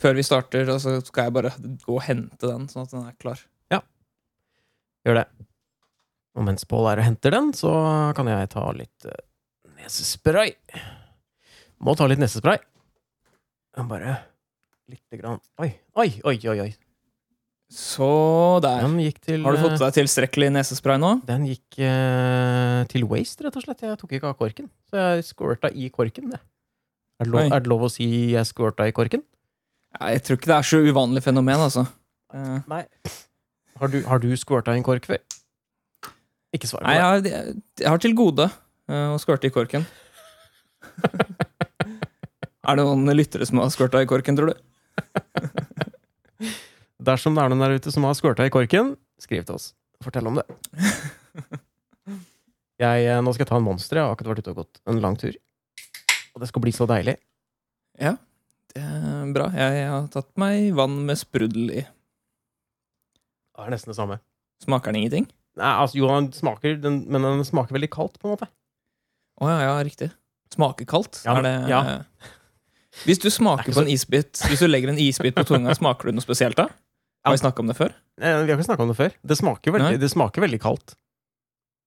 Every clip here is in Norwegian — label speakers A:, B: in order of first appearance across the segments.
A: før vi starter, og så skal jeg bare gå og hente den, sånn at den er klar.
B: Gjør det. Og mens Pål er og henter den, så kan jeg ta litt eh, nesespray. Må ta litt nesespray. Jeg Bare lite grann Oi, oi, oi, oi. oi.
A: Så der.
B: Den gikk til
A: Har du fått
B: eh,
A: deg tilstrekkelig nesespray nå?
B: Den gikk eh, til waste, rett og slett. Jeg tok ikke av korken. Så jeg squirta i korken, jeg. Er det, lov,
A: Oi.
B: er det lov å si jeg squirta i korken?
A: Ja, jeg tror ikke det er så uvanlig fenomen, altså. Eh,
B: Nei. Har du, har du squirta i en kork før? Ikke svar på
A: Nei,
B: det.
A: jeg har, jeg- jeg har til gode eh, å squirte i korken. er det noen lyttere som har squirta i korken, tror du?
B: Dersom det er noen der ute som har squirta i korken, skriv til oss. Fortell om det. Jeg, eh, nå skal jeg ta en monster. Jeg har akkurat vært ute og gått en lang tur. Og det skal bli så deilig.
A: Det er bra. Jeg har tatt meg vann med sprudel i.
B: Det er nesten det samme.
A: Smaker den ingenting?
B: Nei, altså, jo, den smaker, den, men den smaker veldig kaldt, på en måte.
A: Å ja, ja, riktig. Smaker kaldt?
B: Ja,
A: er det
B: ja.
A: Hvis du
B: Det er
A: smaker
B: ikke
A: på en isbit Hvis du legger en isbit på tunga, smaker du noe spesielt da? Har vi snakka om det før?
B: Eh, Vi har ikke snakka om det før. Det smaker veldig,
A: Nei.
B: det smaker veldig kaldt.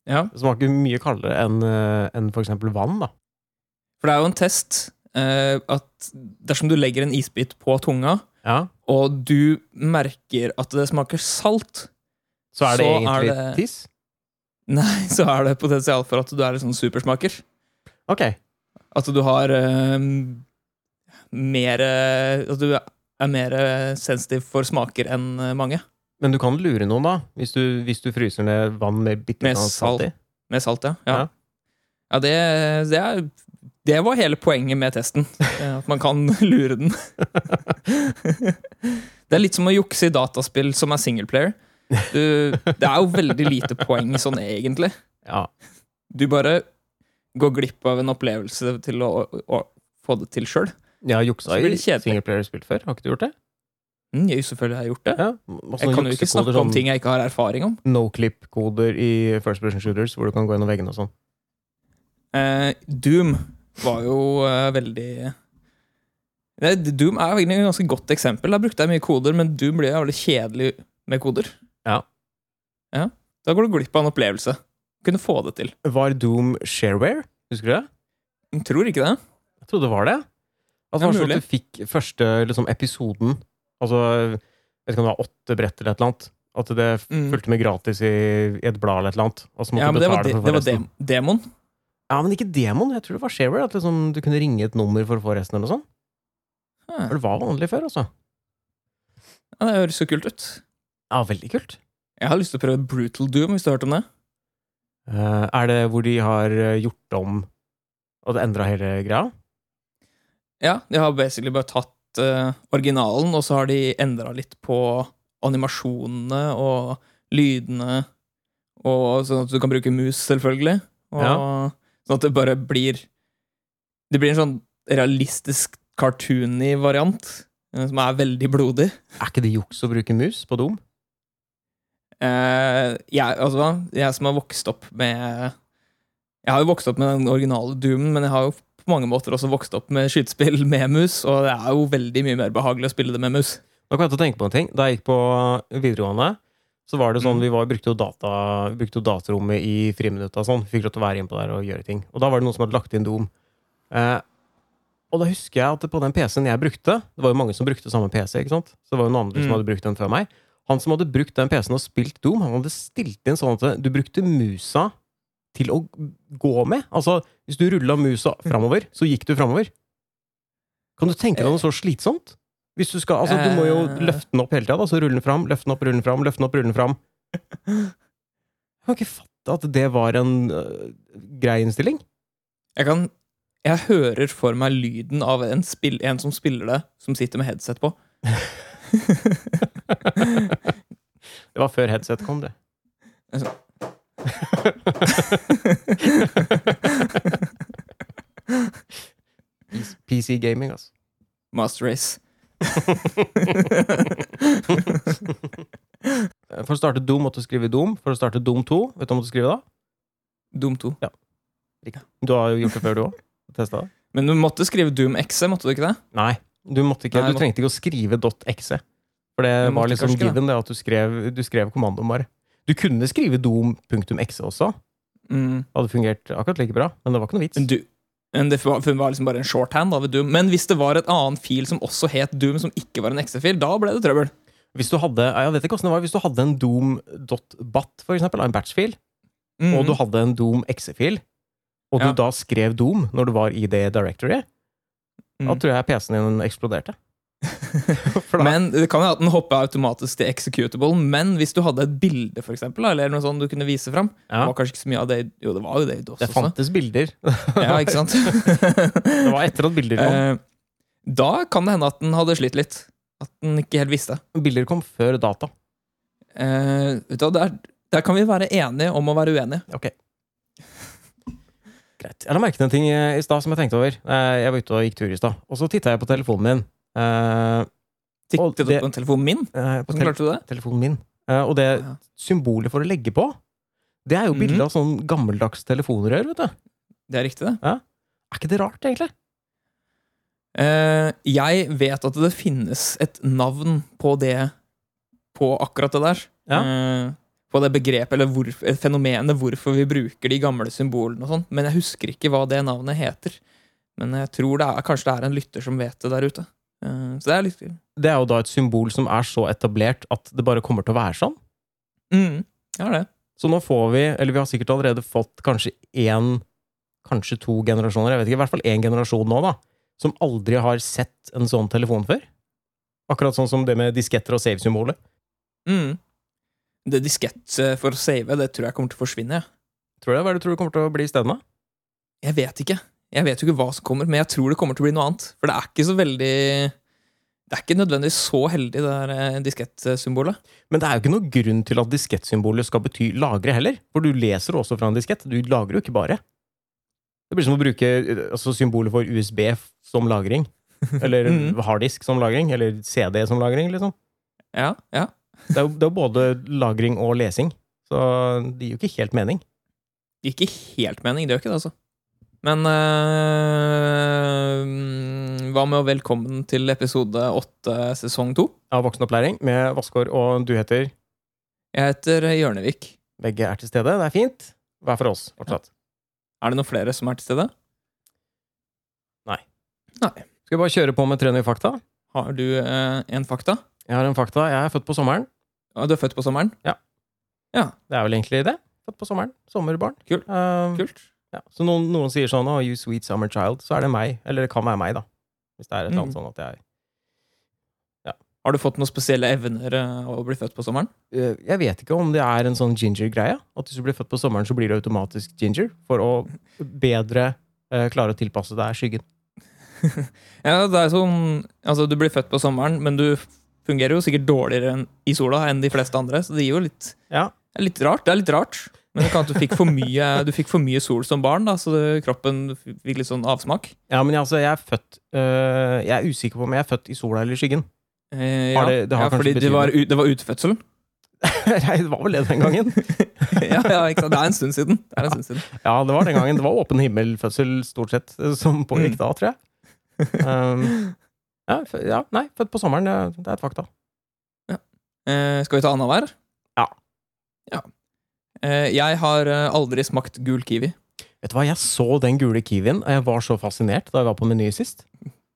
A: Ja.
B: Det smaker mye kaldere enn eh, enn for eksempel vann, da.
A: For det er jo en test eh, at dersom du legger en isbit på tunga,
B: Ja,
A: og du merker at det smaker salt,
B: så er
A: Så
B: det
A: er
B: egentlig
A: det-
B: tiss.
A: Nei, så er det potensial for at du er en sånn supersmaker.
B: Ok.
A: At du har eh, mer eh, At du er mer eh, sensitiv for smaker enn eh, mange.
B: Men du kan lure noen, da, hvis du, hvis du fryser ned vann med bitte
A: Med
B: litt salt i.
A: Med salt, ja. Ja,
B: Ja.
A: ja det, det, er, det var hele poenget med testen. eh, At man kan lure den. det er litt som å jukse i dataspill som er singleplayer. Du, det er jo veldig lite poeng sånn egentlig.
B: Ja.
A: Du bare går glipp av en opplevelse til å, å, å få det til sjøl.
B: Jeg har juksa
A: Så blir
B: i
A: det kjedelig.
B: singleplayerspill før. Har ikke du gjort det?
A: Mm, jeg selvfølgelig har jeg gjort det.
B: Ja. masse
A: Jeg
B: sånne
A: kan jo ikke
B: juksekoder,
A: snakke om
B: sånn
A: ting jeg ikke har erfaring om.
B: No-clip-koder i first person shooters, hvor du kan gå gjennom veggene og sånn.
A: Eh, Doom var jo eh, veldig Nei, Doom er egentlig et ganske godt eksempel. Der brukte jeg mye koder, men Doom blir jævlig kjedelig med koder.
B: Ja.
A: Ja, Da går du glipp av en opplevelse. Kunne få det til.
B: Var Doom shareware? Husker du det?
A: Jeg Tror ikke det.
B: Jeg trodde det var det. At
A: Det
B: det
A: er
B: var sånn
A: mulig.
B: at du fikk første liksom, episoden Altså, jeg vet ikke om det var åtte brett eller et eller annet. At det f-
A: Mm.
B: fulgte med gratis i i et blad eller et eller annet. Og så måtte
A: Ja,
B: du
A: men det var, de,
B: betale for å
A: det
B: få
A: var
B: resten.
A: dem, demon.
B: Ja, men ikke demon. Jeg tror det var shareware. At liksom, du kunne ringe et nummer for å få resten. eller noe sånt.
A: Ah,
B: For Det var vanlig før, altså.
A: Ja, det høres så kult ut.
B: Ja, veldig kult.
A: Jeg har lyst til å prøve Brutal Doom, hvis du har hørt om det.
B: Eh, er det hvor de har eh, gjort om og det endra hele greia?
A: Ja, de har basically bare tatt eh, originalen, og så har de endra litt på animasjonene og lydene, og sånn at du kan bruke mus, selvfølgelig. Og, Sånn at det bare blir Det blir en sånn realistisk cartoony variant, eh, som er veldig blodig.
B: Er ikke det juks å bruke mus på dom?
A: Eh, jeg, altså, jeg som har vokst opp med Jeg har jo vokst opp med den originale Doomen, men jeg har jo på mange måter også vokst opp med skytespill med mus, og det er jo veldig mye mer behagelig å spille det med mus.
B: Nå kan jeg til å tenke på en ting. Da jeg gikk på videregående, så var det sånn,
A: Mm.
B: vi var, brukte jo data, vi brukte jo datarommet i friminutta. og Sånn. Fikk lov til å være inne på der og gjøre ting. Og da var det noen som hadde lagt inn dom. Eh, og da husker jeg at på den PC-en jeg brukte Det var jo mange som brukte samme PC. ikke sant? Så det var jo noen andre
A: Mm.
B: som hadde brukt den før meg. Han som hadde brukt den PC-en og spilt Doom, han hadde stilt inn sånn at du brukte musa til å gå med. Altså, hvis du rulla musa framover,
A: Mm.
B: så gikk du framover. Kan du tenke deg noe så slitsomt? Hvis du skal, altså Du må jo
A: Eh.
B: løfte den opp hele tida. Så rulle den fram, løfte den opp, rulle den fram, løfte den opp, rulle den fram. Jeg kan ikke fatte at det var en øh, grei innstilling.
A: Jeg kan Jeg hører for meg lyden av en, spill, en som spiller det, som sitter med headset på.
B: Det var før headset kom, det.
A: Altså.
B: PC gaming, altså.
A: Master Race.
B: For å starte Doom måtte du skrive Doom. For å starte Doom 2, vet du hva du måtte skrive da?
A: Doom 2.
B: Du har jo gjort det før, du òg. Testa det?
A: Men du måtte skrive Doom XE, måtte du ikke det?
B: Nei. Du, måtte ikke,
A: Nei,
B: du
A: må-
B: trengte ikke å skrive .exe. For det
A: Du
B: var
A: måtte
B: liksom
A: kanskje ikke, da.
B: given, det at du skrev, du skrev kommandoen bare. Du kunne skrive dom.exe også. Det
A: Mm.
B: hadde fungert akkurat like bra, men det var ikke noe vits.
A: Men du, men det var, for det var liksom bare en shorthand da, ved Doom. Men hvis det var et annen fil som også het Doom, som ikke var en XE-fil, da ble det trøbbel.
B: Hvis du hadde, jeg vet ikke hvordan det var, hvis du hadde en doom.bat, for eksempel, en batch-fil,
A: Mhm.
B: og du hadde en Doom exe-fil, og
A: Ja.
B: du da skrev Doom når du var i det directory, da
A: Mm.
B: tror jeg PC-en din eksploderte. For da,
A: Men Det kan jo at den hopper automatisk til executable, men hvis du hadde et bilde, for eksempel, da, eller noe sånt du kunne vise fram
B: ja,
A: Det var kanskje ikke så mye av det i- Jo, det var jo det i DOS
B: det
A: også.
B: fantes bilder.
A: Ja, ikke sant?
B: Det var etter at bilder kom.
A: Eh, da kan det hende at den hadde slitt litt. At den ikke helt visste.
B: Bilder kom før data.
A: Eh, vet du hva, der, der kan vi være enige om å være uenige.
B: Ok. Greit. Jeg la merke til en ting eh, i stad som jeg tenkte over. Eh, Jeg var ute og gikk tur i stad, og så titta jeg på telefonen min. Eh, Og
A: Tikket
B: det-
A: opp på telefonen min?
B: eh, På
A: Hvordan
B: tel
A: klarte du det?
B: telefonen min. Eh, Og det
A: Ja.
B: symbolet for å legge på, det er jo bilde
A: Mhm.
B: av sånn gammeldags telefonrør, vet du.
A: Det er riktig, det.
B: Er ikke det rart, egentlig?
A: Eh, jeg vet at det finnes et navn på det På akkurat det der.
B: Ja.
A: Eh, på det begrepet, eller hvor, eh, fenomenet hvorfor vi bruker de gamle symbolene og sånn. Men jeg husker ikke hva det navnet heter. Men jeg tror det er, kanskje det er en lytter som vet det der ute. Eh, så det er litt
B: det er jo da et symbol som er så etablert at det bare kommer til å være sånn.
A: mm, Ja, det.
B: Så nå får vi, eller vi har sikkert allerede fått kanskje én, kanskje to generasjoner, jeg vet ikke, i hvert fall én generasjon nå, da, som aldri har sett en sånn telefon før. Akkurat sånn som det med disketter og save-symbolet.
A: Mm. Det diskett eh, for å save, det tror jeg kommer til å forsvinne. jeg.
B: Tror du det? Hva er det du tror det kommer til å bli isteden? da?
A: Jeg vet ikke. Jeg vet jo ikke hva som kommer, men jeg tror det kommer til å bli noe annet. For det er ikke så veldig Det er ikke nødvendigvis så heldig, det der eh, diskettsymbolet.
B: Men det er jo ikke noen grunn til at diskettsymbolet skal bety lagre heller. For du leser også fra en diskett. Du lagrer jo ikke bare. Det blir som å bruke eh, altså, symbolet for USB f- som lagring. Eller
A: Mhm.
B: harddisk som lagring. Eller CD som lagring, liksom.
A: Ja, ja.
B: Det er jo det er jo både lagring og lesing. Så det gir jo ikke helt mening.
A: Det gir ikke helt mening, det gjør ikke det, altså. Men eh, mm, hva med å velkommen til episode åtte, sesong to?
B: Av voksenopplæring med Vassgård og du heter
A: Jeg heter eh, Hjørnevik.
B: Begge er til stede. Det er fint. Hver for oss, fortsatt.
A: Er det noen flere som er til stede?
B: Skal vi bare kjøre på med tre nye fakta?
A: Har du eh, en fakta?
B: Jeg har en fakta. Jeg er født på sommeren.
A: Ja, Du er født på sommeren?
B: Det er vel egentlig det. Født på sommeren. Sommerbarn.
A: Kult.
B: Eh,
A: Kult.
B: Ja. Så noen, noen sier sånn 'Å, you sweet summer child', så er det meg. Eller det kan være meg, da. Hvis det er et eller annet sånn at jeg
A: Har du fått noen spesielle evner eh, av å bli født på sommeren?
B: Eh, Jeg vet ikke om det er en sånn ginger-greie. At hvis du blir født på sommeren, så blir du automatisk ginger. For å bedre eh, klare å tilpasse deg skyggen.
A: Ja, det er sånn, altså Du blir født på sommeren, men du fungerer jo sikkert dårligere enn, i sola enn de fleste andre. Så det gir jo litt,
B: Ja.
A: det er litt rart. Det er litt rart. Men det kan at du fikk for mye, du fikk for mye sol som barn, da, så det, kroppen fikk litt sånn avsmak.
B: Ja, men jeg, altså, jeg er født eh, Jeg er usikker på om jeg er født i sola eller i skyggen.
A: Eh,
B: Har det- det har
A: ja
B: kanskje
A: fordi det var, ut- det var utfødsel.
B: Nei, det var vel det den gangen.
A: ja, ja, ikke sant? Det er en stund siden. Det er en stund siden.
B: Ja, det var den gangen. Det var åpen himmelfødsel stort sett eh, som pågikk da, tror jeg. Um, ja, fø- ja, nei, født på sommeren. Det, det er et fakta.
A: Eh, skal vi ta annenhver?
B: Ja.
A: ja. Eh, jeg har eh, aldri smakt gul kiwi.
B: Vet du hva, Jeg så den gule kiwien, og jeg var så fascinert da jeg var på Meny sist.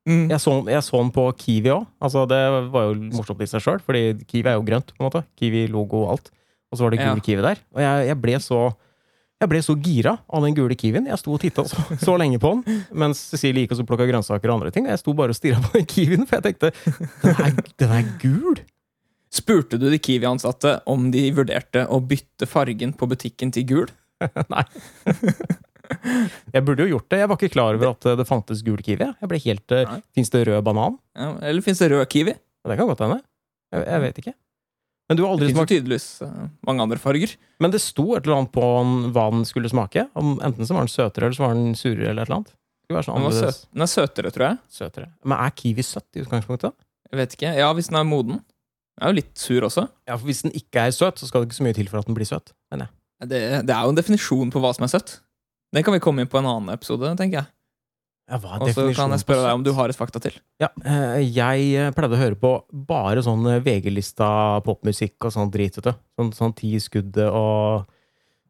A: Mm.
B: Jeg så, jeg så den på Kiwi òg. Altså, det var jo morsomt i seg sjøl, fordi Kiwi er jo grønt. på en måte. Kiwi, logo og alt. Og så var det gul
A: Ja.
B: Kiwi der. Og jeg, jeg, ble så, jeg ble så gira av den gule Kiwien. Jeg sto og titta så, så lenge på den, mens Cecilie gikk og så plukka grønnsaker og andre ting. Og jeg sto bare og stirra på den Kiwien, for jeg tenkte den er, den er gul!
A: Spurte du de Kiwi-ansatte om de vurderte å bytte fargen på butikken til gul?
B: Nei. Jeg burde jo gjort det. Jeg var ikke klar over at eh, det fantes gul Kiwi. Jeg ble helt
A: Nei.
B: Fins det rød banan?
A: Ja, eller fins det rød kiwi?
B: Det kan godt hende. Jeg, jeg vet ikke. Men du
A: Det
B: har aldri
A: fins jo
B: smakt
A: tydeligvis eh, mange andre farger.
B: Men det sto et eller annet på den, hva den skulle smake. Om, enten så var den søtere, eller så var den surere, eller et eller annet. Det skulle være sånn
A: Den, var
B: annerledes
A: søt. den er søtere, tror jeg.
B: søtere. Men er kiwi søtt i utgangspunktet?
A: Jeg vet ikke. Ja, hvis den er moden. Den er jo litt sur også.
B: Ja, for Hvis den ikke er søt, så skal det ikke så mye til for at den blir søt. Men jeg.
A: Det, det er jo en definisjon på hva som er søtt. Den kan vi komme inn på en annen episode, tenker jeg.
B: Ja, hva er
A: Og så kan
B: definisjonen
A: jeg spørre
B: på
A: deg om du har et fakta til.
B: Ja, eh, jeg eh, pleide å høre på bare sånn eh, VG-lista popmusikk og sånn drit, vet du. Sånn, sånn ti skudd og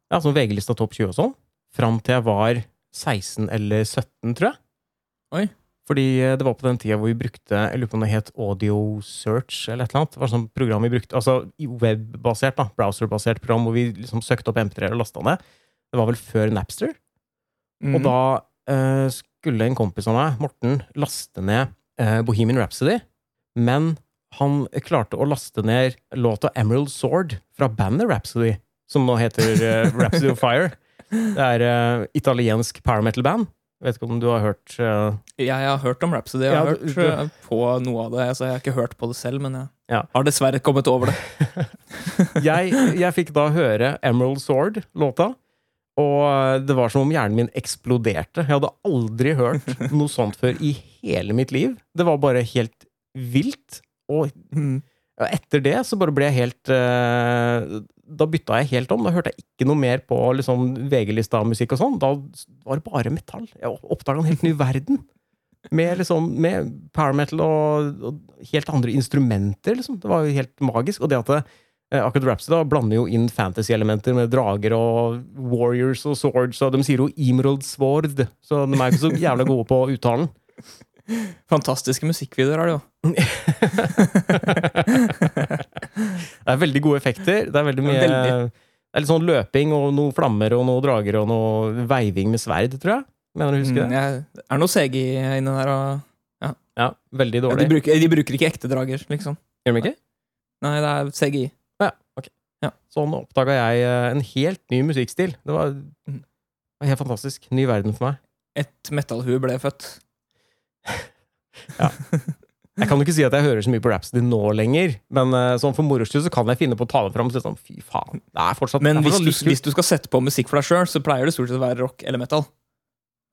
B: Ja, sånn VG-lista topp 20 og sånn. Fram til jeg var 16 eller 17, tror jeg.
A: Oi.
B: Fordi eh, det var på den tida hvor vi brukte Jeg lurer på om det het Audio Search eller et eller annet. Det var sånn program vi brukte, altså i webbasert, da, browserbasert program hvor vi liksom søkte opp MP3 og lasta ned. Det var vel før Napster.
A: Mm.
B: Og da eh, skulle en kompis av meg, Morten, laste ned eh, Bohemian Rhapsody. Men han klarte å laste ned låta Emerald Sword fra bandet Rhapsody, som nå heter eh, Rhapsody of Fire. Det er eh, italiensk power metal-band. Vet ikke om du har hørt eh,
A: Jeg har hørt om Rhapsody, jeg
B: Ja,
A: har
B: du-
A: hørt
B: du-
A: eh, på noe av det. Altså, jeg har ikke hørt på det selv, men jeg
B: Ja.
A: har dessverre kommet over det.
B: jeg, jeg fikk da høre Emerald Sword-låta, og eh, det var som om hjernen min eksploderte. Jeg hadde aldri hørt noe sånt før i hele mitt liv. Det var bare helt vilt. Og
A: Mm.
B: Ja, etter det så bare ble jeg helt eh, Da bytta jeg helt om. Da hørte jeg ikke noe mer på liksom, VG-lista-musikk og sånn. Da var det bare metall. Jeg oppdaga en helt ny verden. Med, liksom, med power metal og, og helt andre instrumenter, liksom. Det var jo helt magisk. Og det at det, eh, akkurat Rhapsody da blander jo inn fantasy-elementer med drager og warriors og swords, og de sier jo Emerald Sword, så de er ikke så jævla gode på uttalen.
A: Fantastiske musikkvideoer har det jo.
B: Det er veldig gode effekter. Det er veldig mye
A: Veldig.
B: Det er litt sånn løping og noen flammer og noen drager og noe veiving med sverd, tror jeg. Mener du å huske
A: Mm,
B: det?
A: jeg, er det noe CG inni der? Og,
B: Ja, veldig
A: ja, de,
B: dårlig.
A: bruker, de bruker ikke ekte drager, liksom.
B: Gjør de ikke?
A: Nei, det er CGI.
B: Ja, ok.
A: Ja.
B: Sånn oppdaga jeg eh, en helt ny musikkstil. Det var,
A: Mhm.
B: det var helt fantastisk. Ny verden for meg.
A: Et metallhue ble født.
B: Jeg kan jo ikke si at jeg hører så mye på Rhapsody nå lenger, men eh, sånn for moro skyld så kan jeg finne på å ta det fram. og si Sånn, Fy faen, det er fortsatt
A: Men
B: det er sånn
A: hvis
B: fortsatt
A: du,
B: litt kult.
A: hvis du skal sette på musikk for deg sjøl, så pleier det stort sett å være rock eller metal.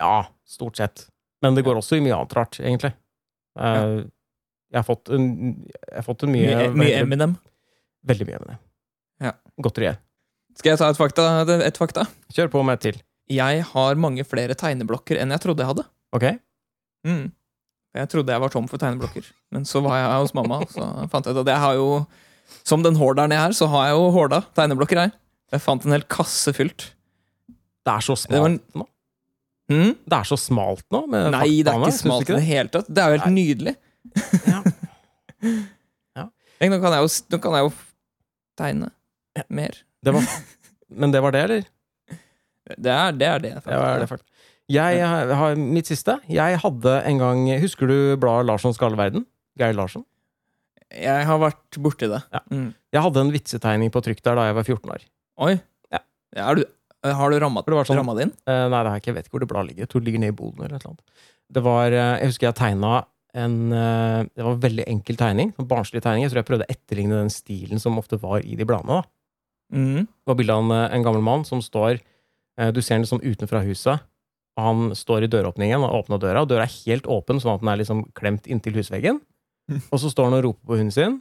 B: Ja, stort sett. Men det går også i mye annet rart, egentlig. Eh, Jeg har fått en, jeg har fått en mye,
A: Mye, mye
B: veldig,
A: Eminem.
B: veldig mye med det.
A: Ja.
B: Godt rye.
A: Skal jeg ta et fakta? Et fakta?
B: Kjør på med et til.
A: Jeg har mange flere tegneblokker enn jeg trodde jeg hadde.
B: Ok?
A: Mm. Jeg trodde jeg var tom for tegneblokker, men så var jeg hos mamma. og Så fant jeg ut at jeg har jo Som den horderen jeg er, så har jeg jo horda tegneblokker her. Jeg fant en hel kasse fylt.
B: Det er så
A: Det
B: smalt
A: var en-
B: nå.
A: Mm?
B: Det er så smalt nå. Med
A: Nei, det er
B: faktaene,
A: ikke
B: syns du
A: smalt i det hele tatt. Det er jo helt nydelig.
B: Ja.
A: Tenk, Nå kan jeg jo, nå kan jeg jo tegne mer.
B: Det var, men det var det, eller?
A: Det er det. Er det, faktisk.
B: Det var det faktisk. Jeg har mitt siste. Jeg hadde en gang Husker du bladet Larssons gale verden? Geir Larsen?
A: Jeg har vært borti det.
B: Ja.
A: Mm.
B: Jeg hadde en vitsetegning på trykk der da jeg var 14 år.
A: Oi.
B: Ja.
A: Er du, har du ramma
B: For det var sånn
A: ramma det inn?
B: Eh, nei, det er ikke, jeg vet ikke hvor det bladet ligger. Jeg tror det ligger nede i boden eller et eller annet. Det var, eh, jeg husker jeg tegna en eh, Det var en veldig enkel tegning. En barnslig tegning. Jeg tror jeg prøvde å etterligne den stilen som ofte var i de bladene. da.
A: Mm.
B: Det var bilde av en, eh, en gammel mann som står eh, Du ser ham liksom utenfra huset. Og han står i døråpningen og åpner døra, og døra er helt åpen, sånn at den er liksom klemt inntil husveggen.
A: Mm.
B: Og så står han og roper på hunden sin,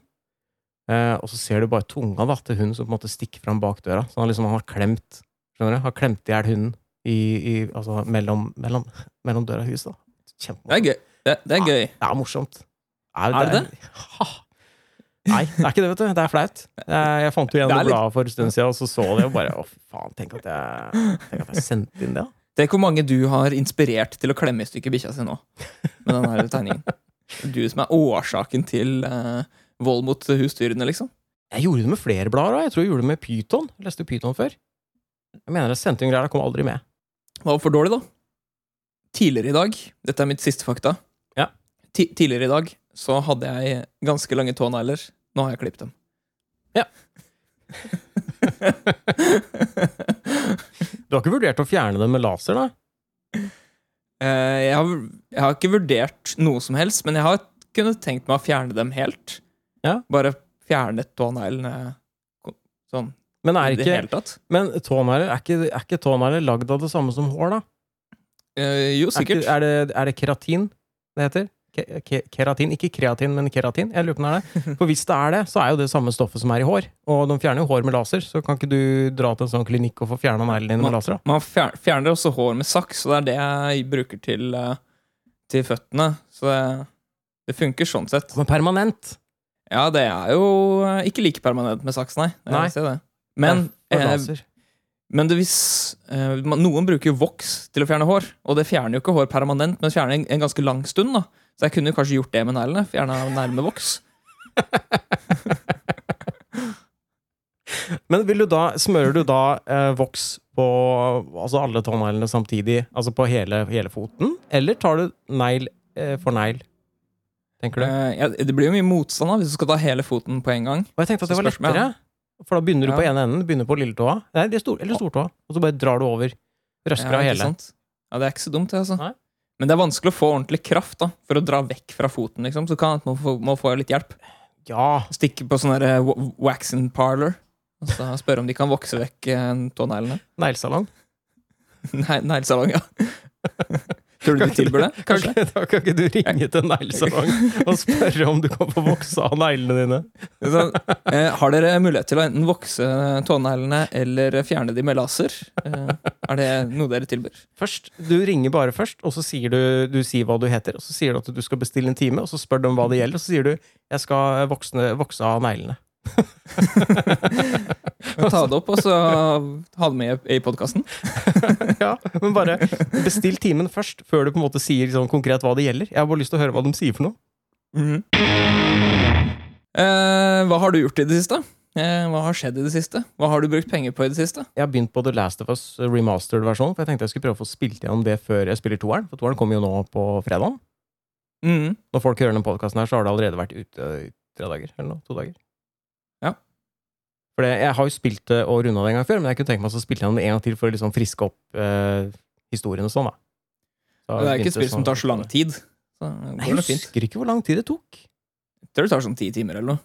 B: eh, og så ser du bare tunga da, til hunden som på en måte stikker fram bak døra. Så han liksom han har klemt skjønner du, har klemt i hjel hunden i, i, altså mellom, mellom, mellom døra og huset. da.
A: Det
B: Kjempemorsomt.
A: er gøy. Det, det er gøy.
B: Det er morsomt.
A: Er det
B: Ha. Nei, det er ikke det, vet du. Det er flaut. Jeg jeg fant jo igjen
A: Det
B: det
A: er litt-
B: bladet for en stund siden, og så så det, og bare å, fy faen, tenk at jeg, tenk at jeg sendte inn det. da.
A: Tenk hvor mange du har inspirert til å klemme i stykker bikkja si nå. Med den her tegningen. Du som er årsaken til eh, vold mot husdyrene, liksom.
B: Jeg gjorde det med flere blader òg. Jeg tror jeg gjorde det med Pyton. Jeg leste Pyton før. Jeg mener jeg sendte inn greier, jeg kom aldri med.
A: Det var for dårlig, da. Tidligere i dag, dette er mitt siste fakta
B: Ja.
A: Ti Tidligere i dag så hadde jeg ganske lange tånegler. Nå har jeg klippet dem.
B: Ja. Du har ikke vurdert å fjerne det med laser, da?
A: Eh, jeg, har, jeg har ikke vurdert noe som helst, men jeg har kunnet tenkt meg å fjerne dem helt.
B: Ja.
A: Bare fjernet tåneglene ko- sånn
B: Men,
A: i
B: er
A: det
B: ikke,
A: hele tatt.
B: men tånegler, er ikke, er ikke tånegler lagd av det samme som hår, da?
A: Eh, jo,
B: Er, ikke,
A: sikkert.
B: er, det, er det keratin det heter? Ke- ke- Keratin, ikke kreatin, men keratin. Jeg lurer på om det er det. For hvis det er det, så er jo det samme stoffet som er i hår. Og de fjerner jo hår med laser, så kan ikke du dra til en sånn klinikk og få fjerna neglene dine med laser? da?
A: Man fjer- fjerner også hår med saks, og det er det jeg bruker til eh, til føttene. Så det, det funker sånn sett.
B: Men permanent.
A: Ja, det er jo eh, ikke like permanent med saks, nei. Jeg
B: Nei.
A: ser Det. Men,
B: Det er
A: eh,
B: laser.
A: men det hvis, eh, man- noen bruker jo voks til å fjerne hår, og det fjerner jo ikke hår permanent, men fjerner en, en ganske lang stund. da. Så jeg kunne jo kanskje gjort det med neglene. Fjerna nærme voks.
B: Men vil du da, smører du da eh, voks på altså alle tåneglene samtidig? Altså på hele, hele foten? Eller tar du negl eh, for negl? Tenker du?
A: Eh, ja, det blir jo mye motstand da, hvis du skal ta hele foten på en gang.
B: Og jeg tenkte at
A: så
B: det var
A: spørs meg,
B: lettere. For da begynner du på
A: Ja.
B: ene enden, begynner på lilletåa. Nei, det er stor, eller stortåa. Og så bare drar du over. Røsker
A: Ja,
B: av
A: ikke
B: hele.
A: sant? Ja, det er ikke så dumt, det. altså.
B: Nei.
A: Men det er vanskelig å få ordentlig kraft da, for å dra vekk fra foten. liksom. Så kan man få, må få litt hjelp.
B: Ja!
A: Stikke på sånn der, eh, wa- waxing parlor og så spørre om de kan vokse vekk eh, tåneglene.
B: Neglesalong.
A: Nei, neglesalong, ja. Tror du de tilbyr det?
B: Kan,
A: Kanskje?
B: ikke- da kan ikke du ringe til neglesalong og spørre om du kan få vokse av neglene dine?
A: Sånn, eh, har dere mulighet til å enten vokse tåneglene eller fjerne de med laser? Eh, er det noe dere tilbyr?
B: Først, Du ringer bare først, og så sier du, du sier hva du heter. Og så sier du at du skal bestille en time, og så spør de om hva det gjelder. Og så sier du 'jeg skal voksne, vokse av neglene'.
A: Kan ta det opp og så ha det med i podkasten.
B: Ja, Men bare bestill timen først, før du på en måte sier sånn konkret hva det gjelder. Jeg har bare lyst til å høre hva de sier for noe.
A: Mhm. Eh, hva har du gjort i det siste? Eh, hva har skjedd i det siste? Hva har du brukt penger på i det siste?
B: Jeg har begynt på The Last of Us remastered-versjonen, for jeg tenkte jeg skulle prøve å få spilt gjennom det før jeg spiller toeren. For toeren kommer jo nå på fredag.
A: Mhm.
B: Når folk hører denne podkasten her, så har det allerede vært ute i tre dager. Eller noe, to dager.
A: Ja.
B: For det- jeg har jo spilt det og runda det en gang før, men jeg kunne tenke meg å spille gjennom det en gang til for å liksom friske opp eh, historien og sånn, da. Så
A: Det er ikke
B: jeg
A: et
B: begynte
A: spill som
B: sånn-
A: tar så lang tid. Så det går
B: Nei, jeg
A: nok fint.
B: husker ikke hvor lang tid det tok.
A: Jeg tror det tar sånn ti timer eller noe.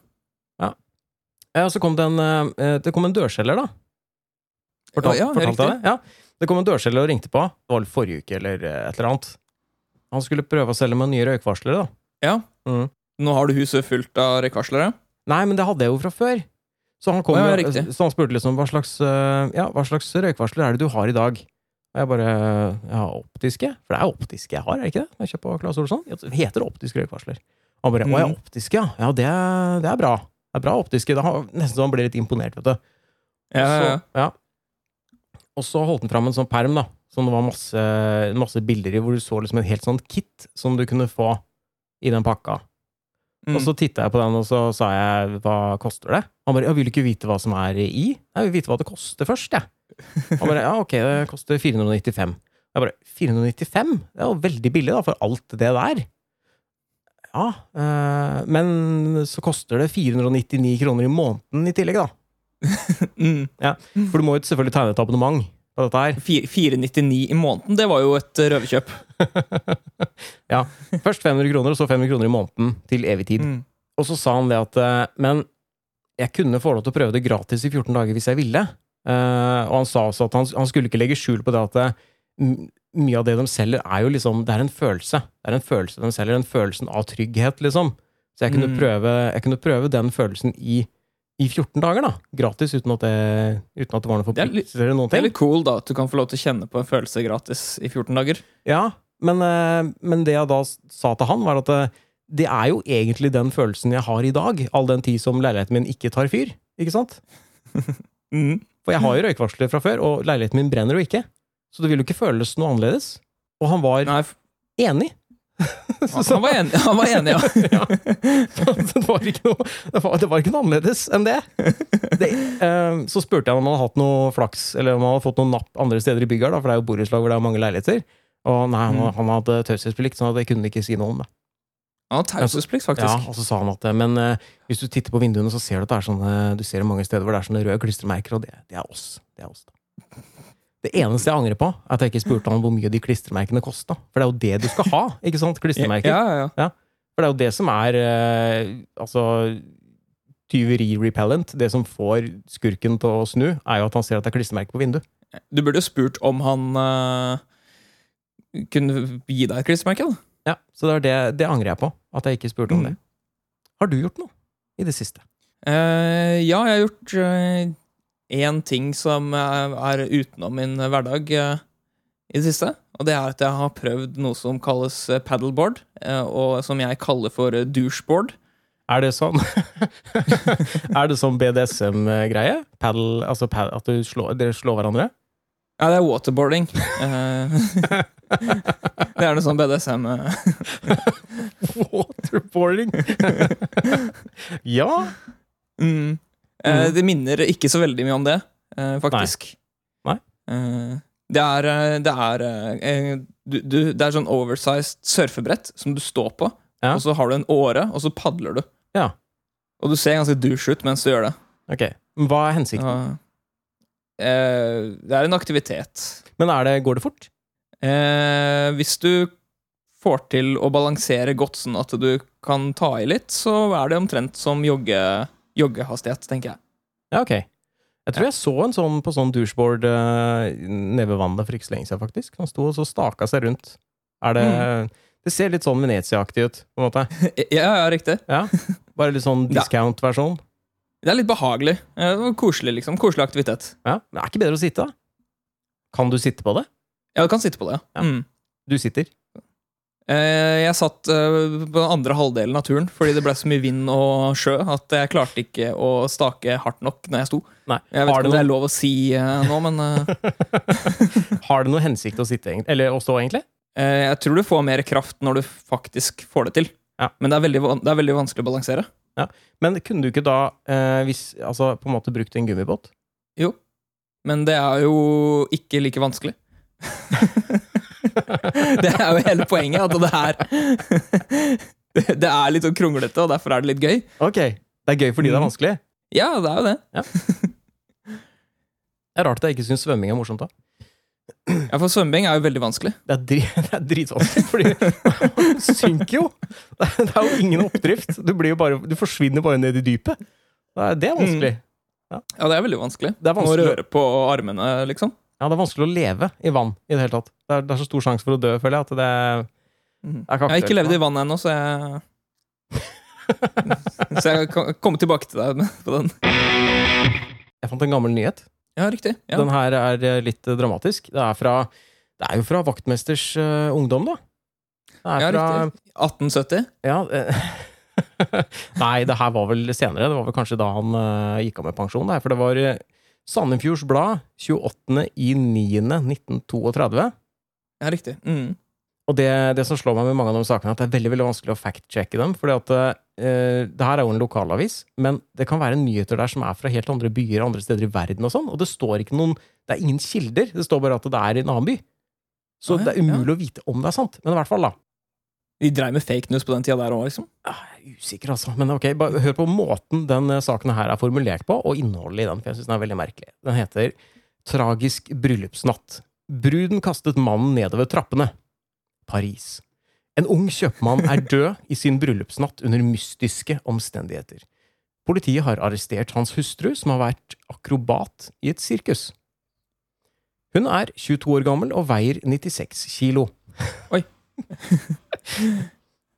B: Ja, og så kom det en, eh, det kom en dørselger, da. Fortal,
A: Ja, ja,
B: fortalte jeg
A: riktig.
B: det? Ja. Det kom en dørselger og ringte på. Det var vel forrige uke eller eh, et eller annet. Han skulle prøve å selge med nye røykvarslere, da.
A: Ja.
B: Mm.
A: Nå har du huset fullt av røykvarslere.
B: Nei, men det hadde jeg jo fra før. Så han, kom,
A: Å, ja,
B: jo-
A: riktig.
B: så han spurte liksom hva slags, eh, ja, hva slags røykvarsler er det du har i dag? Og jeg bare Jeg har optiske. For det er optiske jeg har, er det ikke det? Når jeg kjøper på Claes Olsson. Det heter optisk røykvarsler. Han bare
A: Mm.
B: 'Å ja, optiske, ja. Ja, det, er- det er bra. Det er bra optiske. Det har, nesten så han ble litt imponert, vet du.
A: Ja, ja,
B: Og så-
A: ja.
B: ja. Og så holdt han fram en sånn perm, da. Som det var masse, masse bilder i, hvor du så liksom en helt sånn kit som du kunne få i den pakka.
A: Mm.
B: Og så titta jeg på den, og så sa jeg 'hva koster det?' Han bare 'jeg vil ikke vite hva som er i'. Jeg vil vite hva det koster først, jeg. Han bare 'ja, ok, det koster 495'. Jeg bare 495? Det er jo veldig billig, da, for alt det der. Ja, eh, men så koster det 499 kroner i måneden i tillegg, da.
A: Mm.
B: For du må jo selvfølgelig tegne et abonnement på dette her.
A: Fi- 499 i måneden, det var jo et eh, røverkjøp.
B: ja. Først 500 kroner, og så 500 kroner i måneden til evig tid.
A: Mm.
B: Og så sa han det at eh, Men jeg kunne få lov til å prøve det gratis i 14 dager hvis jeg ville. Eh, og han sa også at han, han skulle ikke legge skjul på det at eh, m- mye av det de selger, er jo liksom Det er en følelse. Det er en følelse de selger. Den følelsen av trygghet, liksom. Så jeg kunne,
A: Mm.
B: prøve, jeg kunne prøve den følelsen i, i 14 dager, da. Gratis, uten at det, uten at det var noe
A: Det er litt-
B: forpliktelse eller noen
A: Det er
B: ting.
A: litt cool da, at du kan få lov til å kjenne på en følelse gratis i 14 dager.
B: Ja, men, eh, men det jeg da s- sa til han, var at eh, det er jo egentlig den følelsen jeg har i dag, all den tid som leiligheten min ikke tar fyr. Ikke sant?
A: Mm.
B: For jeg har jo røykvarsler fra før, og leiligheten min brenner jo ikke. Så det vil jo ikke føles noe annerledes. Og han var
A: Nei, f-
B: enig. så, så,
A: han var enig, han var enig ja.
B: ja. så det, var ikke noe, det, var, det var ikke noe annerledes enn det. det eh, så spurte jeg om han hadde hatt noe flaks, eller om han hadde fått noe napp andre steder i bygget, her, da, for det er jo borettslag hvor det er mange leiligheter. Og nei, han,
A: Mm.
B: han hadde taushetsplikt, så det kunne han ikke si noe om. det.
A: Han har taushetsplikt,
B: Ja,
A: faktisk.
B: og så sa han at eh, Men eh, hvis du titter på vinduene, så ser du at det er sånne Du ser mange steder hvor det er sånne røde klistremerker, og det, det er oss. Det er oss, da. Det eneste jeg angrer på, er at jeg ikke spurte han hvor mye de klistremerkene kosta. For det er jo det du skal ha, ikke sant? Klistremerker.
A: Ja, ja, ja.
B: For det er jo det som er eh, Altså tyveri-repellent. Det som får skurken til å snu, er jo at han ser at det er klistremerker på vinduet.
A: Du burde jo spurt om han eh, kunne gi deg et klistremerke. da.
B: Ja, Så det, er det, det angrer jeg på, at jeg ikke spurte om
A: Mm.
B: det. Har du gjort noe i det siste?
A: Eh, ja, jeg har gjort eh, én ting som eh, er utenom min hverdag eh, i det siste. Og det er at jeg har prøvd noe som kalles eh, paddleboard, eh, og som jeg kaller for eh, doucheboard.
B: Er det sånn Er det sånn BDSM-greie? Paddle, altså pad, at du slår, dere slår hverandre?
A: Ja, det er waterboarding. Eh, det er noe sånn BDSM. eh.
B: Waterboarding! ja!
A: Mm. Eh, det minner ikke så veldig mye om det, eh, faktisk.
B: Nei.
A: Eh, det er, eh, det er, eh, du, du, det er sånn oversized surfebrett som du står på,
B: Ja.
A: og så har du en åre, og så padler du.
B: Ja.
A: Og du ser ganske douche ut mens du gjør det.
B: Ok. Men Hva er hensikten?
A: Ja. Eh, det er en aktivitet.
B: Men er det, går det fort?
A: Eh, hvis du får til å balansere godt sånn at du kan ta i litt, så er det omtrent som jogge, joggehastighet, tenker jeg.
B: Ja, ok. Jeg tror jeg så en sånn på sånn doucheboard eh, nede ved vannet for ikke så lenge siden, faktisk. Han sto og så staka seg rundt. Er det
A: Mm.
B: Det ser litt sånn Venezia-aktig ut, på en måte.
A: Ja, ja, riktig.
B: Ja. Bare litt sånn
A: Ja.
B: discount-versjon.
A: Det er litt behagelig. Eh, og Koselig, liksom. Koselig aktivitet.
B: Ja. Men det er ikke bedre å sitte, da? Kan du sitte på det?
A: Ja, du kan sitte på det. Ja.
B: Ja.
A: Mm.
B: Du sitter.
A: Eh, Jeg satt eh, på den andre halvdelen av turen fordi det ble så mye vind og sjø at jeg klarte ikke å stake hardt nok når jeg sto.
B: Nei.
A: Jeg vet ikke
B: Har det
A: om det er lov å si eh, nå, men eh,
B: Har det noen hensikt å sitte, egentlig? Eller å stå, egentlig?
A: eh, jeg tror du får mer kraft når du faktisk får det til.
B: Ja.
A: Men det er, veldig, van- det er veldig vanskelig å balansere.
B: Men kunne du ikke da, eh, hvis, altså, på en måte brukt en gummibåt?
A: Men det er jo ikke like vanskelig. det er jo hele poenget, at det er Det er litt sånn kronglete, og derfor er det litt gøy.
B: Ok. Det er gøy fordi det er
A: Mm.
B: vanskelig.
A: Ja, det er jo det.
B: Det er rart at jeg ikke syns svømming er morsomt, da.
A: Ja, For svømming er jo veldig vanskelig.
B: Det er, dri, det er dritvanskelig, fordi du synker jo! Det er, det er jo ingen oppdrift. Du, blir jo bare, du forsvinner bare ned i dypet. Det er, det er vanskelig.
A: Ja, det er veldig vanskelig.
B: Det
A: Å
B: er vanskelig, å-
A: røre på armene, liksom.
B: ja, det er vanskelig å leve i vann i det hele tatt. Det er, det er så stor sjanse for å dø, føler jeg, at det er
A: Mhm.
B: Jeg kan ikke
A: Jeg har ikke
B: gjøre
A: levd i vann ennå, så jeg Så jeg kan komme tilbake til deg med- på den.
B: Jeg fant en gammel nyhet.
A: Ja, riktig. Ja.
B: Den her er eh, litt eh, dramatisk. Det er, fra, det er jo fra vaktmesters eh, ungdom, da. Det er
A: Ja,
B: fra
A: riktig. 1870.
B: Ja eh, Nei, det her var vel senere. Det var vel kanskje da han eh, gikk av med pensjon. Der, for det var eh, Sandefjords Blad 28.09.1932.
A: Ja, riktig. Mm.
B: Og det, det som slår meg med mange av de sakene, er at det er veldig veldig vanskelig å fact-sjekke dem. fordi at eh, det her er jo en lokalavis, men det kan være nyheter der som er fra helt andre byer og andre steder i verden. Og sånn, og det står ikke noen, det er ingen kilder. Det står bare at det er i en annen by.
A: Ah,
B: Så
A: ja,
B: det er umulig å vite om det er sant. Men i hvert fall, da.
A: De dreiv med fake news på den tida der òg, liksom.
B: Ah, Jeg er usikker, altså. Men ok, bare hør på måten den eh, saken her er formulert på, og innholdet i den, for jeg syns den er veldig merkelig. Den heter Tragisk bryllupsnatt. Bruden kastet mannen nedover trappene. Paris. En ung kjøpmann er død i sin bryllupsnatt under mystiske omstendigheter. Politiet har arrestert hans hustru, som har vært akrobat i et sirkus. Hun er 22 år gammel og veier 96 kilo.
A: Oi.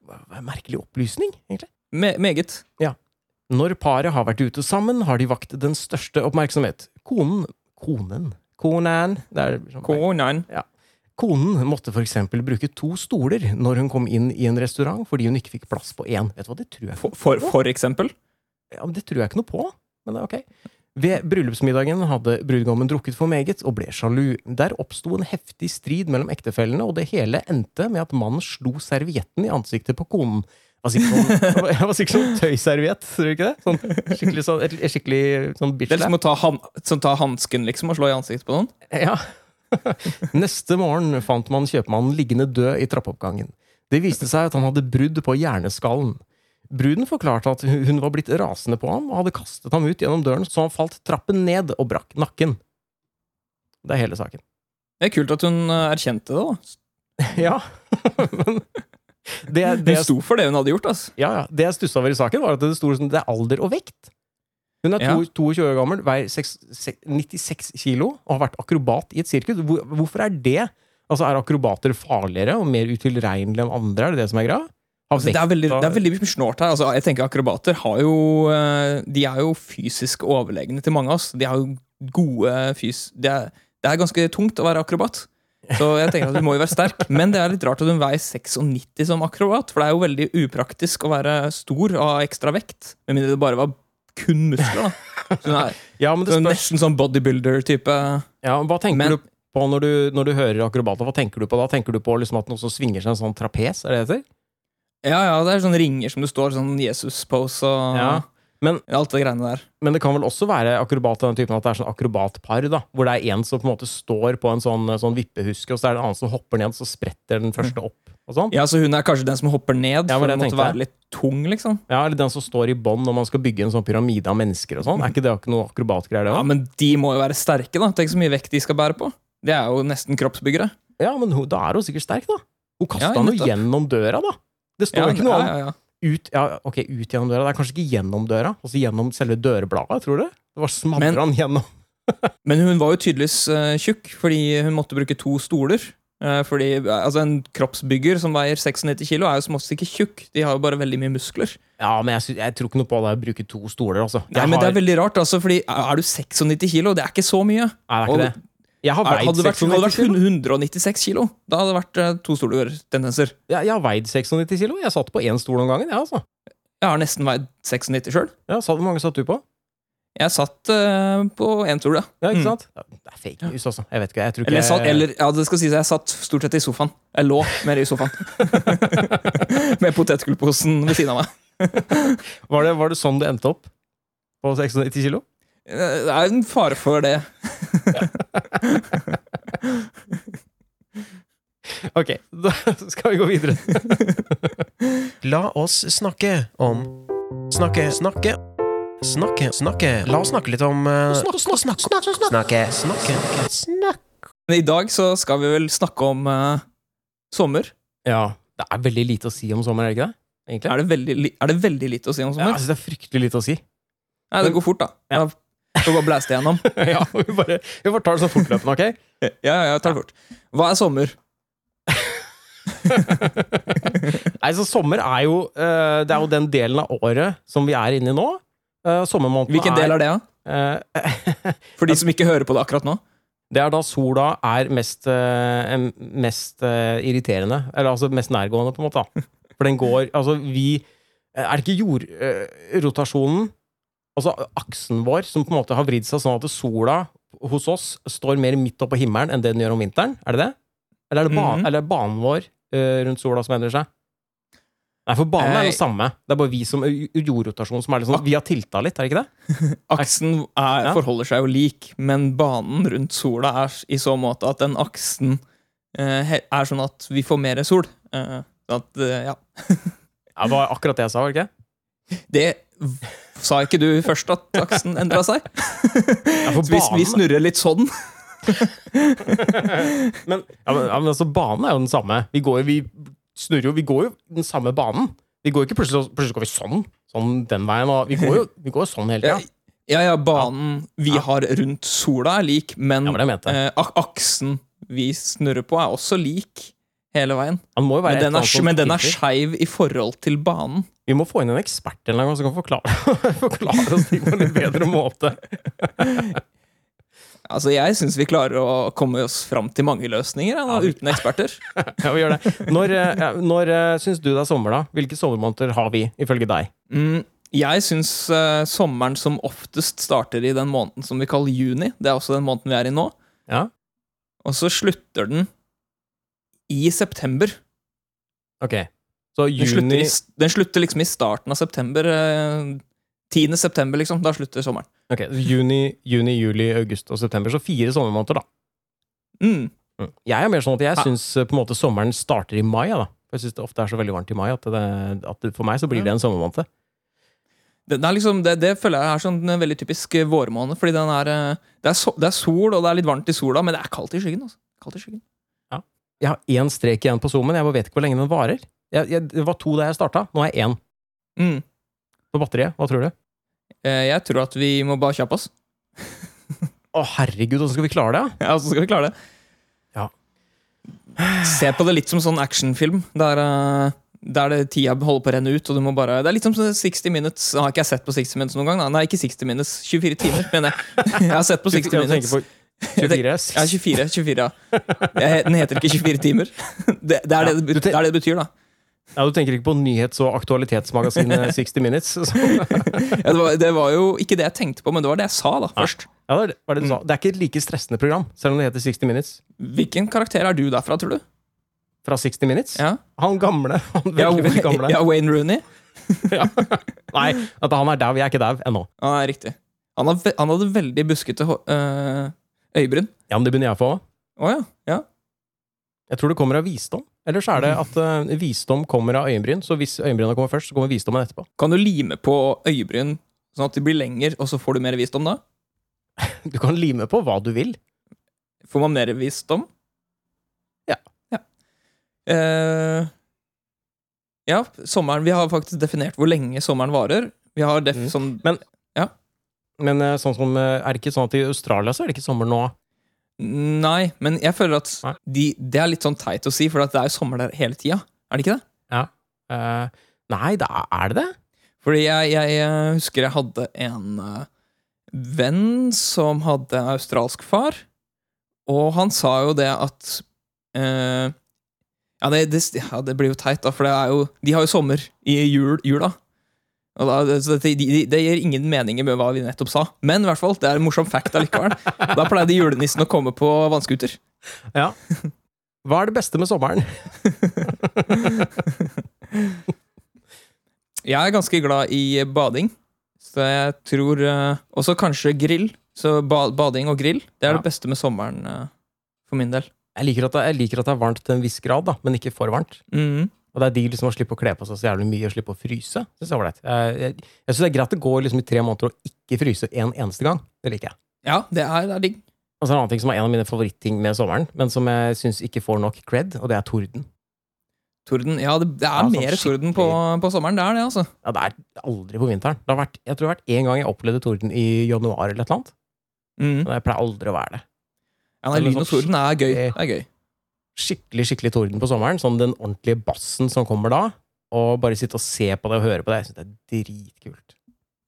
B: Hva- hva en Merkelig opplysning, egentlig.
A: Me meget.
B: Når paret har vært ute sammen, har de vakt den største oppmerksomhet. Konen Konen? Konen det er, liksom-
A: K9.
B: Konen måtte for eksempel bruke to stoler når hun kom inn i en restaurant fordi hun ikke fikk plass på én. Vet du hva, det tror jeg,
A: For, for, for eksempel.
B: ja, men det tror jeg ikke noe på. Men det er ok. Ved bryllupsmiddagen hadde brudgommen drukket for meget og ble sjalu. Der oppsto en heftig strid mellom ektefellene, og det hele endte med at mannen slo servietten i ansiktet på konen. Det var sikkert sånn, det var sikkert sånn tøyserviett, tror du ikke det? Sånn, skikkelig sånn, et- et skikkelig sånn bitch
A: Det er
B: slap.
A: som å ta, han som tar hansken liksom, og slå i ansiktet på noen.
B: Ja. Neste morgen fant man kjøpmannen liggende død i trappeoppgangen. Det viste seg at han hadde brudd på hjerneskallen. Bruden forklarte at hu- hun var blitt rasende på ham og hadde kastet ham ut gjennom døren, så han falt trappen ned og brakk nakken. Det er hele saken.
A: Det er kult at hun eh, erkjente det. da.
B: Ja, men det, det,
A: Hun sto for det hun hadde gjort. ass.
B: ja, ja. det jeg stussa over i saken, var at det sto sånn, det er alder og vekt. Hun er
A: Ja.
B: to- 22 år gammel, veier seks- sek- 96 kilo og har vært akrobat i et sirkus. Hvor, hvorfor er det? Altså, Er akrobater farligere og mer utilregnelige enn andre? Er det det som er greia? Har
A: Altså, det, er veldig,
B: vekta-
A: det er veldig mye snålt her. Altså, jeg tenker Akrobater har jo, eh, de er jo fysisk overlegne til mange av oss. De har jo gode fys... Det er, det er ganske tungt å være akrobat. Så jeg tenker at du må jo være sterk. Men det er litt rart at hun veier 96 som akrobat, for det er jo veldig upraktisk å være stor og ha ekstra vekt. Med mindre det bare var kun muskler, da. Så hun er,
B: Ja,
A: så
B: men det
A: hun er
B: spørs.
A: nesten sånn bodybuilder-type.
B: Ja, hva tenker
A: Men-
B: du på når du, når du hører akrobater? Hva tenker du på da? Tenker du på liksom at noe som svinger seg en sånn trapes? Er det det heter?
A: Ja, ja, det er sånne ringer som du står sånn Jesus-pose og
B: Ja, men-
A: alt det greiene der.
B: Men det kan vel også være akrobat av den typen at det er sånn akrobatpar, da, hvor det er en som på en måte står på en sånn, sånn vippehuske, og så er det en annen som hopper ned, så spretter den
A: Mm.
B: første opp. og sånn.
A: Ja, Så hun er kanskje den som hopper ned,
B: Ja,
A: for
B: men
A: hun
B: det
A: måtte
B: tenkte jeg.
A: være litt tung, liksom.
B: Ja, Eller den som står i bånd når man skal bygge en sånn pyramide av mennesker. og sånn. Er ikke det ikke noe akrobatgreier? det
A: Ja,
B: da?
A: Men de må jo være sterke, da. Tenk så mye vekt de skal bære på. De er jo nesten kroppsbyggere.
B: Ja, men hun, da er hun sikkert sterk, da. Hun kasta
A: Ja,
B: den jo
A: nettopp.
B: gjennom døra, da. Det står
A: Ja,
B: ikke noe om
A: ja, ja, ja.
B: ut, ja, ok, ut gjennom døra. Det er kanskje ikke gjennom døra, altså gjennom selve dørbladet, tror du? Det var smadra
A: Men-
B: den gjennom.
A: Men hun var jo tydeligvis eh, tjukk, fordi hun måtte bruke to stoler. Eh, fordi eh, altså En kroppsbygger som veier 96 kilo, er jo som oftest ikke tjukk. De har jo bare veldig mye muskler.
B: Ja, men jeg, sy- jeg tror ikke noe på det å bruke to stoler, altså. Jeg
A: Nei, men Det
B: har-
A: er veldig rart, altså, fordi er du 96 kilo, det er ikke så mye.
B: Nei, det er
A: og-
B: ikke det. Jeg har
A: Er,
B: veid
A: hadde det vært, hadde det vært
B: 96 kilo.
A: 196 kilo, da hadde det vært eh, to stoler-tendenser.
B: Jeg, jeg har veid 96 kilo. Jeg satt på én stol om gangen, jeg, altså.
A: Jeg har nesten veid 96 sjøl.
B: Ja, sa, hvor mange satt du på?
A: Jeg satt eh, på én stol, ja.
B: Ja, ikke
A: Mm.
B: sant? Ja, Det er fake news, altså. Jeg vet ikke, jeg tror ikke
A: Eller, jeg satt,
B: jeg-
A: eller ja, det skal sies, jeg satt stort sett i sofaen. Jeg lå mer i sofaen. Med potetgullposen ved siden av meg.
B: var, det, var det sånn du endte opp? På 96 kilo?
A: Eh, Det er en fare for det.
B: Ok, da skal vi gå videre.
C: La oss snakke om Snakke, snakke. Snakke, snakke. La oss snakke litt om eh, Snakke, snakke.
A: Men i dag så skal vi vel snakke om eh, sommer.
B: Ja. Det er veldig lite å si om sommer, er det ikke det? Egentlig?
A: Er det, veldig, li- er det veldig lite å si om
B: Ja,
A: sommer?
B: altså, det er fryktelig lite å si.
A: Nei, det går fort, da.
B: Ja.
A: Da får vi bare blæste gjennom.
B: ja, vi bare, vi bare tar det sånn fortløpende, ok?
A: Ja, ja, jeg tar det fort. Hva er sommer?
B: Nei, så sommer er jo eh, Det er jo den delen av året som vi er inne i nå. Uh, sommermåneden
A: Hvilken del er det, da?
B: Eh,
A: For de som ikke hører på det akkurat nå.
B: Det er da sola er mest, eh, em- mest eh, irriterende. Eller altså mest nærgående, på en måte. da. For den går Altså, vi Er det ikke jordrotasjonen, altså aksen vår, som på en måte har vridd seg sånn at sola hos oss står mer midt oppå himmelen enn det den gjør om vinteren? Er det det? Eller er det, ba
A: Mhm.
B: eller er det banen vår eh, rundt sola som endrer seg? Nei, for banen
A: Eh,
B: er jo samme. Det er bare vi som jordrotasjon som er litt sånn Vi har tilta litt, er det ikke det?
A: Aksen er,
B: Ja.
A: eh, forholder seg jo lik, men banen rundt sola er s- i så måte at den aksen eh, he- er sånn at vi får mer sol. Eh, sånn at, eh, ja.
B: Ja, det var akkurat det jeg sa, var det ikke?
A: Det v- sa ikke du først, at aksen endra seg?
B: Ja, for
A: Så vi, vi
B: banen-
A: snurrer litt sånn.
B: men, ja, men, ja, men altså, banen er jo den samme. Vi går jo, vi snurrer jo, vi går jo den samme banen. Vi går jo ikke plutselig, plutselig går vi sånn, sånn den veien. Og vi går jo vi går jo sånn hele
A: Ja,
B: tida.
A: ja, ja banen vi har rundt sola er lik, men
B: Ja, men det mente jeg.
A: eh, ak- aksen vi snurrer på, er også lik hele veien.
B: Han må jo
A: Men
B: være et
A: den,
B: eller
A: er,
B: annet som
A: men den er
B: tilter.
A: skeiv i forhold til banen.
B: Vi må få inn en ekspert en eller annen gang som kan forklare, forklare oss ting på en litt bedre måte.
A: Altså, Jeg syns vi klarer å komme oss fram til mange løsninger ja, da, uten eksperter.
B: Ja, vi gjør det. Når, eh, ja, når eh, syns du det er sommer, da? Hvilke sommermåneder har vi, ifølge deg?
A: Mm, jeg syns eh, sommeren som oftest starter i den måneden som vi kaller juni. Det er også den måneden vi er i nå.
B: Ja.
A: Og så slutter den i september.
B: Ok, så
A: Den slutter,
B: juni
A: i, den slutter liksom i starten av september. eh, 10. september, liksom. Da slutter sommeren.
B: Ok, juni, juni, juli, august og september. Så fire sommermåneder, da.
A: Mm.
B: Mm. Jeg er mer sånn at jeg
A: Ja.
B: syns eh, på en måte sommeren starter i mai. Ja, da. For Jeg syns det ofte er så veldig varmt i mai at, det, at det, for meg så blir
A: Ja.
B: det en sommermåned.
A: Den er liksom, det, det føler jeg er sånn en veldig typisk eh, vårmåned. Fordi den er, eh, det, er so, det er sol, og det er litt varmt i sola, men det er kaldt i skyggen. Altså. Kaldt i skyggen.
B: Jeg har én strek igjen på zoomen. Jeg bare vet ikke hvor lenge den varer. Jeg, jeg, det var to da jeg starta. Nå har jeg én
A: Mm.
B: på batteriet. Hva tror du?
A: Eh, Jeg tror at vi må bare kjappe oss.
B: Å, herregud, hvordan skal vi klare det?
A: Ja, Så skal vi klare det.
B: Ja.
A: Se på det litt som sånn actionfilm. Der, eh, der det tida holder på å renne ut. Og du må bare, det er litt som sånn 60 Minutes. Nå har ikke jeg sett på 60 Minutes noen gang. Da. Nei, ikke 60 Minutes. 24 timer, mener jeg. Jeg har sett på 60
B: Jeg tenker
A: Minutes.
B: på 24 er
A: Ja,
B: 6.
A: 24. 24 ja. Det- Den heter ikke 24 timer. Det, det, er, det, det,
B: du
A: bet- det
B: tenk-
A: er det det betyr, da.
B: Ja, du tenker ikke på nyhets- og aktualitetsmagasinet 60 Minutes? Så.
A: Ja, det, var, det var jo ikke det jeg tenkte på, men det var det jeg sa da først.
B: Ja, det, er- hva er det, du sa? det er ikke et like stressende program, selv om det heter 60 Minutes.
A: Hvilken karakter er du derfra, tror du?
B: Fra 60 Minutes?
A: Ja,
B: Han gamle. Han
A: ja,
B: veldig, veldig gamle.
A: ja Wayne Rooney?
B: Nei, at han er dau. Jeg er ikke dau ennå.
A: Ja, nei, riktig. Han, har, ve- han hadde veldig buskete hå- øh, øyebryn.
B: Ja, men det begynner jeg å få.
A: Å ja. ja.
B: Jeg tror det kommer av visdom. Eller så er det at eh, visdom kommer av øyenbryn. Så hvis øyenbryna kommer først, så kommer visdommen etterpå.
A: Kan du lime på øyebryn sånn at de blir lengre, og så får du mer visdom da?
B: Du kan lime på hva du vil.
A: Får man mer visdom?
B: Ja.
A: Ja, Eh, ja sommeren Vi har faktisk definert hvor lenge sommeren varer. Vi har def
B: Mm.
A: sånn
B: Men eh, sånn som, eh, er det ikke sånn at i Australia så er det ikke sommer nå?
A: Nei, men jeg føler at
B: Nei.
A: de, det er litt sånn teit å si, for at det er jo sommer der hele tida. Er det ikke det?
B: Eh, nei, da er det det?
A: Fordi jeg, jeg eh, husker jeg hadde en eh, venn som hadde en australsk far, og han sa jo det at eh, ja, det, det, ja, det blir jo teit, da, for det er jo, de har jo sommer i jul, jula. Og da, det- så det, de, det gir ingen meninger med hva vi nettopp sa, men i hvert fall, det er en morsom fact allikevel. Da pleide julenissen å komme på vannskuter.
B: Ja. Hva er det beste med sommeren?
A: Jeg er ganske glad i bading, så jeg tror eh, Også kanskje grill. Så ba bading og grill, det er
B: Ja.
A: det beste med sommeren eh, for min del.
B: Jeg liker, at det, jeg liker at det er varmt til en viss grad, da, men ikke for varmt.
A: Mhm.
B: Og det er digg liksom, å slippe å kle på seg så jævlig mye og slippe å fryse. Synes jeg, er ålreit. jeg, jeg, jeg synes det er greit å gå liksom, i tre måneder og ikke fryse en eneste gang. Det liker jeg.
A: Ja, det er, det er digg.
B: Og så er det en annen ting som er en av mine favorittting med sommeren, men som jeg syns ikke får nok cred, og det er torden.
A: Torden. Ja, det, det er
B: Ja, sånn
A: mer torden på, på sommeren. Det er det, altså.
B: Ja, det er aldri på vinteren. Det har vært, jeg tror det har vært én gang jeg opplevde torden i januar eller et eller annet.
A: Mhm.
B: Men jeg pleier aldri å være det.
A: Ja, nei,
B: Eller
A: lyn og
B: sånn
A: torden er gøy.
B: skikkelig-
A: Det er gøy.
B: Skikkelig, skikkelig torden på sommeren. Sånn den ordentlige bassen som kommer da. Og bare sitte og se på det og høre på det. Jeg syns det er dritkult.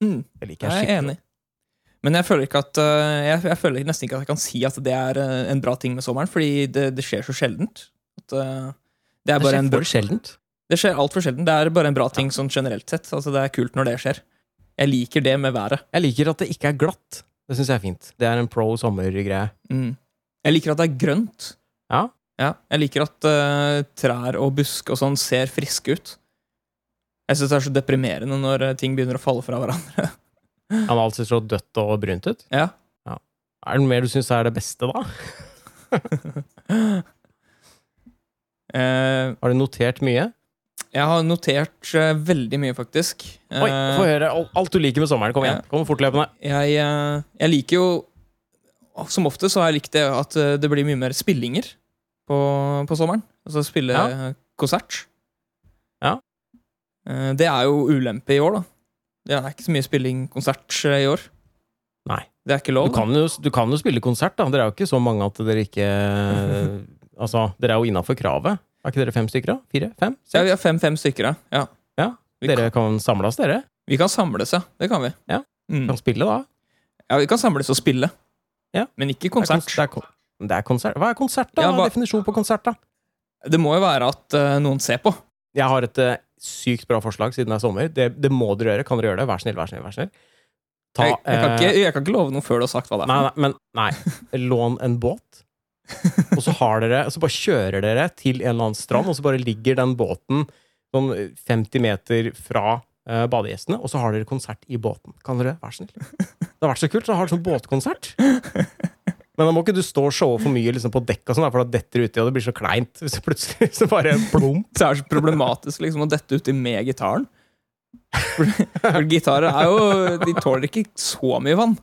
A: Mm.
B: Det liker jeg
A: Jeg er
B: skikkelig.
A: enig. Men jeg føler, ikke at, eh, jeg, jeg føler nesten ikke at jeg kan si at det er eh, en bra ting med sommeren, fordi det, det skjer så sjeldent. At, eh, det er
B: Det
A: bare
B: skjer
A: en
B: for sjeldent.
A: Det skjer altfor sjelden. Det er bare en bra ting sånn generelt sett. Altså, det er kult når det skjer. Jeg liker det med været.
B: Jeg liker at det ikke er glatt. Det syns jeg er fint. Det er en pro sommer-greie.
A: Mm. Jeg liker at det er grønt.
B: Ja.
A: Ja, Jeg liker at eh, trær og busk og sånn ser friske ut. Jeg syns det er så deprimerende når eh, ting begynner å falle fra hverandre.
B: Ja, men alt ser så dødt og brunt ut.
A: Ja.
B: Er det noe mer du syns er det beste, da?
A: Eh,
B: Har du notert mye?
A: jeg har notert eh, veldig mye, faktisk.
B: Oi,
A: Eh,
B: få høre al- alt du liker med sommeren. Kom igjen.
A: Ja.
B: Kom fortløpende.
A: jeg, eh, jeg liker jo Som ofte så har jeg likt det at eh, det blir mye mer spillinger på, på sommeren. Altså spille
B: Ja.
A: eh, konsert.
B: Ja.
A: Eh, Det er jo ulempe i år, da. Det er ikke så mye spilling-konsert eh, i år.
B: Nei.
A: Det er ikke
B: Du
A: lov. da.
B: kan, jo, du kan jo spille konsert, da. Dere er jo ikke så mange at dere ikke Altså, dere er jo innafor kravet. Er ikke dere fem stykker, da? Fire? Fem?
A: Ja, vi har
B: Seks?
A: fem-fem stykker, ja. ja.
B: Ja,
A: Vi,
B: Dere
A: kan,
B: kan samles, dere.
A: vi kan samles, ja. Det kan vi.
B: Ja.
A: Mm.
B: Kan spille, da.
A: ja vi kan samles og spille.
B: Ja.
A: Men ikke
B: Det er
A: konsert.
B: kons- Det er, kon- det er konsert. Hva er konsert, da?
A: Ja,
B: Hva
A: hva-
B: er definisjonen på konsert, da?
A: Det må jo være at eh, noen ser på.
B: Jeg har et eh, sykt bra forslag siden det er sommer. Det, det må dere gjøre. Kan dere gjøre det? Vær snill, vær snill. vær snill. Ta,
A: jeg, jeg, kan
B: eh,
A: ikke, jeg kan ikke love noe før du har sagt hva det er.
B: Nei, nei, men nei. Lån en båt, og så, har dere, så bare kjører dere til en eller annen strand, og så bare ligger den båten sånn 50 meter fra eh, badegjestene, og så har dere konsert i båten. Kan dere være snill? Det har vært så kult. Så har dere sånn båtkonsert. Men da må ikke du stå og showe for mye liksom, på dekk, og sånn, da, for da detter du uti, og det blir så kleint. Hvis det plutselig så bare plom.
A: det er så problematisk liksom, å dette uti med gitaren. For, for gitarer er jo De tåler ikke så mye vann.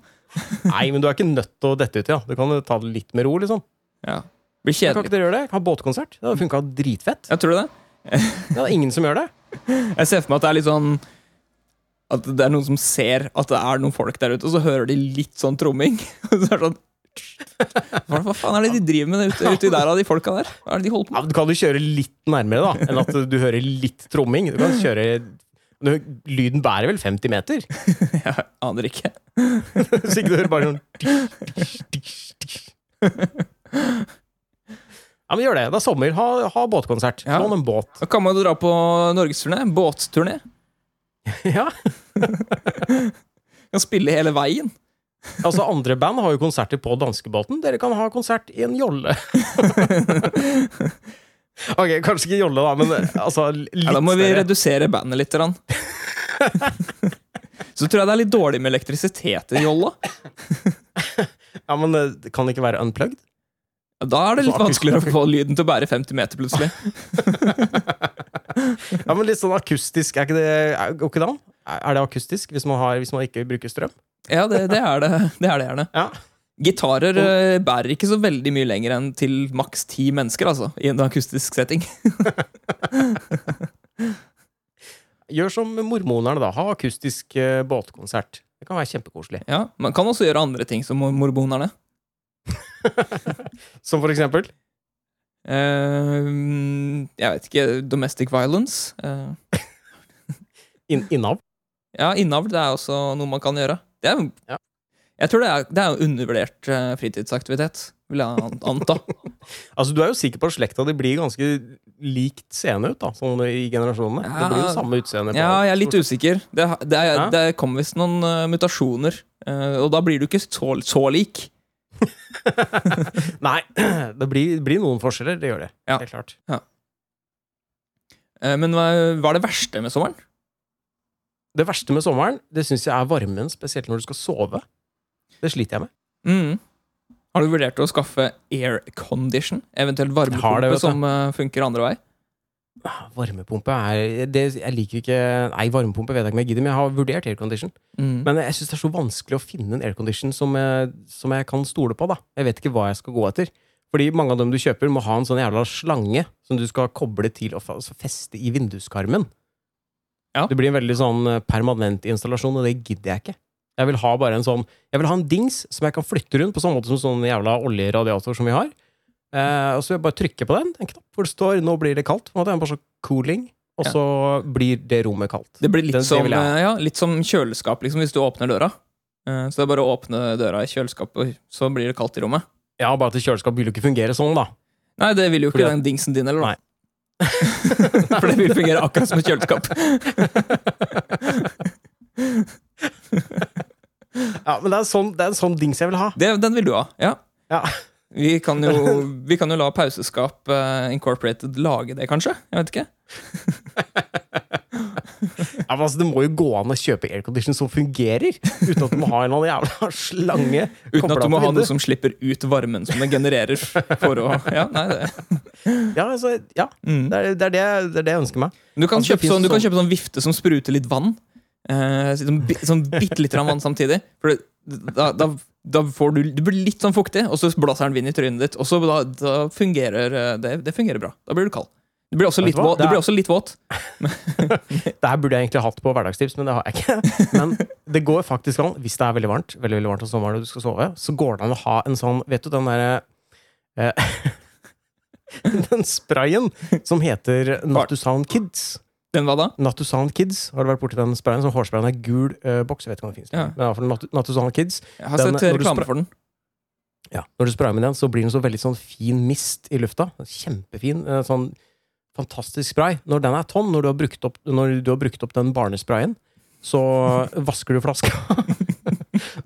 B: Nei, men du er ikke nødt til å dette uti. Ja. Du kan jo ta det litt med ro, liksom.
A: Ja. Blir
B: Kan
A: kjedelig.
B: ikke dere gjøre det? Ha båtkonsert? Det hadde funka dritfett.
A: Jeg tror det.
B: Det er ingen som gjør det.
A: Jeg ser for meg at det er litt sånn At det er noen som ser at det er noen folk der ute, og så hører de litt sånn tromming. Og så er det sånn hva, hva faen er det de driver med ute, uti der, av de folka der? Hva er det de holder på med?
B: Ja, men du kan jo kjøre litt nærmere, da, enn at du hører litt tromming. Du kan kjøre du- Lyden bærer vel 50 meter?
A: Jeg aner ikke.
B: Så ikke du hører bare sånn Ja, men gjør det. Det er sommer. Ha, ha båtkonsert.
A: Ja.
B: Lån en båt.
A: Da kan man jo dra på norgesturné. Båtturné.
B: Ja.
A: Kan spille hele veien.
B: Altså, andre band har jo konserter på danskebåten. Dere kan ha konsert i en jolle. ok, kanskje ikke jolle, da, men altså litt
A: Ja, da må vi
B: større.
A: redusere bandet litt. grann. Så tror jeg det er litt dårlig med elektrisitet i jolla.
B: Ja, men eh, det kan ikke være unplugged?
A: Ja, Da er det litt
B: Så
A: vanskeligere å få lyden til å bære 50 meter, plutselig.
B: Ja, men litt sånn akustisk, er ikke det er, går ikke det an? Er er det akustisk hvis man, har, hvis man ikke bruker strøm?
A: Ja, det, det er det det er det gjerne.
B: Ja.
A: Gitarer eh, bærer ikke så veldig mye lenger enn til maks ti mennesker, altså, i en akustisk setting.
B: Gjør som mormonerne, da. Ha akustisk eh, båtkonsert. Det kan være kjempekoselig.
A: Ja, Man kan også gjøre andre ting, som morbonerne.
B: Som for eksempel?
A: Eh, jeg vet ikke Domestic violence. Eh,
B: In, innav.
A: ja, innavl det er også noe man kan gjøre. Det er,
B: Ja.
A: Jeg tror det er, det er en undervurdert eh, fritidsaktivitet, vil jeg an- anta.
B: Altså, Du er jo sikker på at slekta di blir ganske likt seende ut, da, sånn i generasjonene. Det blir jo
A: Ja.
B: samme utseende. på-
A: Ja, jeg er litt usikker. Det, det, er,
B: Ja.
A: det kommer visst noen eh, mutasjoner, eh, og da blir du ikke så, så lik.
B: Nei, det blir, blir noen forskjeller. Det gjør det.
A: Ja.
B: Helt klart.
A: Eh, Men hva, hva er det verste med sommeren?
B: Det verste med sommeren det syns jeg er varmen, spesielt når du skal sove. Det sliter jeg med.
A: Mm. Har du vurdert å skaffe aircondition? Eventuelt
B: Har det,
A: varmepumpe
B: vet du.
A: som eh, funker andre vei?
B: Ah, Varmepumpe er det, Jeg liker ikke Nei, varmepumpe vet jeg ikke om jeg gidder, men jeg har vurdert aircondition.
A: Mm.
B: Men jeg syns det er så vanskelig å finne en aircondition som, jeg- som jeg kan stole på. da Jeg vet ikke hva jeg skal gå etter. Fordi mange av dem du kjøper, må ha en sånn jævla slange som du skal koble til og fa- altså feste i vinduskarmen.
A: Ja.
B: Det blir en veldig sånn eh, permanent installasjon, og det gidder jeg ikke. Jeg vil ha bare en sånn Jeg vil ha en dings som jeg kan flytte rundt, på samme måte som sånn jævla oljeradiator som vi har. Eh, og så vil jeg bare trykke på den, en knapp hvor det står 'nå blir det kaldt'. På en måte, en bare sånn cooling, og
A: Ja.
B: så blir det rommet kaldt.
A: Det blir litt,
B: Den- det
A: som,
B: vil jeg ha.
A: eh, ja, litt som kjøleskap, liksom, hvis du åpner døra. Eh, Så det er bare å åpne døra i kjøleskapet, og så blir det kaldt i rommet.
B: Ja, bare at kjøleskap vil jo ikke fungere sånn, da.
A: Nei, det vil jo ikke
B: Fordi at-
A: den dingsen din, eller? da. For det vil fungere akkurat som et kjøleskap.
B: Ja, men det er, sånn, det er en sånn dings jeg vil ha.
A: Det, den vil du ha, ja.
B: Ja.
A: Vi kan, jo, vi kan jo la Pauseskap eh, Incorporated lage det, kanskje? Jeg vet ikke.
B: ja, men altså, Det må jo gå an å kjøpe aircondition som fungerer, uten at du må ha en eller annen jævla slange.
A: Uten at
B: koblet
A: du
B: til
A: må ha noe
B: vinduet.
A: som slipper ut varmen som det genererer. For å, ja, nei, det,
B: Ja, altså, ja
A: mm.
B: det, er, det, er det, det er det jeg ønsker meg.
A: Du kan,
B: Altså, det
A: kjøpe
B: finnes
A: sånn, du kan
B: sånn-
A: kjøpe sånn vifte som spruter litt vann. Eh, sånn bi- sånn bitte litt vann samtidig. For det, da, da, da får du Du blir litt sånn fuktig, og så blåser den vind i trynet ditt. Og så da, da fungerer eh, det, det fungerer bra. Da blir du kald. Du blir også
B: Vet
A: litt
B: du hva?
A: våt. Du
B: Det er-
A: blir også litt våt.
B: Det her burde jeg egentlig hatt på hverdagstips, men det har jeg ikke. Men det går faktisk an, hvis det er veldig varmt, veldig, veldig varmt om sommeren og du skal sove, så går det an å ha en sånn Vet du den derre eh, Den sprayen som heter Natusan Kids.
A: Den hva da?
B: Natusan Kids. Har du vært borti den sprayen? Sånn hårsprayen er gul eh, boks. Jeg vet ikke om det finnes.
A: Ja.
B: Men i hvert fall Natu- Natusan Kids.
A: Jeg har
B: Den-
A: sett eh,
B: når du
A: reklame
B: spra-
A: for den.
B: Ja. Når du sprayer med den, så blir den så veldig sånn fin mist i lufta. Kjempefin. eh, Sånn fantastisk spray. Når den er tom, når du har brukt opp, når du har brukt opp den barnesprayen, så vasker du flaska.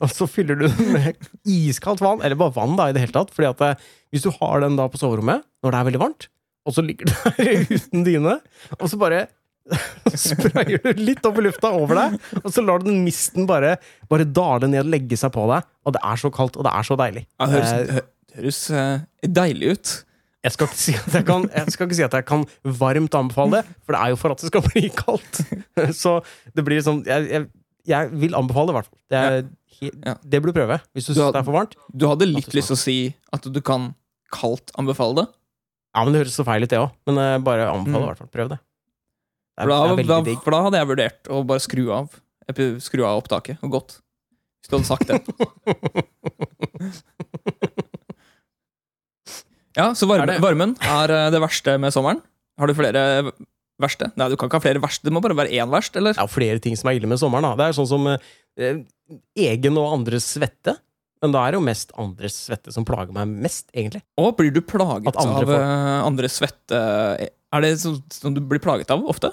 B: Og så fyller du den med iskaldt vann, eller bare vann da, i det hele tatt. Fordi at eh, hvis du har den da på soverommet, når det er veldig varmt, og så ligger du der uten dyne, og så bare sprayer du litt opp i lufta over deg, og så lar du den misten bare, bare dale ned og legge seg på deg. Og det er så kaldt, og det er så deilig.
A: Ja, det høres,
B: Eh,
A: hø- det høres eh, deilig ut.
B: jeg skal, ikke si at jeg, kan, jeg skal ikke si at jeg kan varmt anbefale det, for det er jo for at det skal bli kaldt. Så det blir sånn Jeg, jeg, jeg vil anbefale det, i hvert fall. Det, er he-
A: Ja.
B: det burde du prøve hvis du
A: Du har-
B: syns det er for varmt.
A: Du hadde litt
B: Natusan.
A: lyst til å si at du kan kaldt anbefale det.
B: Ja, men Det høres så feil ut, det òg. Men eh, bare anbefaler
A: Mm.
B: i hvert fall. Prøv det. Det er,
A: For da,
B: det er
A: da,
B: veldig digg.
A: for da hadde jeg vurdert å bare skru av epi- Skru av opptaket og gått. Hvis du hadde sagt det. Ja, så varme,
B: Er det-
A: varmen er eh, det verste med sommeren. Har du flere v- verste? Nei, du kan ikke ha flere verste. Det må bare være én verst, eller?
B: Det er jo flere ting som er ille med sommeren. Da. Det er sånn som eh, eh, egen og andres svette. Men da er det jo mest andres svette som plager meg mest, egentlig.
A: Og blir du plaget
B: At
A: av
B: andre får-
A: eh, andre svette Er det sånn som du blir plaget av ofte?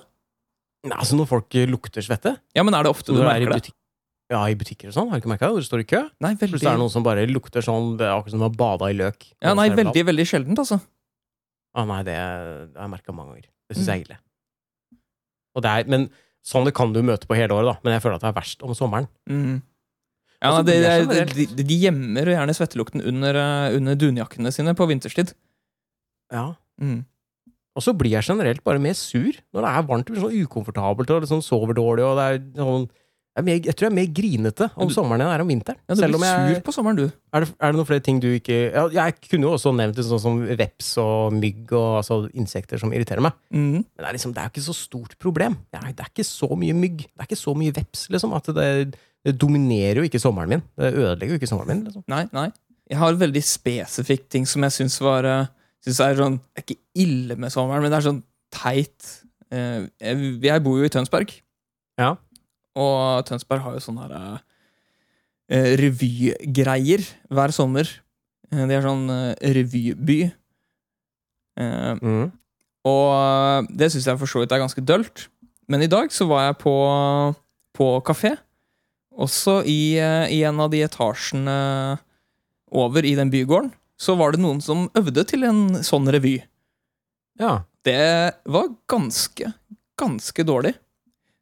B: Nei, altså Når folk eh, lukter svette
A: Ja, men er det ofte
B: når
A: du
B: du er i
A: merker det?
B: butikk- Ja, i butikker og sånn. Har du ikke merka det? Hvor du står i kø.
A: Nei, veldig,
B: Plutselig er det noen som bare lukter sånn Det er akkurat som å ha bada i løk.
A: ja, nei,
B: Noen som er
A: veldig, veldig sjeldent, altså.
B: blant- Ah, nei, det er- det har jeg merka mange ganger. Det syns
A: Mm.
B: jeg er ille. Og det er, men sånn det kan du møte på hele året, da. Men jeg føler at det er verst om sommeren.
A: Mm. Ja,
B: Altså,
A: det,
B: det
A: det,
B: er
A: de,
B: generelt.
A: de gjemmer jo gjerne svettelukten under, eh, under dunjakkene sine på vinterstid.
B: Ja
A: Mm.
B: Og så blir jeg generelt bare mer sur når det er varmt. Det blir sånn ukomfortabelt og liksom sover dårlig. og det er sånn... Jeg, er mer, jeg tror jeg er mer grinete
A: Men
B: om
A: du-
B: sommeren enn jeg er om vinteren.
A: Ja, du
B: Selv
A: blir
B: om jeg,
A: sur på sommeren, du.
B: er, det, er det noen flere ting du ikke ja, Jeg kunne jo også nevnt det sånn som veps og mygg og altså, insekter som irriterer meg.
A: Mm.
B: Men det er liksom, det er jo ikke så stort problem. Det er, det er ikke så mye mygg. Det er ikke så mye veps, liksom. At det, det dominerer jo ikke sommeren min. Det ødelegger jo ikke sommeren min. liksom.
A: Nei, nei. Jeg har veldig spesifikke ting som jeg syns var eh, synes er sånn Det er ikke ille med sommeren, men det er sånn teit. Eh, Jeg, jeg bor jo i Tønsberg,
B: Ja.
A: og Tønsberg har jo sånne her eh, revygreier hver sommer. Eh, Det er sånn eh, revyby. Eh,
B: Mm.
A: og eh, det syns jeg for så vidt er ganske dølt. Men i dag så var jeg på, på kafé. Også i, eh, i en av de etasjene over i den bygården. Så var det noen som øvde til en sånn revy.
B: ja.
A: Det var ganske, ganske dårlig.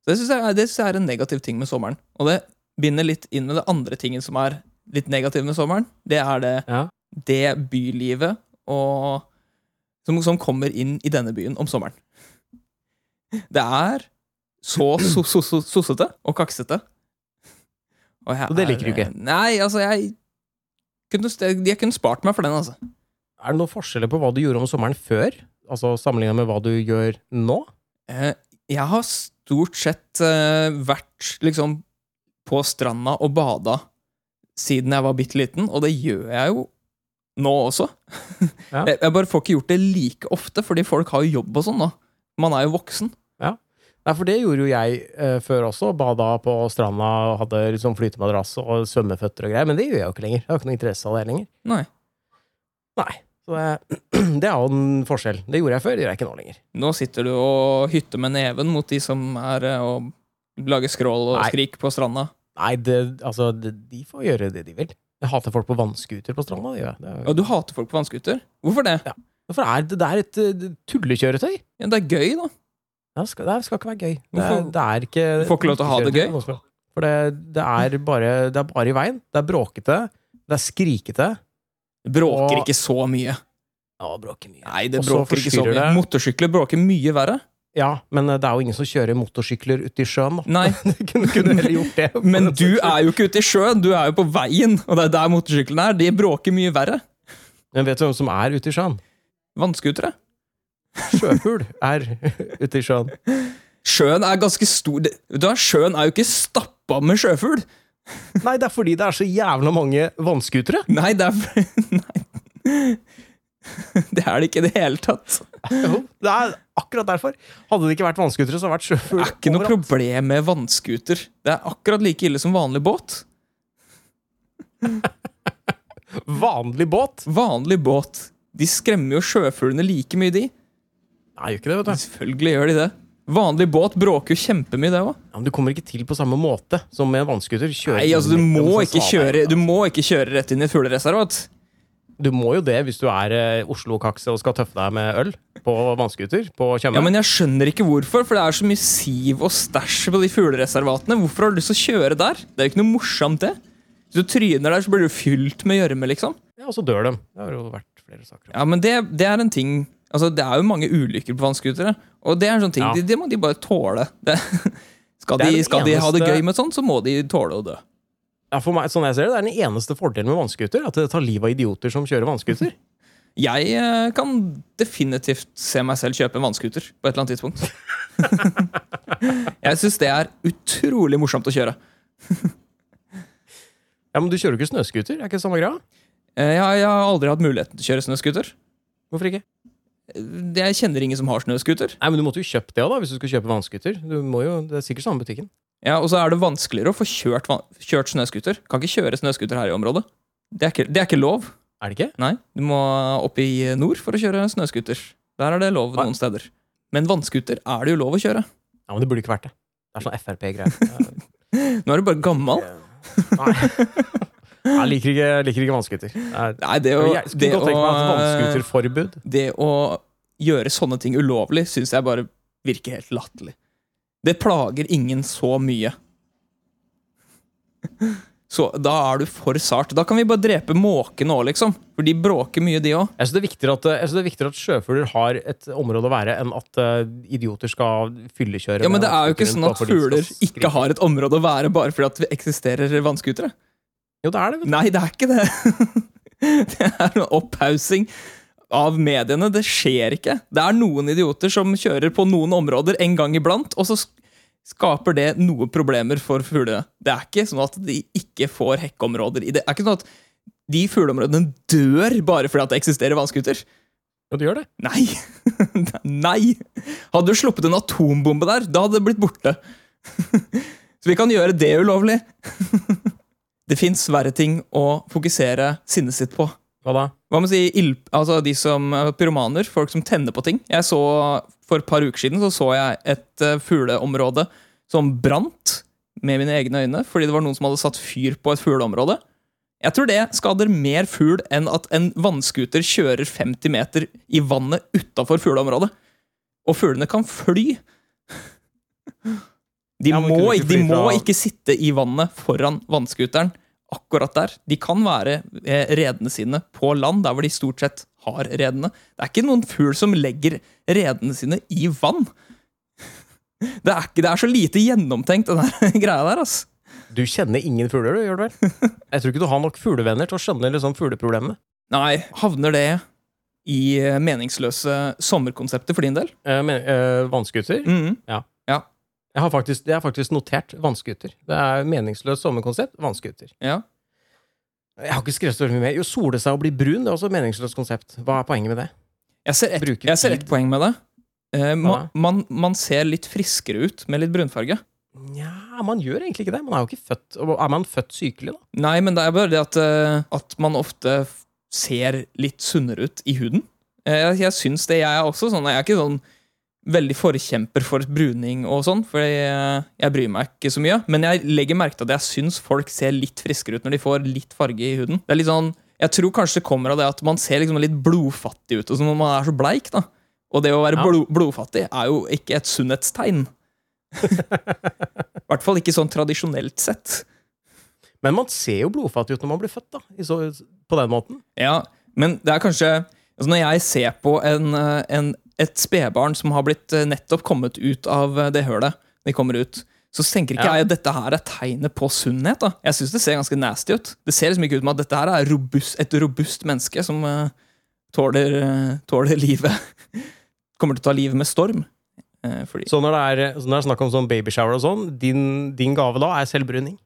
A: Så Det syns jeg, det synes jeg er en negativ ting med sommeren. Og det binder litt inn med det andre tingen som er litt negativ med sommeren. Det er det,
B: Ja.
A: det bylivet og, som, som kommer inn i denne byen om sommeren. Det er så so- so- so- sossete og kaksete. Og jeg
B: Så det liker du
A: er-
B: ikke?
A: Nei, altså, jeg kunne, jeg kunne spart meg for den, altså.
B: Er det noen forskjeller på hva du gjorde om sommeren før? Altså sammenligna med hva du gjør nå?
A: Eh, Jeg har stort sett eh, vært liksom på stranda og bada siden jeg var bitte liten, og det gjør jeg jo nå også.
B: Ja.
A: jeg, jeg bare får ikke gjort det like ofte, fordi folk har jo jobb og sånn nå. Man er jo voksen.
B: Nei, for det gjorde jo jeg eh, før også. Bada på stranda, hadde liksom flytemadrass og svømmeføtter og greier. Men det gjør jeg jo ikke lenger. Jeg har ikke noe interesse av det lenger.
A: Nei.
B: Nei. Så det, det er jo en forskjell. Det gjorde jeg før, det gjør jeg ikke nå lenger.
A: Nå sitter du og hytter med neven mot de som er eh, og lager skrål og
B: Nei.
A: skrik på stranda.
B: Nei, det, altså, det, de får gjøre det de vil. Jeg hater folk på vannskuter på stranda. Det gjør jeg. Det, er-
A: Og du hater folk på vannskuter. Hvorfor det?
B: for det er, det er et eh, tullekjøretøy.
A: Ja, det er gøy, da.
B: Det skal, det skal ikke være gøy. Det, er-
A: Hvorfor-
B: det er ikke
A: Du får ikke lov til å ha det gøy?
B: For det, det, er bare, det er bare i veien. Det er bråkete. Det er skrikete.
A: Det Bråker
B: Og-
A: ikke så mye.
B: Ja, bråker mye.
A: Nei, det
B: Og så
A: bråker ikke så
B: forstyrrer
A: mye.
B: det.
A: Motorsykler bråker mye verre.
B: Ja, men eh, det er jo ingen som kjører motorsykler ute i sjøen, da.
A: Nei,
B: Du kunne, kunne heller gjort det.
A: Mm.
B: sånn.
A: Men du er jo ikke ute i sjøen, du er jo på veien. Og det er der motorsyklene er. De bråker mye verre.
B: Men vet du hvem som er ute i sjøen?
A: Vannskutere.
B: Sjøhul er ute i sjøen.
A: Sjøen er ganske stor det- Vet du hva, Sjøen er jo ikke stappa med sjøfugl!
B: Nei, det er fordi det er så jævla mange vannskutere.
A: Nei, det er Nei. Det er det ikke i det hele tatt.
B: Jo, Det er akkurat derfor. Hadde det ikke vært vannskutere, så hadde det vært sjøfugl.
A: Det er ikke noe
B: overalt.
A: problem med vannskuter. Det er akkurat like ille som vanlig båt.
B: Vanlig båt.
A: Vanlig båt. De skremmer jo sjøfuglene like mye, de.
B: Nei, gjør ikke det, vet du.
A: Selvfølgelig gjør de det. Vanlig båt bråker jo kjempemye, det òg.
B: Ja, men du kommer ikke til på samme måte som med en vannskuter. Kjører
A: Nei, altså, du
B: rett om
A: må
B: som
A: ikke
B: svaner.
A: kjøre, du må ikke kjøre rett inn i et fuglereservat.
B: Du må jo det hvis du er eh, Oslo-kakse og skal tøffe deg med øl på vannskuter på Tjøme.
A: Ja, men jeg skjønner ikke hvorfor, for det er så mye siv og stæsj på de fuglereservatene. Hvorfor har du lyst til å kjøre der? Det er jo ikke noe morsomt, det. Hvis du tryner der, så blir du fylt med gjørme, liksom.
B: Ja, og så dør de. Det har jo vært flere saker. om.
A: Ja, men det, det er en ting Altså, det er jo mange ulykker på vannskutere, og det er en sånn ting
B: Ja.
A: det, det må de bare tåle. Det, skal
B: Det er
A: de,
B: den
A: skal de ha det
B: eneste-
A: gøy med sånn, så må de tåle å dø.
B: Ja, for meg, sånn jeg ser det, det er den eneste fordelen med vannskuter, at det tar livet av idioter som kjører vannskuter.
A: Jeg eh, kan definitivt se meg selv kjøpe en vannskuter på et eller annet tidspunkt. jeg syns det er utrolig morsomt å kjøre.
B: Ja, men du kjører jo ikke snøskuter, er ikke det samme greia?
A: Eh, Jeg, jeg har aldri hatt muligheten til å kjøre snøskuter.
B: Hvorfor ikke?
A: Jeg kjenner ingen som har snøskuter.
B: Nei, men du måtte jo kjøpt det også, da, hvis du skulle kjøpe vannskuter. Du må jo, det er sikkert samme butikken.
A: Ja, Og så er det vanskeligere å få kjørt, van- kjørt snøskuter. Kan ikke kjøre snøskuter her i området. Det er, ikke, det er ikke lov.
B: Er det ikke?
A: Nei, Du må opp i nord for å kjøre snøscooter. Der er det lov
B: Nei.
A: noen steder. Men vannscooter er det jo lov å kjøre.
B: Ja, men det burde ikke vært det. Det er sånn Frp-greier.
A: Nå er du bare gammel.
B: Nei. Jeg liker ikke, jeg liker ikke vannskuter. Jeg
A: Nei, det å,
B: jeg skulle
A: det,
B: godt tenke meg et
A: å,
B: vannskuterforbud.
A: det å gjøre sånne ting ulovlig syns jeg bare virker helt latterlig. Det plager ingen så mye. Så da er du for sart. Da kan vi bare drepe måkene òg, liksom. For de bråker mye, de òg.
B: Jeg syns det, er viktigere at- jeg synes det er viktigere at sjøfugler har et område å være, enn at eh, idioter skal fyllekjøre.
A: Ja, men
B: med
A: det er jo ikke sånn at
B: vannskuter rundt bare fordi de
A: fugler
B: skal skrike.
A: ikke har et område å være bare fordi at vi eksisterer vannskutere.
B: Jo, det er det. vet du.
A: Nei, det er ikke det. Det er en opphaussing av mediene. Det skjer ikke. Det er noen idioter som kjører på noen områder en gang iblant, og så sk- skaper det noen problemer for fuglene. Det er ikke sånn at de ikke får hekkeområder. i Det Det er ikke sånn at de fugleområdene dør bare fordi at det eksisterer vannskuter.
B: Jo, det gjør det.
A: Nei! Nei! Hadde du sluppet en atombombe der, da hadde det blitt borte. Så vi kan gjøre det ulovlig. Det fins verre ting å fokusere sinnet sitt på.
B: Hva da?
A: Hva med å si ild... Altså de som eh, pyromaner, folk som tenner på ting. Jeg så For et par uker siden så, så jeg et eh, fugleområde som brant med mine egne øyne fordi det var noen som hadde satt fyr på et fugleområde. Jeg tror det skader mer fugl enn at en vannskuter kjører 50 meter i vannet utafor fugleområdet. Og fuglene kan fly. De,
B: Ja, men kunne
A: må,
B: de
A: ikke,
B: ikke
A: de
B: fly
A: må
B: fra-
A: ikke sitte i vannet foran vannskuteren akkurat der. De kan være eh, redene sine på land, der hvor de stort sett har redene. Det er ikke noen fugl som legger redene sine i vann. Det er, ikke, det er så lite gjennomtenkt, den der greia der. ass.
B: Du kjenner ingen fugler, du, gjør du vel? Jeg tror ikke du har nok fuglevenner til å skjønne liksom fugleproblemene.
A: Nei, havner det i eh, meningsløse sommerkonsepter for din del?
B: Eh, men, eh, vannskuter?
A: Mhm.
B: Jeg har faktisk, jeg har faktisk notert vannskuter. Det er meningsløst sommerkonsept. Vannskuter.
A: Ja.
B: Jeg har ikke skrevet så veldig mye mer. Jo, sole seg og bli brun, det er også et meningsløst konsept. Hva er poenget med det?
A: Jeg ser ett
B: Bruker
A: jeg ser ett
B: tid.
A: poeng med det. Eh, man,
B: da?
A: man, man ser litt friskere ut med litt brunfarge.
B: Nja, man gjør egentlig ikke det. Man er jo ikke født og Er man født sykelig, da?
A: Nei, men det er bare det at, eh, at man ofte f- ser litt sunnere ut i huden. Eh, Jeg, jeg syns det. Jeg er også sånn. Jeg er ikke sånn veldig forkjemper for bruning og sånn, for jeg, jeg bryr meg ikke så mye. Men jeg legger merke til at jeg syns folk ser litt friskere ut når de får litt farge i huden. Det er litt sånn, Jeg tror kanskje det kommer av det at man ser liksom litt blodfattig ut og sånn når man er så bleik. da. Og det å være
B: Ja.
A: blod, blodfattig er jo ikke et sunnhetstegn. I hvert fall ikke sånn tradisjonelt sett.
B: Men man ser jo blodfattig ut når man blir født, da. I så, på den måten.
A: Ja, men det er kanskje altså Når jeg ser på en, eh, en, et spedbarn som har blitt eh, nettopp kommet ut av eh, det hølet, de kommer ut, så tenker ikke
B: Ja.
A: jeg at dette her er tegnet på sunnhet. da. Jeg syns det ser ganske nasty ut. Det ser liksom ikke ut som at dette her er robust, et robust menneske som eh, tåler, eh, tåler livet. kommer til å ta livet med storm. Eh, fordi
B: Så når det er, så når det er snakk om sånn babyshower og sånn, din, din gave da er selvbruning.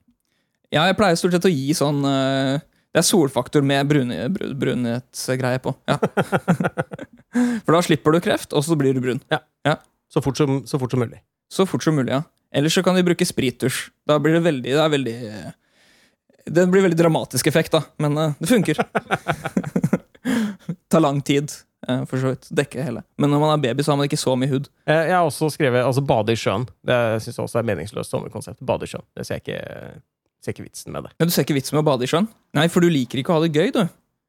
A: Ja, jeg pleier stort sett å gi sånn eh, Det er solfaktor med brune- bru- brunhetsgreie på. Ja. For da slipper du kreft, og så blir du brun.
B: Så fort som, så fort som mulig.
A: Så fort som mulig, ja. Eller så kan de bruke sprittusj. Da blir det veldig Det, er veldig, eh, det blir veldig dramatisk effekt, da. Men eh, det funker. Tar lang tid, eh, for så vidt. Dekke hele. Men når man er baby, så har man ikke så mye hud.
B: Eh, Jeg har også skrevet altså bade i sjøen. Det syns jeg også er meningsløst sommerkonsept. Bade i sjøen. Det ser jeg ikke, ser ikke vitsen med det.
A: Men du ser ikke vits med å bade i sjøen? Nei, for du liker ikke å ha det gøy, du.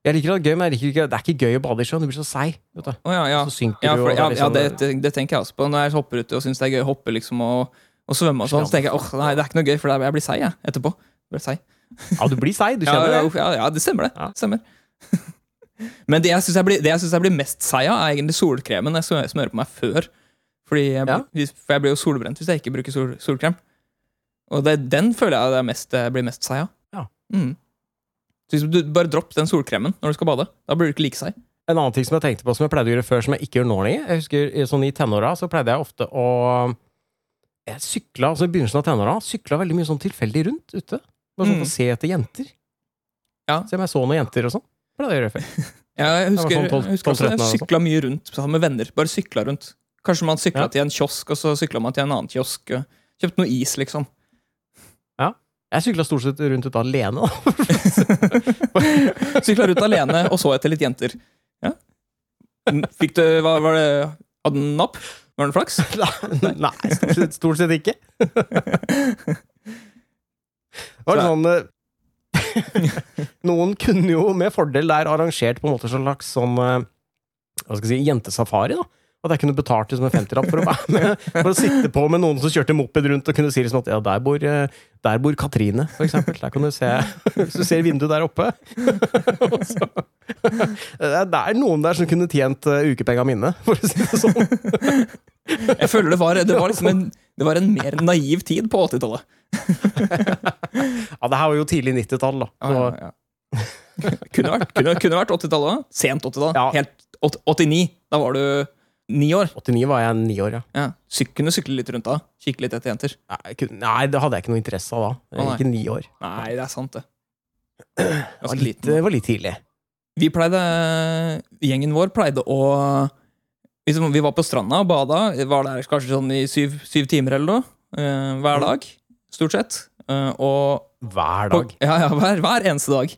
B: Jeg liker det gøy, men jeg liker ikke, det er ikke gøy å bade i sjøen. Du blir så seig. vet du.
A: Å, ja, ja.
B: Så synker
A: Ja,
B: du,
A: for,
B: og det
A: ja, ja
B: er liksom-
A: det, det, det tenker jeg også på. Når jeg hopper uti og syns det er gøy å hoppe liksom, og, og svømme, og sånn, så tenker jeg åh, nei, det er ikke noe gøy, for jeg blir seig jeg, etterpå. Jeg blir seig.
B: Ja, du blir seig. Du
A: Ja,
B: kjenner
A: ja,
B: det.
A: uff, ja, ja, det stemmer, det.
B: Ja.
A: stemmer. Men det jeg syns jeg, blir- det jeg, synes jeg blir mest seig av, er egentlig solkremen jeg smø- smører på meg før. Fordi jeg, blir- hvis- For jeg blir jo solbrent hvis jeg ikke bruker sol, solkrem. Og det, den føler jeg det er mest, jeg blir mest seig av.
B: Ja.
A: Mm. Så hvis du bare dropp den solkremen når du skal bade. Da blir du ikke like seig.
B: En annen ting som jeg tenkte på som jeg pleide å gjøre før, som jeg ikke gjør nå lenger Jeg husker i- sånn I tenåra så pleide jeg ofte å Jeg sykla altså i begynnelsen av tenåra sykla veldig mye sånn tilfeldig rundt ute. Bare sånn
A: Mm.
B: for å se etter jenter.
A: Ja.
B: Se om jeg så noen jenter og sånn. Pleide jeg å gjøre før.
A: Ja, jeg
B: var
A: husker,
B: sånn tolv-
A: jeg husker også
B: tolv-tretten år og
A: jeg
B: sånn.
A: sykla mye rundt sammen med venner. Bare sykla rundt. Kanskje man sykla
B: Ja.
A: til en kiosk, og så sykla man til en annen kiosk. og Kjøpte noe is, liksom.
B: Ja. Jeg sykla stort sett rundt ute alene. da.
A: Sykla rundt alene og så etter litt jenter. Ja. Fikk du hva var det Hadde den napp? Var den flaks?
B: Nei, nei stort, sett, stort sett ikke. Det var
A: Så-
B: sånn eh, Noen kunne jo med fordel der arrangert på en måte slags sånn eh, Hva skal jeg si, jentesafari. da At jeg kunne betalt liksom en 50-lapp for å være med For å sitte på med noen som kjørte moped rundt og kunne si liksom at ja, der bor, eh, der bor Katrine, for eksempel. Der kan du se Hvis du ser vinduet der oppe. Og så, det er noen der som kunne tjent eh, ukepenga mine, for å si det sånn.
A: Jeg føler det var, det var liksom en, det var en mer naiv tid på 80-tallet.
B: Ja, det her var jo tidlig 90-tall, da.
A: Ja, ja, ja. kunne vært, kunne, kunne vært 80-tallet òg. Sent 80-tall.
B: Ja.
A: Helt åt- 89. Da var du ni år.
B: Så 89 var jeg ni år, ja.
A: Ja. Syk, kunne sykle litt rundt da. Kikke litt etter jenter.
B: Nei, jeg kunne- Nei, det hadde jeg ikke noe interesse av da.
A: Å,
B: Jeg
A: nei.
B: gikk i ni år. Det
A: Nei, det er sant, det.
B: var
A: Ganske
B: litt,
A: liten.
B: det var litt tidlig.
A: Vi pleide, gjengen vår pleide å liksom, Vi var på stranda og bada. Var der kanskje sånn i syv, syv timer eller noe. eh, hver dag, stort sett. Eh, og
B: Mm. Hver
A: på,
B: dag.
A: ja, ja, hver, hver eneste dag.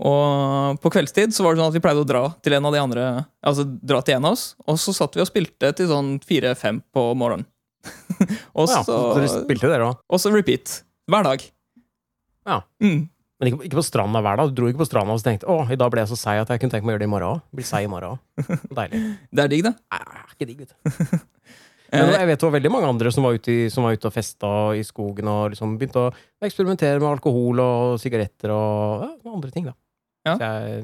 A: Og på kveldstid så var det sånn at vi pleide å dra til en av de andre Altså dra til en av oss, og så satt vi og spilte til sånn fire-fem på morgenen. og,
B: Å, ja.
A: så,
B: Så dere spilte dere òg.
A: og så repeat. Hver dag.
B: Ja.
A: Mm.
B: Men ikke, ikke på stranda hver dag. Du dro ikke på stranda og så tenkte å, i dag ble jeg så seig at jeg kunne tenke meg å gjøre det i morgen òg. Blir seig i morgen òg. Deilig.
A: Det er digg, det.
B: Nei, det er ikke digg, vet du.
A: Eh.
B: Men jeg vet det var veldig mange andre som var ute, i, som var ute og festa i skogen og liksom begynte å eksperimentere med alkohol og sigaretter og ja, andre ting, da.
A: Ja.
B: Så jeg,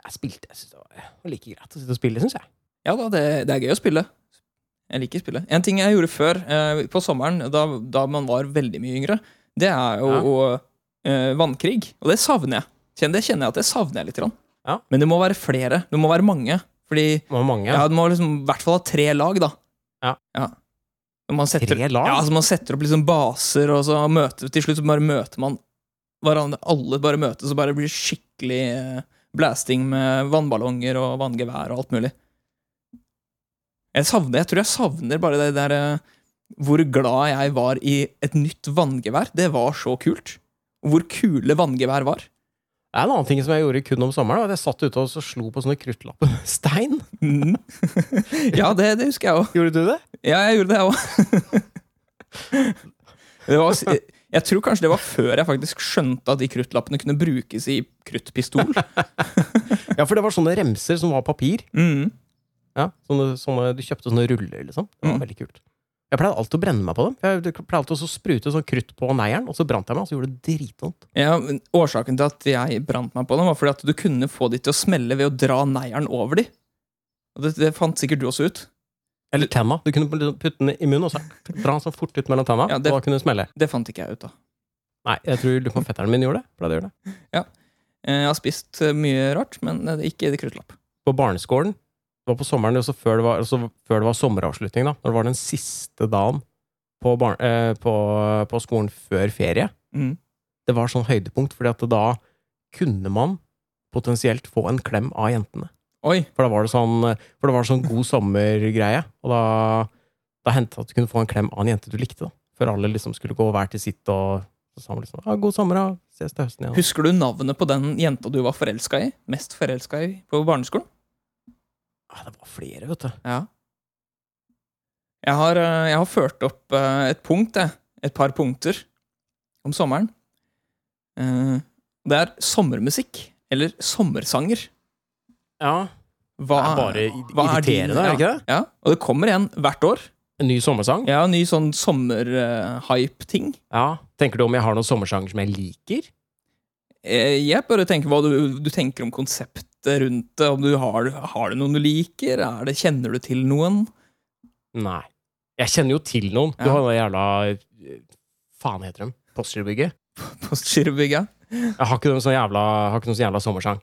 B: jeg spilte. Jeg synes det var var like greit å sitte og spille, syns jeg.
A: Ja da, det, det er gøy å spille. Jeg liker spille. En ting jeg gjorde før, eh, på sommeren, da, da man var veldig mye yngre, det er jo eh, vannkrig. Og det savner jeg. Kjenn- Det kjenner jeg at det savner jeg litt. Grann.
B: Ja.
A: Men det må være flere. Det må være mange. Fordi
B: Det var mange.
A: ja, Du må liksom, i hvert fall ha tre lag, da.
B: Ja.
A: Når Man setter,
B: Tre lag?
A: Ja, så man setter opp liksom baser, og så møter, til slutt så bare møter man hverandre. Alle bare møtes, og bare blir skikkelig eh, blasting med vannballonger og vanngevær og alt mulig. Jeg savner, jeg tror jeg savner bare det der eh, hvor glad jeg var i et nytt vanngevær. Det var så kult. Hvor kule vanngevær var.
B: Det er en annen ting som jeg gjorde kun om sommeren. Var at jeg satt ute og så slo på sånne kruttlapper. med Stein!
A: Mm. ja, det, det husker jeg òg.
B: Gjorde du det?
A: Ja, jeg gjorde det, jeg òg. Det var- jeg tror kanskje det var før jeg faktisk skjønte at de kruttlappene kunne brukes i kruttpistol.
B: Ja, for det var sånne remser som var papir.
A: Mm.
B: Ja, sånne, sånne, du kjøpte sånne ruller, liksom. Det var
A: Mm.
B: veldig kult. Jeg pleide alltid å brenne meg på dem. Jeg pleide alltid å sprute sånn krutt på neieren, og så brant jeg meg, og så gjorde det dritvondt.
A: Ja, men årsaken til at jeg brant meg på dem, var fordi at du kunne få de til å smelle ved å dra neieren over de. Og det, det fant sikkert du også ut.
B: Eller tenna. Du kunne liksom putte den i munnen og så dra den sånn fort ut mellom tenna,
A: Ja,
B: og
A: det-
B: da kunne det smelle.
A: Det fant ikke jeg ut av.
B: Nei, jeg tror du på fetteren min gjorde det. Pleide å gjøre det.
A: Eh, Jeg har spist eh, mye rart, men eh, ikke kruttlapp.
B: På barneskolen. Det var på sommeren, og så før det var, altså før det var sommeravslutning, da. Når det var den siste dagen på, barn, eh, på, på skolen før ferie.
A: Mm.
B: det var sånn høydepunkt, fordi at da kunne man potensielt få en klem av jentene.
A: Oi.
B: For da var det sånn, for det var sånn god sommergreie, og da, da hendte det at du kunne få en klem av en jente du likte, da. Før alle liksom skulle gå hver til sitt og så sa man liksom ah, 'God sommer, da. Ses til høsten igjen'.
A: Husker du navnet på den jenta du var forelska i? Mest forelska i på barneskolen?
B: Ah, det var flere, vet du.
A: Ja. Jeg har, eh, jeg har ført opp eh, et punkt, jeg. Et par punkter om sommeren. Eh, Det er sommermusikk, eller sommersanger.
B: Ja.
A: Hva
B: Det er bare
A: hva er din-
B: irriterende, er det
A: ja,
B: ikke det?
A: Ja, og det kommer igjen hvert år.
B: En ny sommersang?
A: Jeg har en ny sånn eh, sommerhype-ting.
B: Ja. Tenker du om jeg har noen sommersanger som jeg liker?
A: Eh, Jeg bare tenker hva du, du tenker om konseptet rundt det. Om du har, har du noen du liker? Er det, kjenner du til noen?
B: Nei. Jeg kjenner jo til noen. Du
A: Ja.
B: har den jævla eh, Faen heter dem? Postgirobygget?
A: På Skirvebygga?
B: Jeg har ikke noen sånn jævla, har ikke noen sånn jævla sommersang.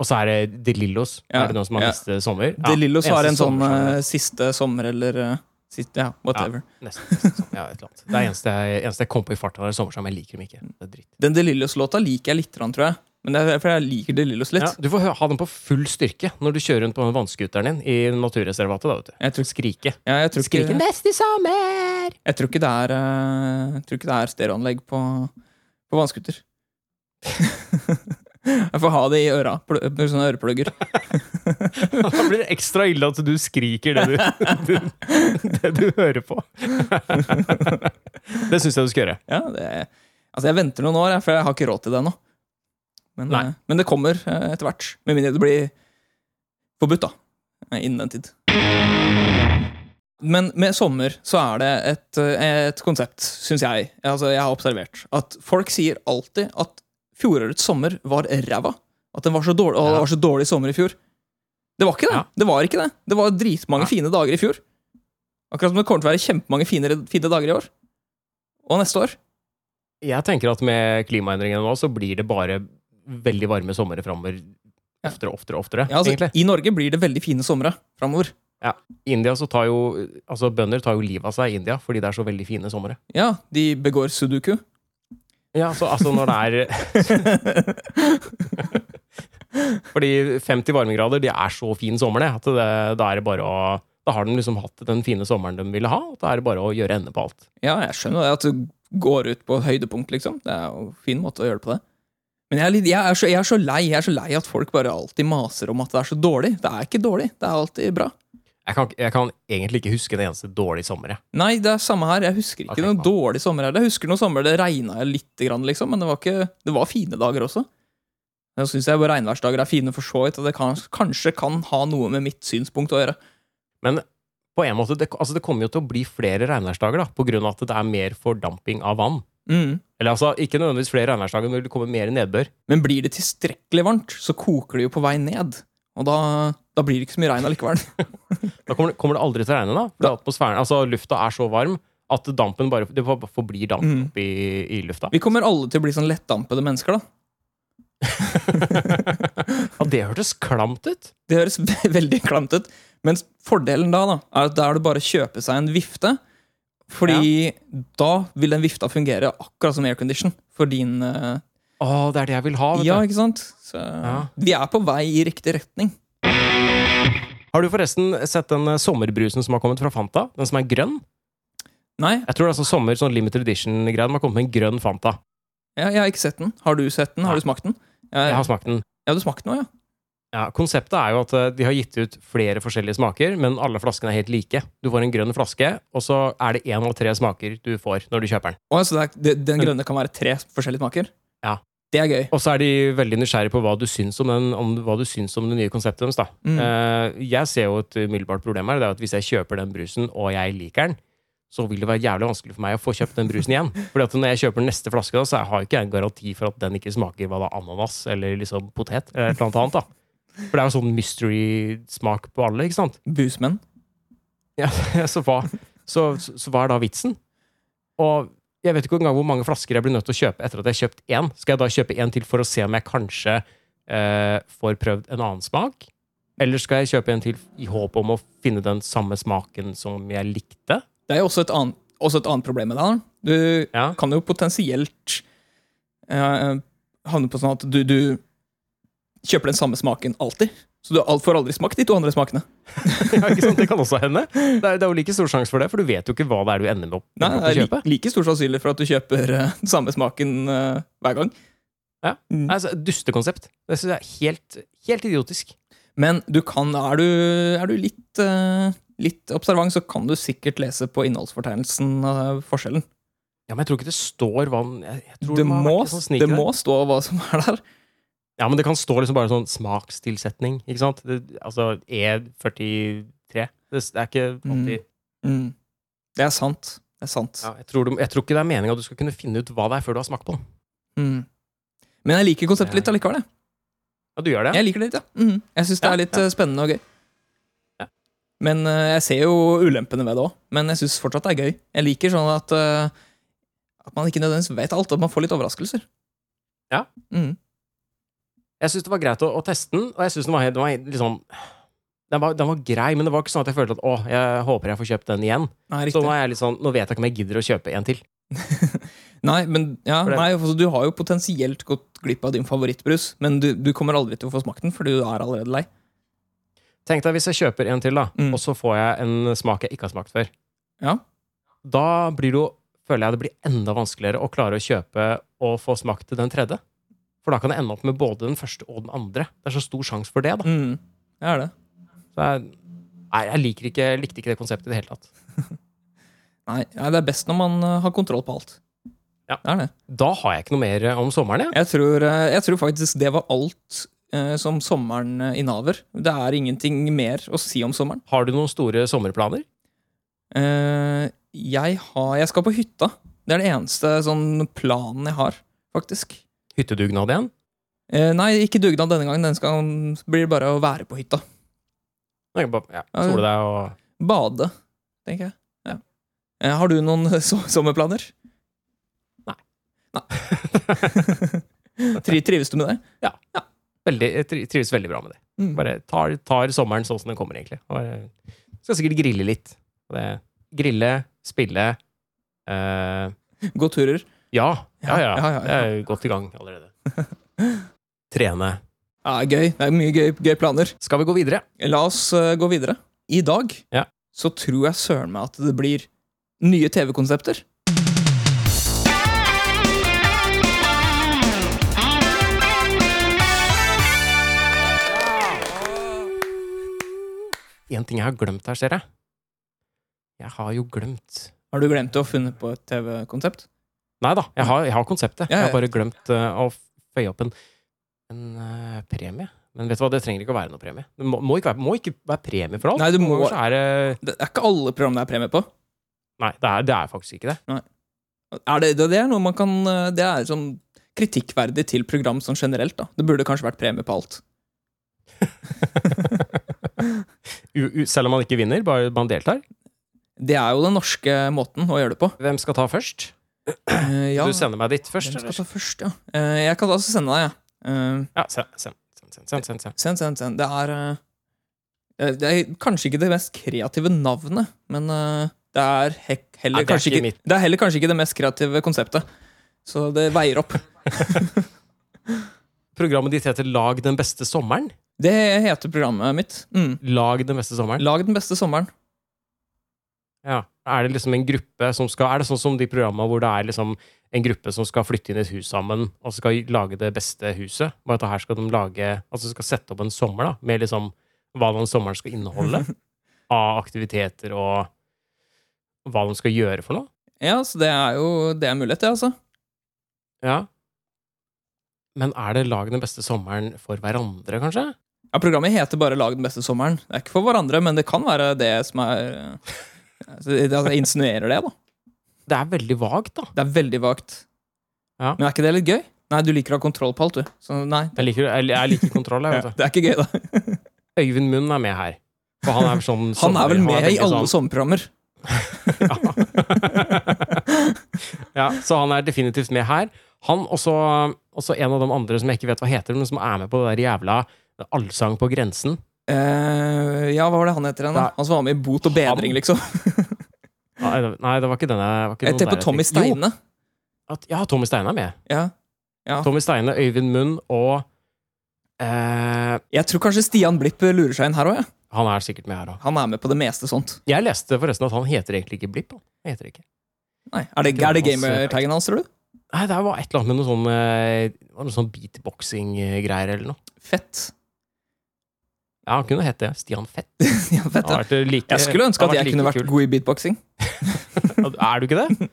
B: Og så er det De Lillos.
A: Ja,
B: Er det noen som har
A: ja.
B: neste sommer?
A: De Lillos har en
B: eneste
A: sånn
B: sommersang
A: eh, siste sommer eller eh, siste, Ja, whatever.
B: er- Neste, neste sommer, ja, et eller annet. Det er eneste jeg, eneste jeg kom på i farta, er sommersang. men Jeg liker dem ikke. Det er dritt.
A: Den De Lillos-låta liker jeg litt, tror jeg. Men det er fordi jeg liker De Lillos litt.
B: Ja, du får hø- ha den på full styrke når du kjører rundt på den vannskuteren din i naturreservatet. da, vet du.
A: Jeg tror,
B: Skrike.
A: ja, jeg, tror
B: Skrike
A: ikke,
B: neste sommer!
A: jeg tror ikke det er eh, Jeg tror ikke det er stereoanlegg på, på vannskuter. Jeg får ha det i øra. pl- Med sånne øreplugger.
B: Da blir det ekstra ille at du skriker det du, du, det du hører på. Det syns jeg du skal gjøre.
A: Ja, det, altså, jeg venter noen år, jeg, for jeg har ikke råd til det ennå. Men,
B: Nei.
A: eh, men det kommer eh, etter hvert. Med mindre det blir forbudt, da. eh, Innen den tid. Men med sommer så er det et, eh, et konsept, syns jeg, altså jeg har observert, at folk sier alltid at fjorårets sommer var ræva. At den var så dårlig, å, det var så dårlig sommer i fjor. Det var ikke det.
B: Ja.
A: Det var ikke det. Det var dritmange
B: Nei.
A: fine dager i fjor. Akkurat som det kommer til å være kjempemange finere, fine dager i år. Og neste år.
B: Jeg tenker at med klimaendringene nå, så blir det bare veldig varme somre framover.
A: Ja.
B: Oftere og oftere, og oftere.
A: Ja, altså,
B: egentlig.
A: I Norge blir det veldig fine somre framover.
B: India så tar jo, altså Bønder tar jo livet av seg i India fordi det er så veldig fine somre.
A: Ja, de begår sudoku.
B: Ja, så altså når det er Fordi 50 varmegrader, det er så fin sommer, det. At det, da er det bare å Da har den liksom hatt den fine sommeren den ville ha, og da er det bare å gjøre ende på alt.
A: Ja, jeg skjønner det at du går ut på et høydepunkt, liksom. Det er jo en fin måte å gjøre det på det. Men jeg er, litt, jeg, er så, jeg er så lei Jeg er så lei at folk bare alltid maser om at det er så dårlig. Det er ikke dårlig. Det er alltid bra.
B: Jeg kan, jeg kan egentlig ikke huske en eneste dårlig sommer, jeg.
A: Nei, det er samme her. Jeg husker ikke
B: Ok,
A: noen
B: faen.
A: dårlig sommer her. Jeg husker noen sommer det regna lite grann, liksom, men det var, ikke, det var fine dager også. Jeg syns regnværsdager er fine for så vidt, og det kan, kanskje kan ha noe med mitt synspunkt å gjøre.
B: Men på en måte, det, altså det kommer jo til å bli flere regnværsdager, da, på grunn av at det er mer fordamping av vann.
A: Mm.
B: Eller altså, ikke nødvendigvis flere regnværsdager, men det kommer mer nedbør.
A: Men blir det tilstrekkelig varmt, så koker det jo på vei ned. Og da, da blir det ikke så mye regn allikevel.
B: Da kommer det, kommer det aldri til å regne, da. Fordi atmosfæren, altså lufta er så varm at dampen bare Det bare forblir damp
A: Mm.
B: oppi i lufta.
A: Vi kommer alle til å bli sånn lettdampede mennesker, da.
B: Ja, det hørtes klamt ut!
A: Det høres ve- veldig klamt ut. Men fordelen da, da er at da er det bare å kjøpe seg en vifte. Fordi da vil den vifta fungere akkurat som aircondition for din eh,
B: Å, det er det jeg vil ha. Vet
A: Ja,
B: du.
A: ikke sant? Så
B: Ja.
A: vi er på vei i riktig retning.
B: Har du forresten sett den eh, sommerbrusen som har kommet fra Fanta? Den som er grønn?
A: Nei,
B: Jeg tror det er sånn sommer, sånn limited edition-greie. De har kommet med en grønn Fanta.
A: jeg, jeg har ikke sett den. Har du sett den? Har
B: Nei.
A: du smakt den?
B: Jeg
A: Jeg,
B: har smakt den.
A: ja, du smakte den òg, ja.
B: Ja, konseptet er jo at eh, de har gitt ut flere forskjellige smaker, men alle flaskene er helt like. Du får en grønn flaske, og så er det én av tre smaker du får når du kjøper den.
A: Å, så det er, det, den grønne kan være tre forskjellige smaker?
B: Ja.
A: Det er gøy.
B: Og så er de veldig nysgjerrige på hva du syns om, den, om, hva du syns om det nye konseptet deres. Da.
A: Mm.
B: Eh, jeg ser jo et umiddelbart problem her. Det er at Hvis jeg kjøper den brusen, og jeg liker den, så vil det være jævlig vanskelig for meg å få kjøpt den brusen igjen. Fordi at når jeg kjøper den neste flaske, da, så har jo ikke jeg en garanti for at den ikke smaker hva da, ananas eller liksom potet. Eller et eller annet annet, da. For det er jo sånn mystery-smak på alle, ikke sant?
A: Busmenn.
B: Ja, så, hva, så, så hva er da vitsen? Og jeg vet ikke engang hvor mange flasker jeg blir nødt til å kjøpe etter at jeg har kjøpt én. Skal jeg da kjøpe én til for å se om jeg kanskje eh, får prøvd en annen smak? Eller skal jeg kjøpe en til i håp om å finne den samme smaken som jeg likte?
A: Det er jo også et annet, også et annet problem med det. her. Du
B: Ja,
A: kan jo potensielt eh, havne på sånn at du, du kjøper den samme smaken alltid. Så du al- får aldri smakt de to andre smakene.
B: ja ikke sant? Det kan også hende. Det er, det er jo like stor sjanse for det, for du vet jo ikke hva det er du ender med å,
A: Nei,
B: med
A: det
B: å
A: er
B: kjøpe.
A: like, like stor sannsynlig for at du kjøper eh, den samme smaken eh, hver gang.
B: Ja.
A: Mm.
B: Nei, Altså, Dustekonsept. Det syns jeg er helt, helt idiotisk.
A: Men du kan, er du, er du litt, eh, litt observant, så kan du sikkert lese på innholdsfortegnelsen eh, forskjellen.
B: Ja, Men jeg tror ikke det står hva den jeg, jeg tror
A: Det
B: den har vært
A: må,
B: litt sånn sneaky
A: det
B: der.
A: må stå hva som er der.
B: Ja, men det kan stå liksom bare sånn smakstilsetning, ikke sant? Det, altså E43. Det s- det er ikke alltid
A: Mm. Det er sant. Det er sant.
B: ja, jeg, tror du, jeg tror ikke det er meninga at du skal kunne finne ut hva det er før du har smakt på den.
A: Mm. Men jeg liker konseptet
B: Ja.
A: litt allikevel. jeg.
B: Ja, du gjør det?
A: Jeg liker det litt, ja. Mm. Jeg syns det
B: Ja,
A: er litt
B: ja.
A: eh, spennende og gøy.
B: Ja.
A: Men eh, jeg ser jo ulempene ved det òg. Men jeg syns fortsatt det er gøy. Jeg liker sånn at eh, At man ikke nødvendigvis vet alt, at man får litt overraskelser.
B: Ja.
A: Mm.
B: Jeg syns det var greit å, å teste den, og jeg syns den var, helt- den var helt liksom den var, den var grei, men det var ikke sånn at jeg følte at å, jeg håper jeg får kjøpt den igjen.
A: Nei,
B: Så nå
A: riktig.
B: er jeg litt sånn, nå vet jeg ikke om jeg gidder å kjøpe en til.
A: Nei, men ja,
B: For det-
A: nei, altså, du har jo potensielt gått glipp av din favorittbrus, men du, du kommer aldri til å få smakt den, for du er allerede lei.
B: Tenk deg hvis jeg kjøper en til, da,
A: Mm.
B: og så får jeg en smak jeg ikke har smakt før.
A: Ja.
B: Da blir det jo føler jeg det blir enda vanskeligere å klare å kjøpe og få smakt til den tredje. For da kan det ende opp med både den første og den andre. Det er så stor sjanse for det, da.
A: Mm. Det er det.
B: Så jeg, nei, jeg liker ikke, likte ikke det konseptet i det hele tatt.
A: Nei, nei, det er best når man eh, har kontroll på alt.
B: Ja.
A: Det er det.
B: Da har jeg ikke noe mer eh, om sommeren, jeg.
A: Jeg tror, eh, jeg tror faktisk det var alt eh, som sommeren eh, innehaver. Det er ingenting mer å si om sommeren.
B: Har du noen store sommerplaner?
A: Eh, jeg, har, jeg skal på hytta. Det er den eneste sånn planen jeg har, faktisk.
B: Hyttedugnad igjen?
A: Eh, nei, ikke dugnad denne gangen. Den skal, blir bare å være på hytta.
B: Jeg kan bare, ja, sole deg og
A: Bade, tenker jeg. Ja. Eh, har du noen so sommerplaner?
B: Nei.
A: Nei. Tri trives du med det?
B: veldig, Jeg tri- trives veldig bra med det.
A: Mm.
B: Bare tar, tar sommeren sånn som den kommer, egentlig. Og jeg skal sikkert grille litt. Og Det, grille, spille eh,
A: Mm. Gå turer.
B: ja, ja, ja.
A: Ja, ja, ja.
B: Jeg er jo godt i gang allerede. Trene.
A: Ja, gøy. Det er mye gøy, gøy planer.
B: Skal vi gå videre?
A: La oss eh, gå videre. I dag
B: Ja.
A: så tror jeg søren meg at det blir nye TV-konsepter.
B: En ting jeg har glemt her, ser jeg. Jeg har jo glemt
A: Har du glemt å ha funnet på et TV-konsept?
B: Nei da, jeg har, jeg har konseptet.
A: Ja, ja.
B: Jeg har bare glemt eh, å føye opp en, en eh, premie. Men vet du hva, det trenger ikke å være noe premie. Det må, må, ikke, være, må ikke være premie for alt.
A: Nei, det må-
B: Noen ganger så er, det-
A: Det er ikke alle program det er premie på.
B: nei det, er, det er faktisk ikke det.
A: Er det, det er noe man kan eh, Det er sånn kritikkverdig til program sånn generelt. da Det burde kanskje vært premie på alt.
B: U, u, selv om man ikke vinner, bare man deltar.
A: Det er jo den norske måten å gjøre det på.
B: Hvem skal ta først?
A: Eh, ja,
B: Du sender meg ditt først,
A: hvem skal
B: eller?
A: ta først, ja. Eh, jeg kan altså sende deg, jeg. Eh,
B: Ja, send, send, send, send, send, send, send.
A: Send, send, send. Det er eh, Det er kanskje ikke det mest kreative navnet, men eh, det er hek heller,
B: Nei, det er
A: kanskje
B: ikke
A: ikke,
B: mitt.
A: det er heller kanskje ikke det mest kreative konseptet. Så det veier opp.
B: Programmet ditt heter Lag den beste sommeren.
A: Det heter programmet mitt. Mm.
B: Lag den beste sommeren.
A: Lag den beste sommeren.
B: Ja. Er det liksom en gruppe som skal Er det sånn som de programma hvor det er liksom en gruppe som skal flytte inn i et hus sammen, og så skal lage det beste huset? Bare at her skal de lage Altså skal sette opp en sommer, da, med liksom hva den sommeren skal inneholde av aktiviteter og hva de skal gjøre for noe?
A: Ja, så det er jo det er mulighet, det, altså.
B: Ja. Men er det lag den beste sommeren for hverandre, kanskje?
A: Ja, Programmet heter bare Lag den beste sommeren. Det er ikke for hverandre, men det kan være det som er eh, altså, Det altså, insinuerer det, da.
B: Det er veldig vagt, da.
A: Det er veldig vagt.
B: Ja.
A: Men er ikke det litt gøy? Nei, du liker å ha kontroll på alt, du. Så nei,
B: Jeg liker, jeg, jeg liker kontroll. Jeg,
A: det
B: vet du.
A: er ikke gøy, da.
B: Øyvind Munn er med her. For han er sånn
A: Han er vel
B: sommer-
A: med i
B: veldig
A: alle
B: sånn-
A: sommerprogrammer.
B: ja, så han er definitivt med her. Han også, også en av de andre som jeg ikke vet hva heter, men som er med på det der jævla Allsang på grensen.
A: Eh, ja, hva var det han heter igjen? da?
B: Nei.
A: Han som var med i Bot og bedring, liksom.
B: Nei, det- nei, det var ikke denne. det Var ikke
A: Jeg
B: noen
A: tenker
B: der,
A: på Tommy
B: tenkte- Jo,
A: Steine.
B: at, ja, Tommy Steine er med.
A: Ja.
B: Tommy Steine, Øyvind Munn og eh,
A: Jeg tror kanskje Stian Blipp lurer seg inn her òg. Ja.
B: Han er sikkert med her òg.
A: Han er med på det meste sånt.
B: Jeg leste forresten at han heter egentlig ikke Blipp. han. Han heter ikke.
A: Nei, Er det,
B: Ikke
A: er det
B: hans, eh,
A: gamertagen hans, tror du?
B: Nei, det var et eller annet med noe sånn, eh, det var noe sånn beatboxing-greier eller noe.
A: Fett.
B: Ja, han kunne hett det. Stian Fett.
A: Stian Fett,
B: Han har
A: ja.
B: vært like,
A: Jeg skulle ønske
B: han
A: at
B: har
A: jeg kunne
B: like
A: vært god i beatboxing.
B: kul. Er du ikke det?
A: Jeg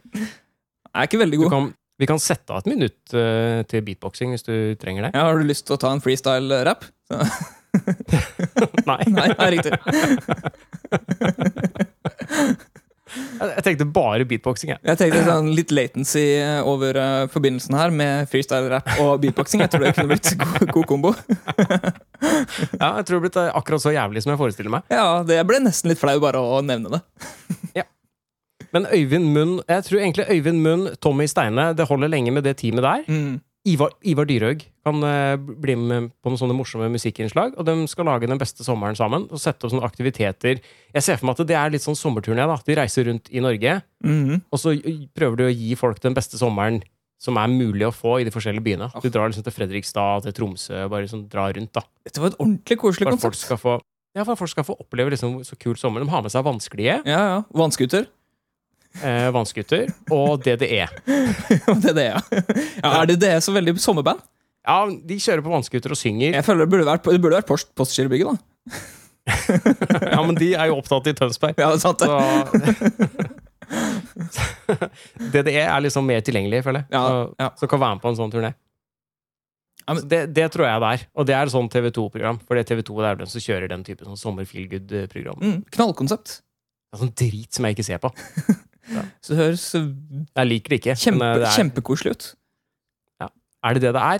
A: er ikke veldig
B: Du
A: god.
B: kan, vi kan sette av et minutt eh, til beatboxing hvis du trenger det.
A: Ja, har du lyst til å ta en freestyle-rap?
B: Nei.
A: Nei, det er riktig.
B: Jeg, jeg tenkte bare beatboxing, jeg.
A: Jeg tenkte sånn litt latency over eh, forbindelsen her med freestyle-rap og beatboxing. Jeg tror det kunne blitt god, god kombo.
B: Ja, jeg tror det ble blitt eh, akkurat så jævlig som jeg forestiller meg.
A: Ja, det jeg ble nesten litt flau bare å nevne det.
B: Men Øyvind Munn, jeg tror egentlig Øyvind Munn, Tommy Steine, det holder lenge med det teamet der.
A: Mm.
B: Ivar, Ivar Dyrhaug kan eh, bli med på noen sånne morsomme musikkinnslag, og de skal lage den beste sommeren sammen og sette opp sånne aktiviteter. Jeg ser for meg at det er litt sånn sommerturné, da. De reiser rundt i Norge,
A: Mhm.
B: og så eh, prøver du å gi folk den beste sommeren som er mulig å få i de forskjellige byene. Du drar liksom til Fredrikstad, til Tromsø, bare liksom drar rundt, da.
A: Dette var et ordentlig koselig
B: For at folk
A: konsept.
B: skal få, ja, for at folk skal få oppleve liksom, så kul sommer. De har med seg vannskelige.
A: Ja, ja. Vannskuter.
B: eh, vannskuter og E. DDE.
A: det er det, ja. ja. Er det det så veldig sommerband?
B: Ja, de kjører på vannskuter og synger.
A: Jeg føler Det burde vært, det burde vært post, Postgirobygget, da.
B: Ja, men de er jo opptatt i Tønsberg.
A: Ja, det er sant det.
B: Så DDE er liksom mer tilgjengelig, føler jeg.
A: Ja,
B: Så-
A: ja.
B: Som kan være med på en sånn turné.
A: Ja, men-
B: Så det, det tror jeg det er. Og det er et sånn TV2-program. For det TV2 det er den som kjører den type sånn sommer-feelgood-program.
A: Mm, knallkonsept.
B: Det er sånn drit som jeg ikke ser på.
A: Så det høres eh,
B: Jeg liker det ikke.
A: kjempe,
B: men eh, det er,
A: kjempekoselig ut.
B: er det det det er?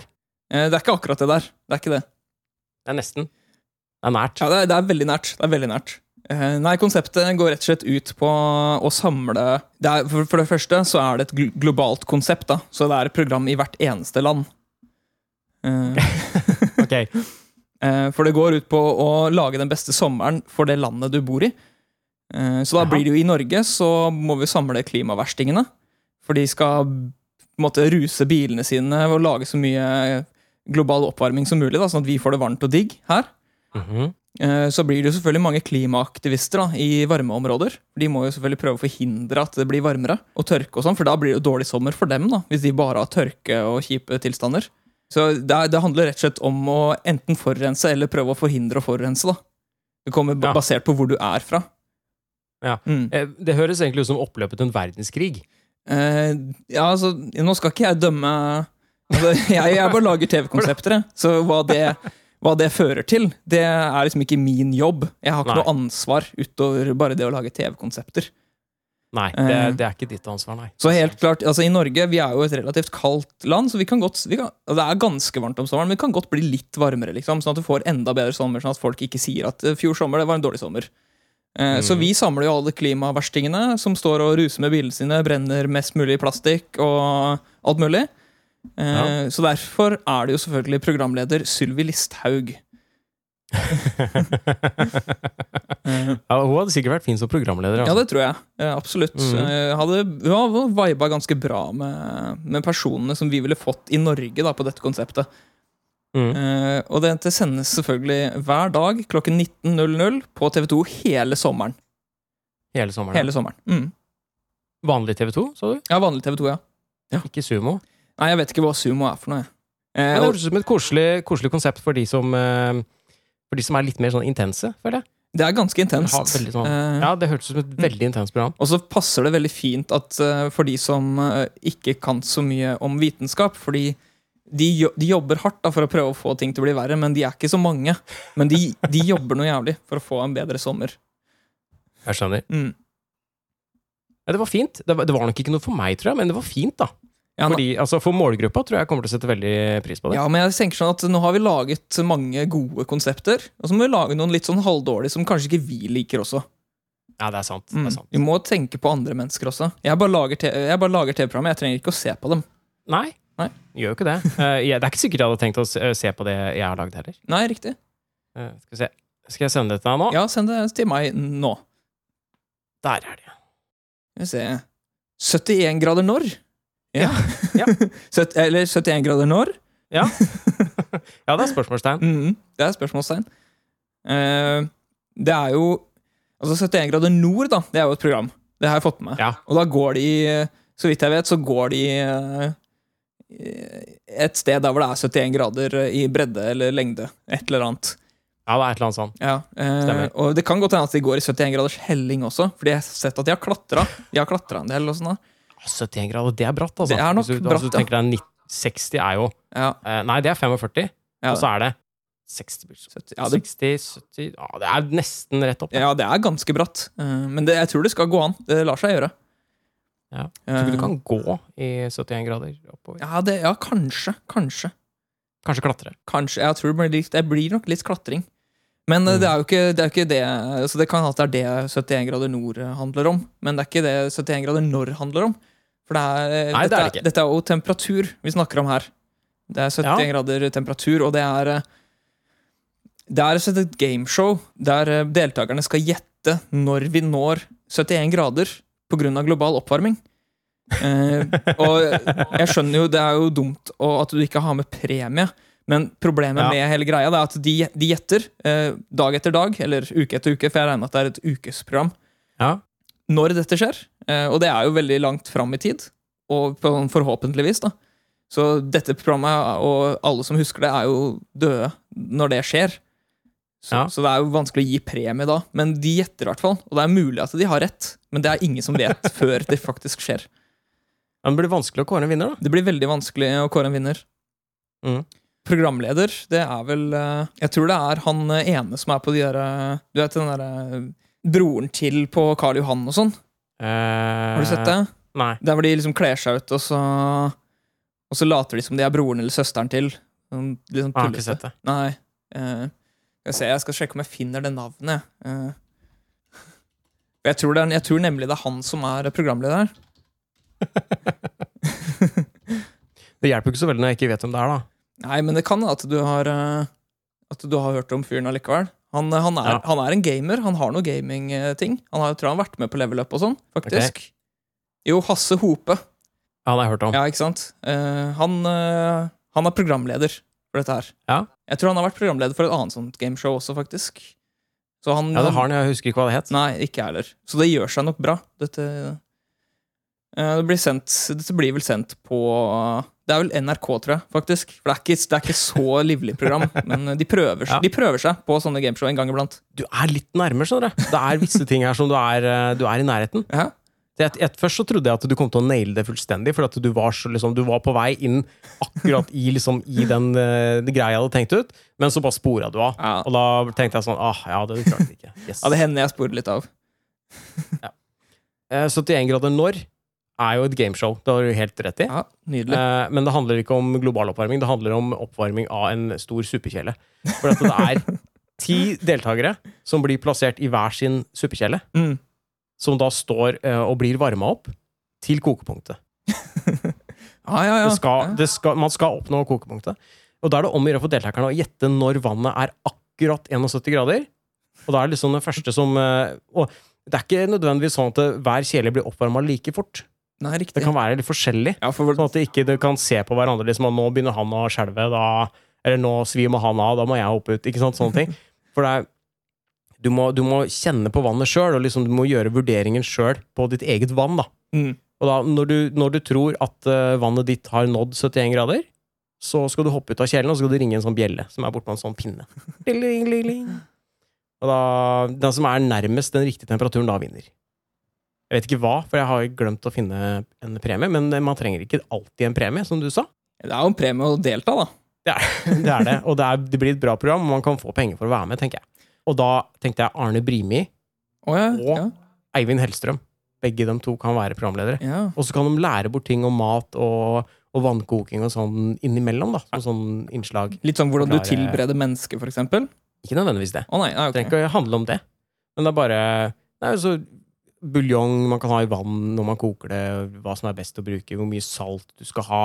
A: Eh, Det er ikke akkurat det der. Det er ikke det.
B: Det er nesten. Det er nært.
A: Ja, det er, det er veldig nært. Det er veldig nært. Eh, nei, konseptet går rett og slett ut på å samle det er, for, for det første så er det et gl globalt konsept, da. Så det er et program i hvert eneste land. Eh,
B: Ok.
A: eh, for det går ut på å lage den beste sommeren for det landet du bor i. Eh, så da
B: Jaha.
A: blir det jo i Norge, så må vi samle klimaverstingene. For de skal på en måte ruse bilene sine og lage så mye global oppvarming som mulig, da, sånn at vi får det varmt og digg her.
B: Mhm.
A: Eh, så blir det jo selvfølgelig mange klimaaktivister da, i varmeområder. De må jo selvfølgelig prøve å forhindre at det blir varmere og tørke, og sånn, for da blir det jo dårlig sommer for dem. da, Hvis de bare har tørke og kjipe tilstander. Så det, er- det handler rett og slett om å enten forurense eller prøve å forhindre å forurense. da. Det kommer ba-
B: Ja.
A: basert på hvor du er fra.
B: Ja.
A: Mm.
B: Eh, Det høres egentlig ut som oppløpet til en verdenskrig.
A: Eh, ja, altså, nå skal ikke jeg dømme altså, jeg, jeg bare lager TV-konsepter, jeg. Så hva det, hva det fører til, det er liksom ikke min jobb. Jeg har ikke
B: Nei.
A: noe ansvar utover bare det å lage TV-konsepter.
B: Nei,
A: Eh.
B: det, det er ikke ditt ansvar, nei.
A: Så helt klart, altså I Norge vi er jo et relativt kaldt land, så vi kan godt, vi kan, og det er ganske varmt om sommeren, men det kan godt bli litt varmere. liksom, Sånn at du får enda bedre sommer, sånn at folk ikke sier at eh, fjor sommer det var en dårlig sommer. Eh, Så
B: Mhm.
A: vi samler jo alle klimaverstingene som står og ruser med bilene sine, brenner mest mulig plastikk og alt mulig. Eh,
B: Ja.
A: Så derfor er det jo selvfølgelig programleder Sylvi Listhaug. Eh,
B: Ja, hun hadde sikkert vært fin som programleder.
A: Ja,
B: Altså.
A: det tror jeg. Eh, Absolutt.
B: Mhm.
A: Eh, Hadde, ja, hun viba ganske bra med, med personene som vi ville fått i Norge da, på dette konseptet.
B: Mhm.
A: Eh, og det det sendes selvfølgelig hver dag klokken 19.00 på TV2 hele sommeren.
B: Hele sommeren.
A: Hele sommeren. Mm.
B: Vanlig TV2, sa du?
A: Ja, vanlig TV2, ja.
B: Ikke Sumo?
A: Nei, jeg vet ikke hva sumo er for noe. jeg. Eh,
B: Men det
A: og
B: høres ut som et koselig, koselig konsept for de som eh, For de som er litt mer sånn intense, føler jeg.
A: det er ganske
B: Ja,
A: intenst.
B: veldig sånn.
A: Eh,
B: Ja, Det hørtes ut som et veldig intenst program.
A: Og så passer det veldig fint at eh, for de som eh, ikke kan så mye om vitenskap Fordi de, jo, de jobber hardt da, for å prøve å få ting til å bli verre, men de er ikke så mange. Men de, de jobber noe jævlig for å få en bedre sommer.
B: Jeg skjønner.
A: Mm.
B: Ja, det var fint. Det var, det var nok ikke noe for meg, tror jeg, men det var fint, da.
A: Ja, nå-
B: Fordi, altså, for målgruppa tror jeg kommer til å sette veldig pris på det.
A: ja, men jeg tenker sånn at Nå har vi laget mange gode konsepter, og så må vi lage noen litt sånn halvdårlige som kanskje ikke vi liker også.
B: Ja, det er sant. Det
A: Mm.
B: er sant.
A: Vi må tenke på andre mennesker også. Jeg bare lager te- jeg bare lager TV-programmet, jeg trenger ikke å se på dem.
B: Nei.
A: Nei.
B: Gjør jo ikke det. Eh, jeg, det er ikke sikkert jeg hadde tenkt å eh, se, se på det jeg har lagd heller.
A: Nei, riktig.
B: Eh, skal vi se. Skal jeg sende det til deg nå?
A: Ja, send det til meg nå.
B: Der er det.
A: Skal vi se 71 grader når? Ja.
B: Ja,
A: Søt- eller 71 grader når?
B: Ja, det er spørsmålstegn.
A: Mhm, Det er spørsmålstegn. Eh, det er jo Altså 71 grader nord, da. Det er jo et program. Det har jeg fått med.
B: Ja.
A: Og da går de, eh, så vidt jeg vet, så går de eh, et sted der hvor det er 71 grader eh, i bredde eller lengde. Et eller annet.
B: Ja, det er et eller annet sånn. sånt.
A: Ja, eh,
B: Stemmer.
A: og det kan godt hende at de går i 71 graders helling også, fordi jeg har sett at de har klatra. De har klatra en del og sånn. da.
B: Ja, 71 grader, det er bratt, altså.
A: Det er nok
B: hvis du,
A: bratt,
B: altså, du
A: ja.
B: tenker deg 90 60 er jo
A: Ja,
B: eh, Nei, det er 45,
A: ja,
B: og så er det 60 blir det så-
A: 70, ja, det,
B: 60, 70 ja, Det er nesten rett opp. da.
A: ja, det er ganske bratt. Eh, men det, jeg tror det skal gå an. Det lar seg gjøre.
B: Ja.
A: Eh,
B: Tror ikke du kan gå i 71 grader oppover.
A: Ja, det, ja kanskje. Kanskje.
B: Kanskje klatre.
A: Kanskje, jeg tror det blir, litt, det blir nok litt klatring. Men eh,
B: Mm.
A: det er jo ikke det, er jo ikke det altså Det kan hende at det er det 71 grader nord eh, handler om, men det er ikke det 71 grader nord handler om. For det er, eh,
B: Nei, det
A: dette,
B: er det ikke.
A: dette er jo temperatur vi snakker om her. Det er 71 grader temperatur, og det er eh, Det er altså et gameshow der eh, deltakerne skal gjette når vi når 71 grader pga. global oppvarming. Eh, og jeg skjønner jo, det er jo dumt å- at du ikke har med premie, men problemet
B: Ja.
A: med hele greia det er at de, de gjetter eh, dag etter dag, eller uke etter uke, for jeg regner med at det er et ukesprogram,
B: Ja.
A: når dette skjer. Eh, Og det er jo veldig langt fram i tid, og på- forhåpentligvis, da. Så dette programmet, og alle som husker det, er jo døde når det skjer. Så,
B: Ja.
A: så det er jo vanskelig å gi premie da, men de gjetter i hvert fall. Og det er mulig at de har rett, men det er ingen som vet før det faktisk skjer.
B: Men det blir vanskelig å kåre en vinner, da.
A: Det blir veldig vanskelig å kåre en vinner.
B: Mhm.
A: Programleder, det er vel eh, Jeg tror det er han eh, ene som er på de derre Du vet den derre broren til på Karl Johan og sånn?
B: Eh,
A: Har du sett det?
B: Nei.
A: Der hvor de liksom kler seg ut, og så, og så later de som de er broren eller søsteren til. Sånn, litt sånn
B: Jeg har ikke
A: tullete.
B: sett det.
A: Nei. eh, skal jeg, se, jeg skal sjekke om jeg finner det navnet. eh. For jeg, tror det er, jeg tror nemlig det er han som er programleder her.
B: Det hjelper jo ikke så veldig når jeg ikke vet hvem det er, da.
A: Nei, men det kan at du har eh, At du har hørt om fyren allikevel. Han, eh, han, er,
B: Ja.
A: han er en gamer. Han har noen gamingting. Han har, jeg tror han har vært med på level up og sånn, faktisk. Jo, Hasse Hope.
B: Ja, det har jeg hørt om.
A: Ja, ikke sant? Eh, han, eh, han er programleder for dette her.
B: Ja.
A: Jeg tror han har vært programleder for et annet sånt gameshow også, faktisk. Så han,
B: Ja, det har han, jeg husker ikke hva det het.
A: Nei, ikke jeg heller. Så det gjør seg nok bra. Dette, Eh, det blir sendt, dette blir vel sendt på Det er vel NRK, tror jeg, faktisk. For det er ikke, det er ikke så livlig program. Men eh, de prøver,
B: Ja.
A: de prøver seg på sånne gameshow en gang iblant.
B: Du er litt nærmere, skjønner du. Det er visse ting her som du er, eh, du er i nærheten.
A: Ja.
B: Så jeg- jeg- først så trodde jeg at du kom til å naile det fullstendig, for at du var, så, liksom, du var på vei inn akkurat i, liksom, i den, eh, den greia jeg hadde tenkt ut, men så bare spora du av.
A: Ja.
B: Og da tenkte jeg sånn ah, ja, det klarte jeg ikke. Yes.
A: Ja, det hender jeg sporer litt av.
B: Eh, 71 grader når er jo et gameshow. Det har du helt rett i.
A: Ja, Nydelig.
B: Eh, Men det handler ikke om global oppvarming, det handler om oppvarming av en stor suppekjele. For at det er ti deltakere som blir plassert i hver sin suppekjele.
A: Mm.
B: som da står eh, og blir varma opp til kokepunktet.
A: Ja, ja, ja.
B: Det skal,
A: Ja.
B: det skal, man skal oppnå kokepunktet. Og da er det om å gjøre for deltakerne å gjette når vannet er akkurat 71 grader. Og da er det liksom den første som eh, Og det er ikke nødvendigvis sånn at eh, hver kjele blir oppvarma like fort.
A: Nei, riktig.
B: Det kan være litt forskjellig.
A: ja, for,
B: Sånn at de ikke de kan se på hverandre liksom, at nå begynner han å skjelve, da Eller nå svimer han av, da må jeg hoppe ut. Ikke sant? Sånne ting. For det er Du må, du må kjenne på vannet sjøl, og liksom, du må gjøre vurderingen sjøl på ditt eget vann, da.
A: mm.
B: Og da, når du, når du tror at eh, vannet ditt har nådd 71 grader, så skal du hoppe ut av kjelen, og så skal du ringe en sånn bjelle som er bortpå en sånn pinne. Ding, ding, ding, ding. Og da, den som er nærmest den riktige temperaturen, da vinner. Jeg vet ikke hva, for jeg har glemt å finne en premie, men eh, man trenger ikke alltid en premie, som du sa.
A: Det er jo en premie å delta, da.
B: Det er det, og det, er, det blir et bra program, og man kan få penger for å være med, tenker jeg. Og da tenkte jeg Arne Brimi,
A: Å ja.
B: Og-
A: ja.
B: Eivind Hellstrøm. Begge de to kan være programledere.
A: Ja.
B: Og så kan de lære bort ting om mat og, og vannkoking og sånn innimellom, da. Som sånn innslag.
A: Litt sånn hvordan du
B: Forklare-
A: tilbereder mennesket, for eksempel?
B: Ikke nødvendigvis det.
A: Å nei, nei
B: Det trenger
A: ok.
B: ikke å handle om det. Men det er bare det er jo så buljong man kan ha i vann når man koker det, hva som er best å bruke, hvor mye salt du skal ha.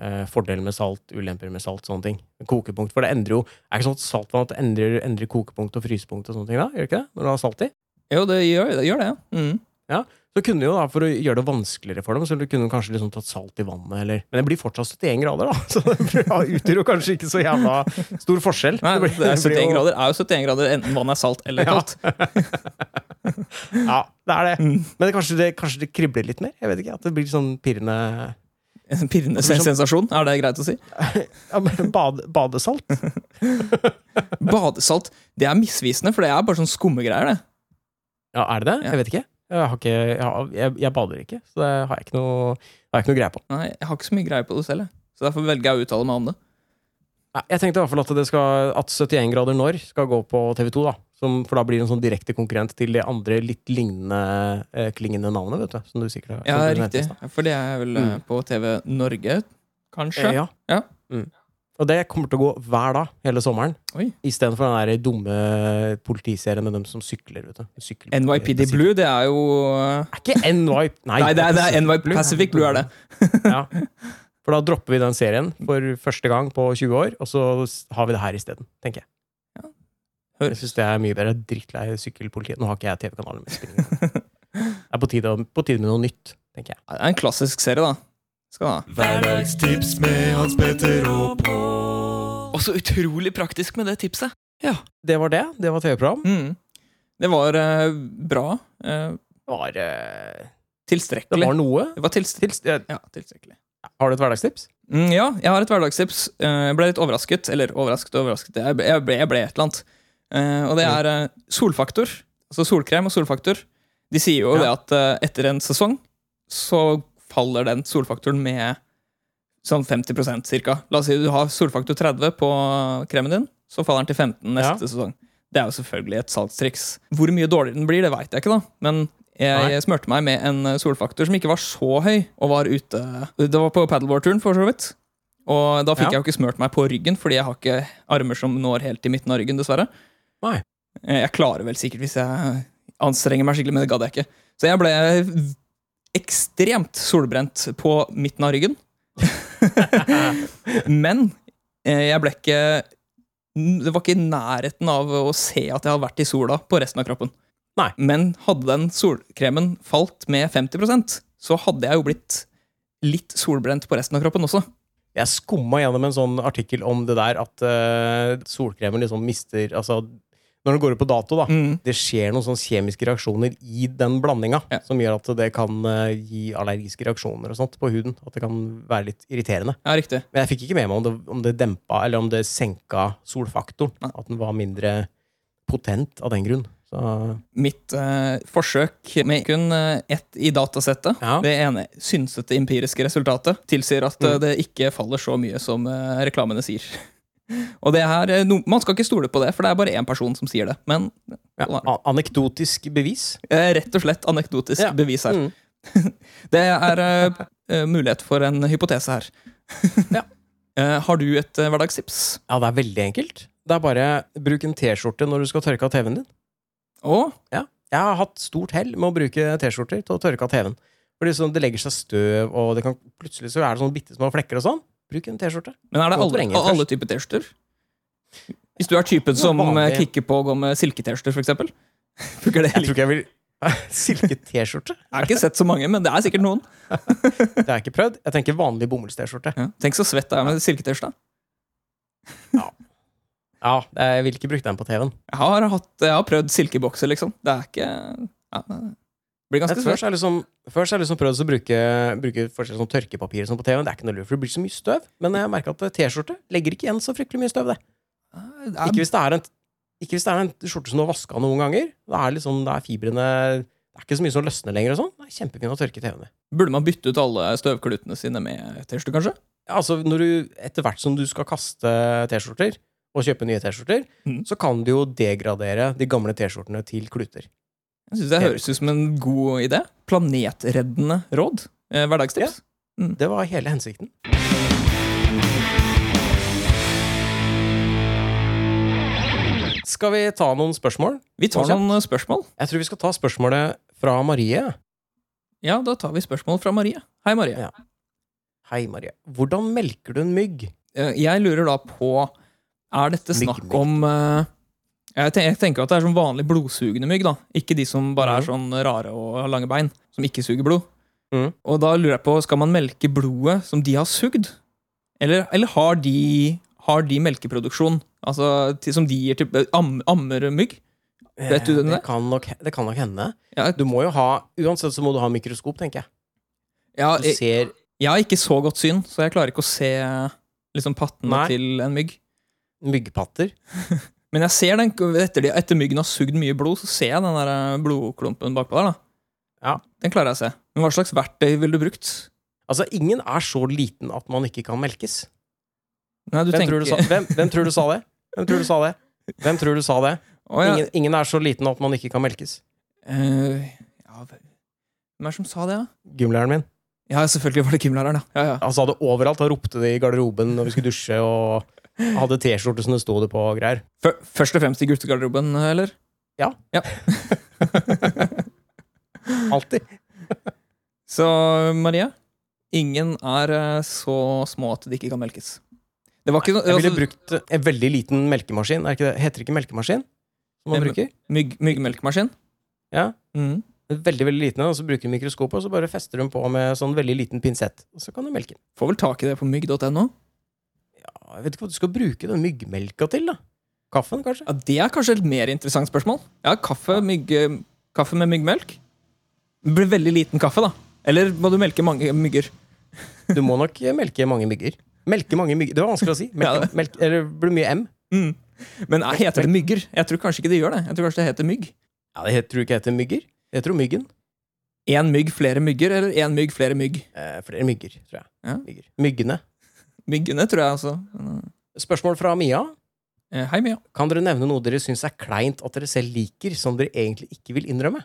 B: Eh, fordeler med salt, ulemper med salt, sånne ting. Kokepunkt. For det endrer jo Er det ikke sånn at saltvann at det endrer, endrer kokepunkt og frysepunkt og sånne ting, da? Gjør det ikke det? Når du har salt i?
A: Jo, det gjør det, gjør det ja. Mm.
B: Så kunne de jo da, For å gjøre det vanskeligere for dem, så kunne de kanskje liksom tatt salt i vannet. eller... Men det blir fortsatt 71 grader, da. Så det blir- ja, utgjør jo kanskje ikke så jævla stor forskjell.
A: Nei,
B: blir-
A: det er
B: blir
A: 71
B: jo-
A: grader er jo 71 grader, enten vannet er salt eller
B: Ja.
A: kaldt.
B: Ja, det er det.
A: Mm.
B: Men det, kanskje, det, kanskje det kribler litt mer? Jeg vet ikke, At det blir sånn pirrende
A: En pirrende
B: sånn-
A: sen- sensasjon, er det greit å si?
B: ja, men bade, Badesalt?
A: Badesalt det er misvisende, for det er bare sånn skummegreier. det.
B: Ja, er det det? Jeg vet ikke. Jeg, har ikke, jeg, har- jeg, jeg bader ikke, så det har jeg ikke noe, det har jeg ikke noe greie på.
A: Nei, Jeg har ikke så mye greie på det selv, jeg. så derfor velger jeg å uttale meg om det.
B: Nei, Jeg tenkte i hvert fall at, det skal, at 71 grader når skal gå på TV2, da. Som, for da blir det en sånn direkte konkurrent til de andre litt lignende eh, klingende navnene, vet du. Som du sikkert har
A: Ja,
B: som du nevnte i
A: riktig,
B: stad.
A: For det er vel eh, på TV Norge, kanskje?
B: Eh, ja.
A: Ja.
B: Mm. Og det kommer til å gå hver dag hele sommeren.
A: Oi.
B: Istedenfor den der dumme politiserien med dem som sykler. Vet du. Sykler-
A: NYPD Blue, det er jo eh,
B: Er ikke NY... Nei,
A: Nei, det er, det er NY Pacific Blue, er det.
B: Ja. For da dropper vi den serien for første gang på 20 år, og så s- har vi det her isteden, tenker jeg.
A: Ja.
B: Jeg syns det er mye bedre. Jeg er Drittlei sykkelpolitiet. Nå har ikke jeg TV-kanalen min. spilling. Det er på tide, på tide med noe nytt, tenker jeg.
A: Ja, Det er en klassisk serie, da. Skal det ha.
D: Hverdagstips med Hans Petter og Pål.
A: Også utrolig praktisk med det tipset.
B: Det var det. Det var TV-program.
A: Mm. Det var eh, bra. Eh,
B: Det var eh,
A: Tilstrekkelig.
B: Det var noe.
A: Det var tilst-
B: Til, ja,
A: Ja, tilstrekkelig.
B: har du et hverdagstips?
A: Mm, ja, jeg har et hverdagstips. Eh, Jeg ble litt overrasket. Eller overrasket og overrasket. Jeg ble, jeg ble, jeg ble et eller annet. Eh, Og det er eh, solfaktor. Altså solkrem og solfaktor. De sier jo det
B: Ja.
A: at eh, etter en sesong så faller den solfaktoren med sånn 50 cirka. La oss si du har solfaktor 30 på kremen din, så faller den til 15
E: Ja.
A: neste sesong. Det er jo selvfølgelig et salgstriks. Hvor mye dårligere den blir, det veit jeg ikke, da. Men jeg
E: Nei.
A: smurte meg med en eh, solfaktor som ikke var så høy, og var ute Det var på paddleboard-turen, for så vidt. Og da fikk
B: Ja.
A: jeg jo ikke smurt meg på ryggen, fordi jeg har ikke armer som når helt til midten av ryggen, dessverre.
B: Nei.
A: Eh, Jeg klarer vel sikkert hvis jeg anstrenger meg skikkelig, men det gadd jeg ikke. Så jeg ble v- ekstremt solbrent på midten av ryggen. men eh, jeg ble ikke Det var ikke i nærheten av å se at jeg hadde vært i sola på resten av kroppen.
B: Nei.
A: Men hadde den solkremen falt med 50 så hadde jeg jo blitt litt solbrent på resten av kroppen også.
B: Jeg skumma gjennom en sånn artikkel om det der at eh, solkremen liksom mister Altså, når den går ut på dato, da.
A: Mm.
B: Det skjer noen sånne kjemiske reaksjoner i den blandinga
A: Ja.
B: som gjør at det kan eh, gi allergiske reaksjoner og sånt på huden. At det kan være litt irriterende.
A: Ja, riktig.
B: Men jeg fikk ikke med meg om det, om det dempa eller om det senka solfaktoren.
A: Nei.
B: At den var mindre potent av den grunn. Så,
A: mitt eh, forsøk med kun eh, ett i datasettet,
B: Ja.
A: det ene synsete empiriske resultatet, tilsier at eh, det ikke faller så mye som eh, reklamene sier. Og det her, eh, no, Man skal ikke stole på det, for det er bare én person som sier det. Men
B: ja. a- Anekdotisk bevis.
A: eh, rett og slett anekdotisk
B: Ja. Mm.
A: bevis her. Det er eh, eh, mulighet for en hypotese her.
B: Ja.
A: Eh, har du et eh, hverdagstips?
B: Ja, det er veldig enkelt. Det er bare bruk en T-skjorte når du skal tørke av TV-en din.
A: Å?
B: Jeg har hatt stort hell med å bruke T-skjorter til å tørke av TV-en. Fordi sånn, Det legger seg støv, og det kan, plutselig så er det sånn bitte små flekker og sånn. Bruk en T-skjorte.
A: Men er det
B: Godt
A: alle,
B: poenget først.
A: alle typer T-skjorter? Hvis du er typen som eh,
B: vanlig.
A: kicker på å gå med silke-T-skjorter, f.eks.? Funker det
B: Jeg tror ikke jeg vil Silke-T-skjorte?
A: Jeg har ikke sett så mange, men det er sikkert noen.
B: Det har jeg ikke prøvd. Jeg tenker vanlig bomulls-T-skjorte.
A: Tenk så svett det er med silketørst, da.
B: Ja, jeg vil ikke bruke den på TV-en.
A: Jeg har, hatt, jeg har prøvd silkebokser, liksom. Det er ikke ja, det Blir ganske
B: Jeg-
A: svett.
B: Først har jeg liksom, først har jeg liksom prøvd å bruke, bruke forskjellig sånn tørkepapir og sånn på TV-en. Det er ikke noe lurt, for det blir så mye støv. Men jeg merker at eh, T-skjorte legger ikke igjen så fryktelig mye støv. det.
A: Ja,
B: Ikke hvis det er en, ikke hvis det er en skjorte som du har vaska noen ganger. Da er liksom, da er fibrene Det er ikke så mye som løsner lenger og sånn. Det er kjempefint å tørke TV-en med.
A: Burde man bytte ut alle støvklutene sine med T-skjorte, kanskje?
B: Ja, altså når du, etter hvert som du skal kaste T-skjorter og kjøpe nye T-skjorter,
A: Mhm.
B: så kan du jo degradere de gamle T-skjortene til kluter.
A: Jeg synes Det høres ut som en god idé. Planetreddende råd. Eh, Hverdagstips.
B: Det var hele hensikten. Skal vi ta noen spørsmål?
A: Vi tar
B: Også-
A: noen eh, spørsmål.
B: Jeg tror vi skal ta spørsmålet fra Marie.
A: Ja, da tar vi spørsmål fra Marie. Hei, Marie.
B: Ja. Hei, Marie. Hvordan melker du en mygg?
A: Eh, Jeg lurer da på Er dette
B: Mygg,
A: snakk
B: mygg.
A: om eh, jeg, ten jeg tenker at det er sånn vanlig blodsugende mygg, da. Ikke de som bare er
B: Mhm.
A: sånn rare og har lange bein, som ikke suger blod.
B: Mhm.
A: Og da lurer jeg på, skal man melke blodet som de har sugd? Eller, eller har, de, har de melkeproduksjon? Altså til, som de gir til eh, am, Ammer mygg? Vet du
B: Eh,
A: den der?
B: det, kan nok, det kan nok hende.
A: Ja,
B: Du må jo ha, uansett så må du ha mikroskop, tenker jeg.
A: ja,
B: Du
A: jeg,
B: ser
A: jeg har ikke så godt syn, så jeg klarer ikke å se liksom, pattene
B: Nei.
A: til en mygg.
B: myggpatter.
A: Men jeg ser den, etter, de, etter myggen har sugd mye blod, så ser jeg den der eh, blodklumpen bakpå der. da.
B: Ja.
A: Den klarer jeg å se. Men hva slags verktøy ville du brukt?
B: Altså, ingen er så liten at man ikke kan melkes.
A: Nei, du
B: Hvem,
A: tenker
B: tror du sa, hvem, hvem tror du sa det? Hvem tror du sa det? Hvem tror du sa det?
A: Å, ja.
B: Ingen, ingen er så liten at man ikke kan melkes.
A: Eh, ja, vel. Hvem er det som sa det, da?
B: Gymlæreren min.
A: Ja? ja, selvfølgelig var det gymlæreren, ja. ja, ja.
B: Han sa det overalt. Han ropte det i garderoben når vi skulle dusje, og hadde T-skjorte som det sto det på og greier.
A: Fø- Først og fremst i guttegarderoben, eller?
B: Alltid.
A: Så Maria, ingen er eh, så små at de ikke kan melkes. Det var ikke noe
B: Jeg ville
A: altså,
B: brukt en veldig liten melkemaskin. Er ikke det, heter det ikke melkemaskin? Som
A: Nei,
B: man
A: men-
B: bruker?
A: mygg, Myggmelkemaskin.
B: Ja.
A: Mhm.
B: En Veldig, veldig liten, og så bruker du mikroskopet, og så bare fester du den på med sånn veldig liten pinsett. Og så kan du melke den.
A: Får vel tak i det på mygg.no.
B: Ja, Jeg vet ikke hva du skal bruke den myggmelka til, da. Kaffen, kanskje?
A: Ja, Det er kanskje et mer interessant spørsmål. Ja, kaffe, mygg, kaffe med eh, myggmelk. Det blir veldig liten kaffe, da. Eller må du melke mange mygger?
B: Du må nok melke mange mygger. Melke mange mygger. Det var vanskelig å si.
A: Ja,
B: Melke,
A: det-
B: melk, eller det blir mye M.
A: Mm. Men eh, heter det mygger? Jeg tror kanskje ikke det gjør det. Jeg tror kanskje det heter mygg.
B: Ja, det heter, tror du ikke heter mygger? Det heter jo myggen.
A: Én mygg, flere mygger, eller én mygg, flere mygg?
B: Eh, flere mygger, tror jeg.
A: Ja.
B: Mygger. Myggene.
A: Myggene, tror jeg, altså.
B: Spørsmål fra Mia.
A: Eh, Hei, Mia.
B: Kan dere nevne noe dere syns er kleint at dere selv liker, som dere egentlig ikke vil innrømme?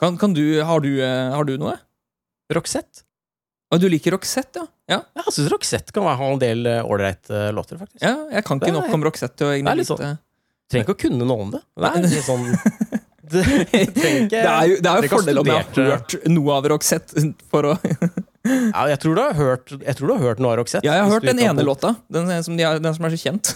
A: Kan, kan du, har, du, eh, har du noe?
B: Roxette.
A: Å, du liker Roxette, ja? ja?
B: Ja, jeg syns Roxette kan være- ha en del eh, ålreite eh, låter, faktisk.
A: Ja, jeg kan
B: Det
A: ikke
B: er
A: nok om Roxette til å
B: det er
A: egentlig
B: litt sånn.
A: vite
B: Trenger ikke å kunne noe om det. Det er litt sånn det, trenger ikke-
A: Det er jo, det er
B: Dere
A: jo
B: kan
A: fordel om jeg har
B: studere-
A: hørt noe av Roxette for å
B: ja, jeg, tror du har hørt, jeg tror du har hørt noe av Roxette.
A: Ja, jeg har
B: hvis
A: hørt
B: du ikke
A: den ene
B: bodd-
A: låta. Den eh, som, de har, den som er så kjent.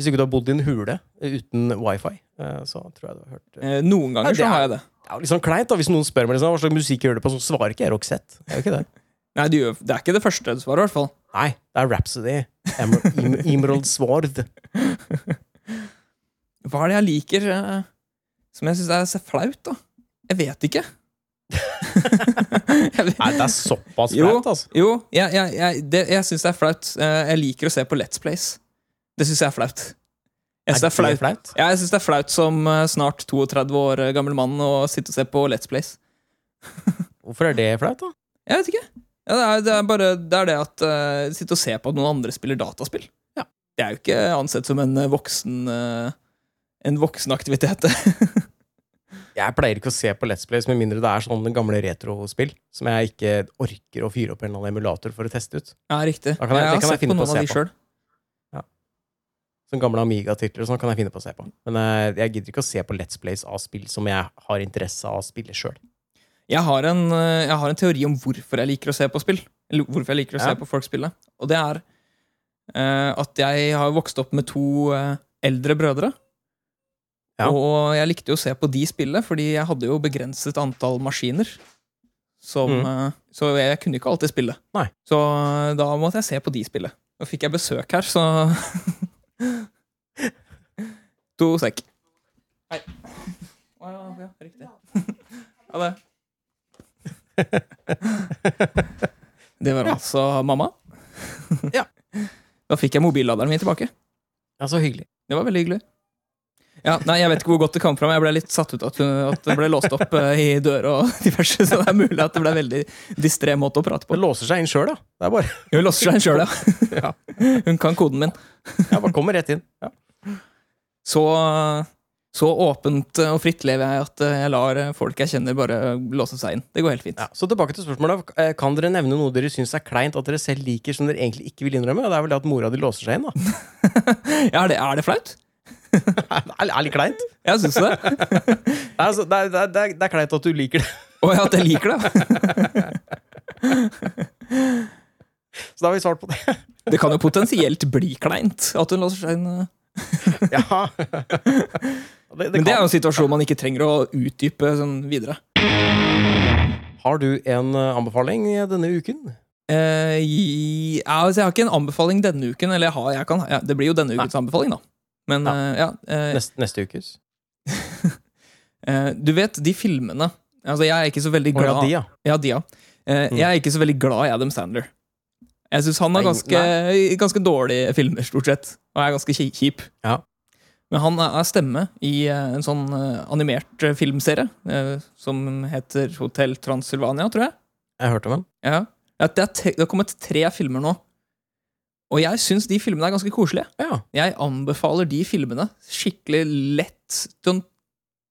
B: Hvis ikke du har bodd i en hule eh, uten wifi, eh, så tror jeg du har hørt eh,
A: Eh, Noen ganger
B: Ja, det
A: så har
B: er-
A: jeg det.
B: Det er jo litt sånn kleint da, hvis noen spør meg liksom, hva slags musikk jeg hører på, så svarer ikke jeg Roxette. Det er jo ikke det.
A: Nei, det, gjør, det er ikke det første du svarer, i hvert fall.
B: Nei, det er Rhapsody. Emer- Im Emerald Sword.
A: Hva er det jeg liker eh, som jeg syns er så flaut, da? Jeg vet ikke. Jeg vet-
B: Nei, det er såpass
A: Jo.
B: flaut, altså.
A: jo, jeg, jeg, jeg, det, jeg syns det er flaut. Eh, Jeg liker å se på Let's Plays. Det syns jeg er flaut. Jeg syns det er flaut. Ja, jeg synes det er flaut som eh, snart 32 år eh, gammel mann å sitte og se på Let's Plays.
B: Hvorfor er det flaut, da?
A: Jeg vet ikke. Ja, det, er, det er bare det, er det at eh, Sitte og se på at noen andre spiller dataspill.
B: Ja.
A: Det er jo ikke ansett som en eh, voksen eh, En voksenaktivitet.
B: Jeg pleier ikke å se på Let's Plays med mindre det er sånne gamle retrospill som jeg ikke orker å fyre opp en eller annen emulator for å teste ut.
A: ja, riktig.
B: Da kan jeg- det
A: har
B: kan jeg
A: sett
B: finne
A: på
B: på å
A: noen av
B: se
A: de
B: på.
A: sjøl.
B: Sånne gamle Amiga-titler og sånn kan jeg finne på å se på. Men eh, jeg gidder ikke å se på Let's Plays av spill som jeg har interesse av å spille sjøl.
A: Jeg, har en, eh, jeg har en teori om hvorfor jeg liker å se på spill. Eller hvorfor jeg liker å
B: Ja.
A: se på folk spille. Og det er eh, at jeg har vokst opp med to eh, eldre brødre.
B: Ja.
A: Og jeg likte jo å se på de spille, fordi jeg hadde jo begrenset antall maskiner. Som, eh, så jeg kunne ikke alltid spille.
B: Mm. Nei.
A: Så eh, da måtte jeg se på de spille. Nå fikk jeg besøk her, så To sekk. Hei. Å ja, ja, riktig. Ha det. Det var altså mamma.
B: Ja.
A: Da fikk jeg mobilladeren min tilbake.
B: Ja, så hyggelig.
A: Det var veldig hyggelig. Ja, nei, Jeg vet ikke hvor godt det kom fram. Jeg ble litt satt ut at, at det ble låst opp eh, i døra og diverse, så det er mulig at det ble en veldig distré måte å prate på.
B: Det låser seg inn sjøl, da. Det er bare
A: Hun låser seg inn sjøl, ja. Hun kan koden min.
B: Jeg bare kommer rett inn. Ja.
A: Så, så åpent og fritt lever jeg at jeg lar folk jeg kjenner, bare låse seg inn. Det går helt fint.
B: Ja. Så tilbake til spørsmålet. Eh, Kan dere nevne noe dere syns er kleint at dere selv liker, som dere egentlig ikke vil innrømme? Og det er vel det at mora di låser seg inn, da.
A: Ja, er, det, er det flaut?
B: Det er litt kleint.
A: Jeg syns det.
B: Det er, altså- det, er, det, er- det, er, det er kleint at du liker det.
A: Og at jeg liker det.
B: Så da har vi svart på det.
A: Det kan jo potensielt bli kleint at hun låser seg inn. eh,
B: Ja. Det, det
A: Men det er
B: kan.
A: jo en situasjon man ikke trenger å utdype sånn videre.
B: Har du en eh, anbefaling denne uken?
A: Eh, i, ja, altså jeg har ikke en anbefaling denne uken. Eller jeg har, jeg kan, ja, det blir jo denne ukens anbefaling, da. Men
B: Ja.
A: eh, ja, eh,
B: Neste, neste ukes?
A: eh, Du vet, de filmene Altså, jeg er ikke så veldig
B: Å, ja,
A: glad
B: de, ja.
A: Ja, de, ja. Eh, Jeg er ikke så veldig glad i Adam Sandler. Jeg syns han har
B: Mm. Nei,
A: ganske, ganske dårlige filmer, stort sett. Og er ganske ki- kjip.
B: Ja.
A: Men han er er stemme i eh, en sånn eh, animert eh, filmserie eh, som heter Hotell Transylvania, tror jeg.
B: Jeg hørte om den.
A: Ja. Ja, Det, er tre, det har kommet tre filmer nå. Og jeg syns de filmene er ganske koselige.
B: Ja.
A: Jeg anbefaler de filmene. Skikkelig lett sånn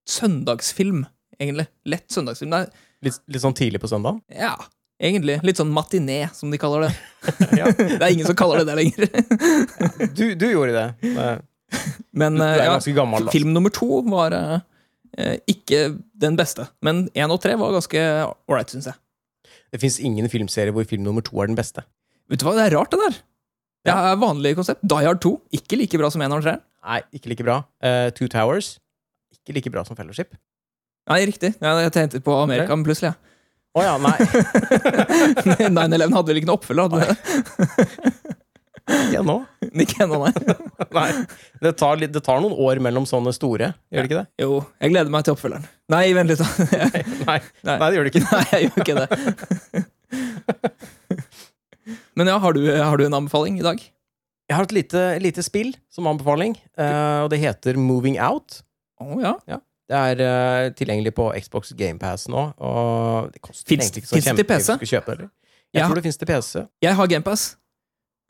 A: søndagsfilm, egentlig. Lett søndagsfilm. Det er
B: Litt, litt sånn tidlig på søndagen.
A: ja, egentlig. Litt sånn matiné, som de kaller det.
B: Ja.
A: Det er ingen som kaller det det lenger.
B: Du, du gjorde det. Det-
A: Men
B: Du
A: eh,
B: er
A: ja,
B: ganske gammel. da.
A: film nummer to var eh, eh, ikke den beste. Men én og tre var ganske ålreit, syns jeg.
B: Det fins ingen filmserie hvor film nummer to er den beste.
A: Vet du hva, det er rart, det der. Det er vanlig konsept. Die Hard 2, ikke like bra som eneren og treeren.
B: Nei, ikke like bra. Eh, Two Towers. Ikke like bra som Fellowship.
A: Nei, riktig. Ja, jeg tenkte på Amerika, men plutselig, ja.
B: Å ja, nei.
A: 9-11 hadde vel ikke noe oppfølger? hadde det?
B: Ikke ennå.
A: Ikke ennå, nei.
B: Nei. Det tar, litt- det tar noen år mellom sånne store, gjør det ikke det?
A: Jo, jeg gleder meg til oppfølgeren. Nei, vent litt, da.
B: Nei,
A: Nei.
B: Nei det gjør det ikke.
A: Nei, jeg gjør ikke det. Men ja, har du, har du en anbefaling i dag?
B: Jeg har et lite, lite spill som anbefaling, eh, og det heter Moving Out.
A: Å ja.
B: Det er eh, tilgjengelig på Xbox GamePass nå. Og det koster
A: Finns-
B: egentlig ikke så
A: finns det til
B: kjempemye
A: PC?
B: hvis du Kjøpe, det, eller? Jeg
A: Ja.
B: tror det fins til PC.
A: Jeg har GamePass.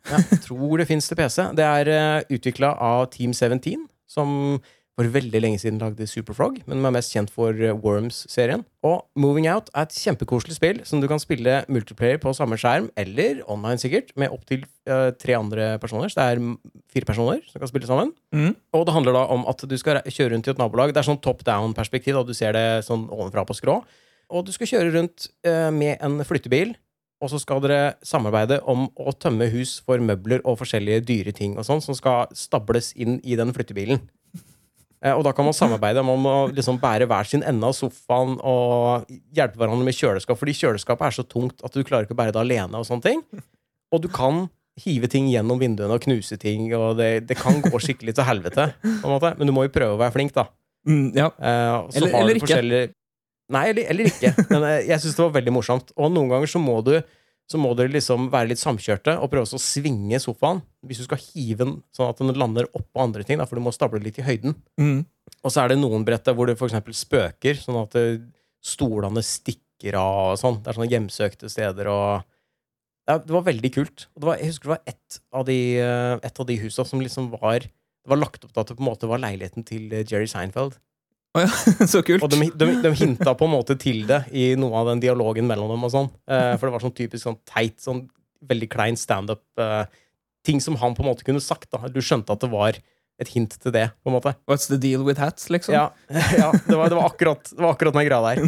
B: Ja, jeg tror det fins til PC. Det er uh, utvikla av Team 17, som for veldig lenge siden lagde Superfrog, men de er mest kjent for eh, Worms-serien. Og Moving Out er et kjempekoselig spill som du kan spille multiplayer på samme skjerm, eller online sikkert, med opptil uh, tre andre personer. Så det er mm, fire personer som kan spille sammen.
A: Mm.
B: Og det handler da om at du skal re- kjøre rundt i et nabolag. Det er sånn top down-perspektiv. da Du ser det sånn ovenfra på skrå. Og du skal kjøre rundt eh, med en flyttebil, og så skal dere samarbeide om å tømme hus for møbler og forskjellige dyre ting og sånn, som skal stables inn i den flyttebilen. Eh, og da kan man samarbeide om å liksom bære hver sin ende av sofaen og hjelpe hverandre med kjøleskap, fordi kjøleskapet er så tungt at du klarer ikke å bære det alene og sånne ting. Og du kan hive ting gjennom vinduene og knuse ting, og det, det kan gå skikkelig til helvete. På en måte. Men du må jo prøve å være flink, da.
A: Mm, ja.
B: Eh, og så
A: Eller-
B: har
A: eller
B: du
A: ikke.
B: forskjellige- Nei, eller, eller ikke. Men eh, jeg syns det var veldig morsomt. Og noen ganger så må du så må dere liksom være litt samkjørte og prøve også å svinge sofaen. Hvis du skal hive den sånn at den lander oppå andre ting, da, for du må stable litt i høyden.
A: Mm.
B: Og så er det noen brett der hvor det for eksempel spøker, sånn at eh, stolene stikker av og sånn. Det er sånne hjemsøkte steder og ja, Det var veldig kult. Og det var, jeg husker det var ett av de, eh, et av de husa som liksom var Det var lagt opp til at det på en måte var leiligheten til eh, Jerry Seinfeld.
A: Å ja, så kult.
B: Og de, de, de hinta på en måte til det i noe av den dialogen mellom dem og sånn. Eh, for det var sånn typisk sånn teit, sånn veldig klein standup. eh, ting som han på en måte kunne sagt. da. Du skjønte at det var et hint til det, på en måte.
A: What's the deal with hats, liksom?
B: Ja, ja det, var, det, var akkurat, det var akkurat den greia der.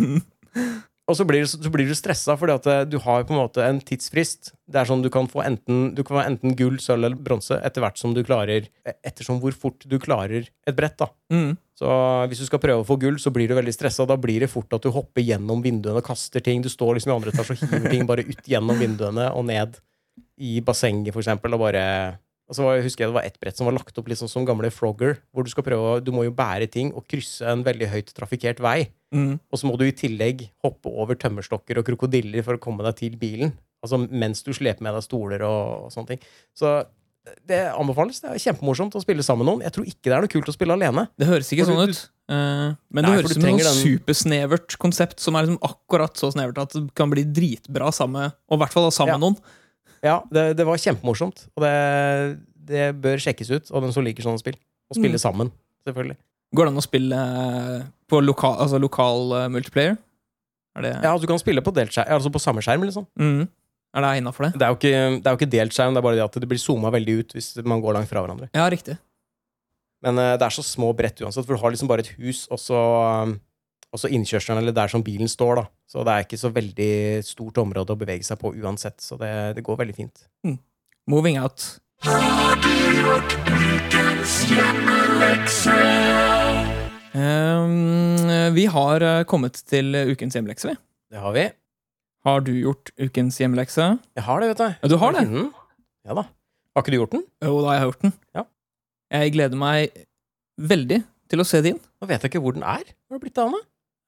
B: Og så blir, du- så blir du stressa, fordi at eh, du har på en måte en tidsfrist. Det er sånn Du kan få enten, du kan få enten gull, sølv eller bronse etter hvert som du klarer eh, Ettersom hvor fort du klarer et brett, da.
A: Mm.
B: Så hvis du skal prøve å få gull, så blir du veldig stressa. Da blir det fort at du hopper gjennom vinduene og kaster ting. Du står liksom i andre etasje og hiver ting bare ut gjennom vinduene og ned i bassenget, for eksempel, og bare og så var- husker jeg det var ett brett som var lagt opp litt sånn som gamle Frogger, hvor du skal prøve å Du må jo bære ting og krysse en veldig høyt trafikkert vei.
A: Mm.
B: Og så må du i tillegg hoppe over tømmerstokker og krokodiller for å komme deg til bilen. Altså mens du sleper med deg stoler og, og sånne ting. Så det anbefales. Det er kjempemorsomt å spille sammen med noen. Jeg tror ikke det er noe kult å spille alene.
A: Det høres ikke
B: For du-
A: sånn ut. eh, men
B: Nei,
A: det
B: for
A: høres
B: du
A: ut som et
B: trenger
A: sånn
B: den-
A: supersnevert konsept som er liksom akkurat så snevert at det kan bli dritbra sammen med Og i hvert fall da sammen
B: Ja.
A: med noen.
B: Ja, det, det var kjempemorsomt. Og det, det bør sjekkes ut av den som liker sånne spill. Og spille
A: Mm.
B: sammen, selvfølgelig.
A: Går det an å spille eh, på lokal, altså lokal eh, multiplayer? Er det,
B: Ja, altså, Du kan spille på, delt skjerm, altså på samme skjerm. liksom.
A: mm. er det innafor det?
B: Det er, jo ikke, det er jo ikke delt skjerm, det er bare det at det blir zooma veldig ut hvis man går langt fra hverandre.
A: Ja, riktig.
B: Men eh, det er så små brett uansett, for du har liksom bare et hus, og så, eh, og så innkjørselen, eller der som bilen står, da. Så det er ikke så veldig stort område å bevege seg på uansett, så det, det går veldig fint.
A: Moving out. Ehm, vi har eh, kommet til ukens hjemmelekse, vi.
B: Det har vi.
A: Har du gjort ukens hjemmelekse?
B: Jeg har det, vet du.
A: Ja, du har det.
B: finne den? Ja da. Har ikke du gjort den?
A: Jo, da har jeg gjort den.
B: Ja.
A: Jeg gleder meg veldig til å se din.
B: Nå vet jeg ikke hvor den er. Hvor har det blitt av den, da?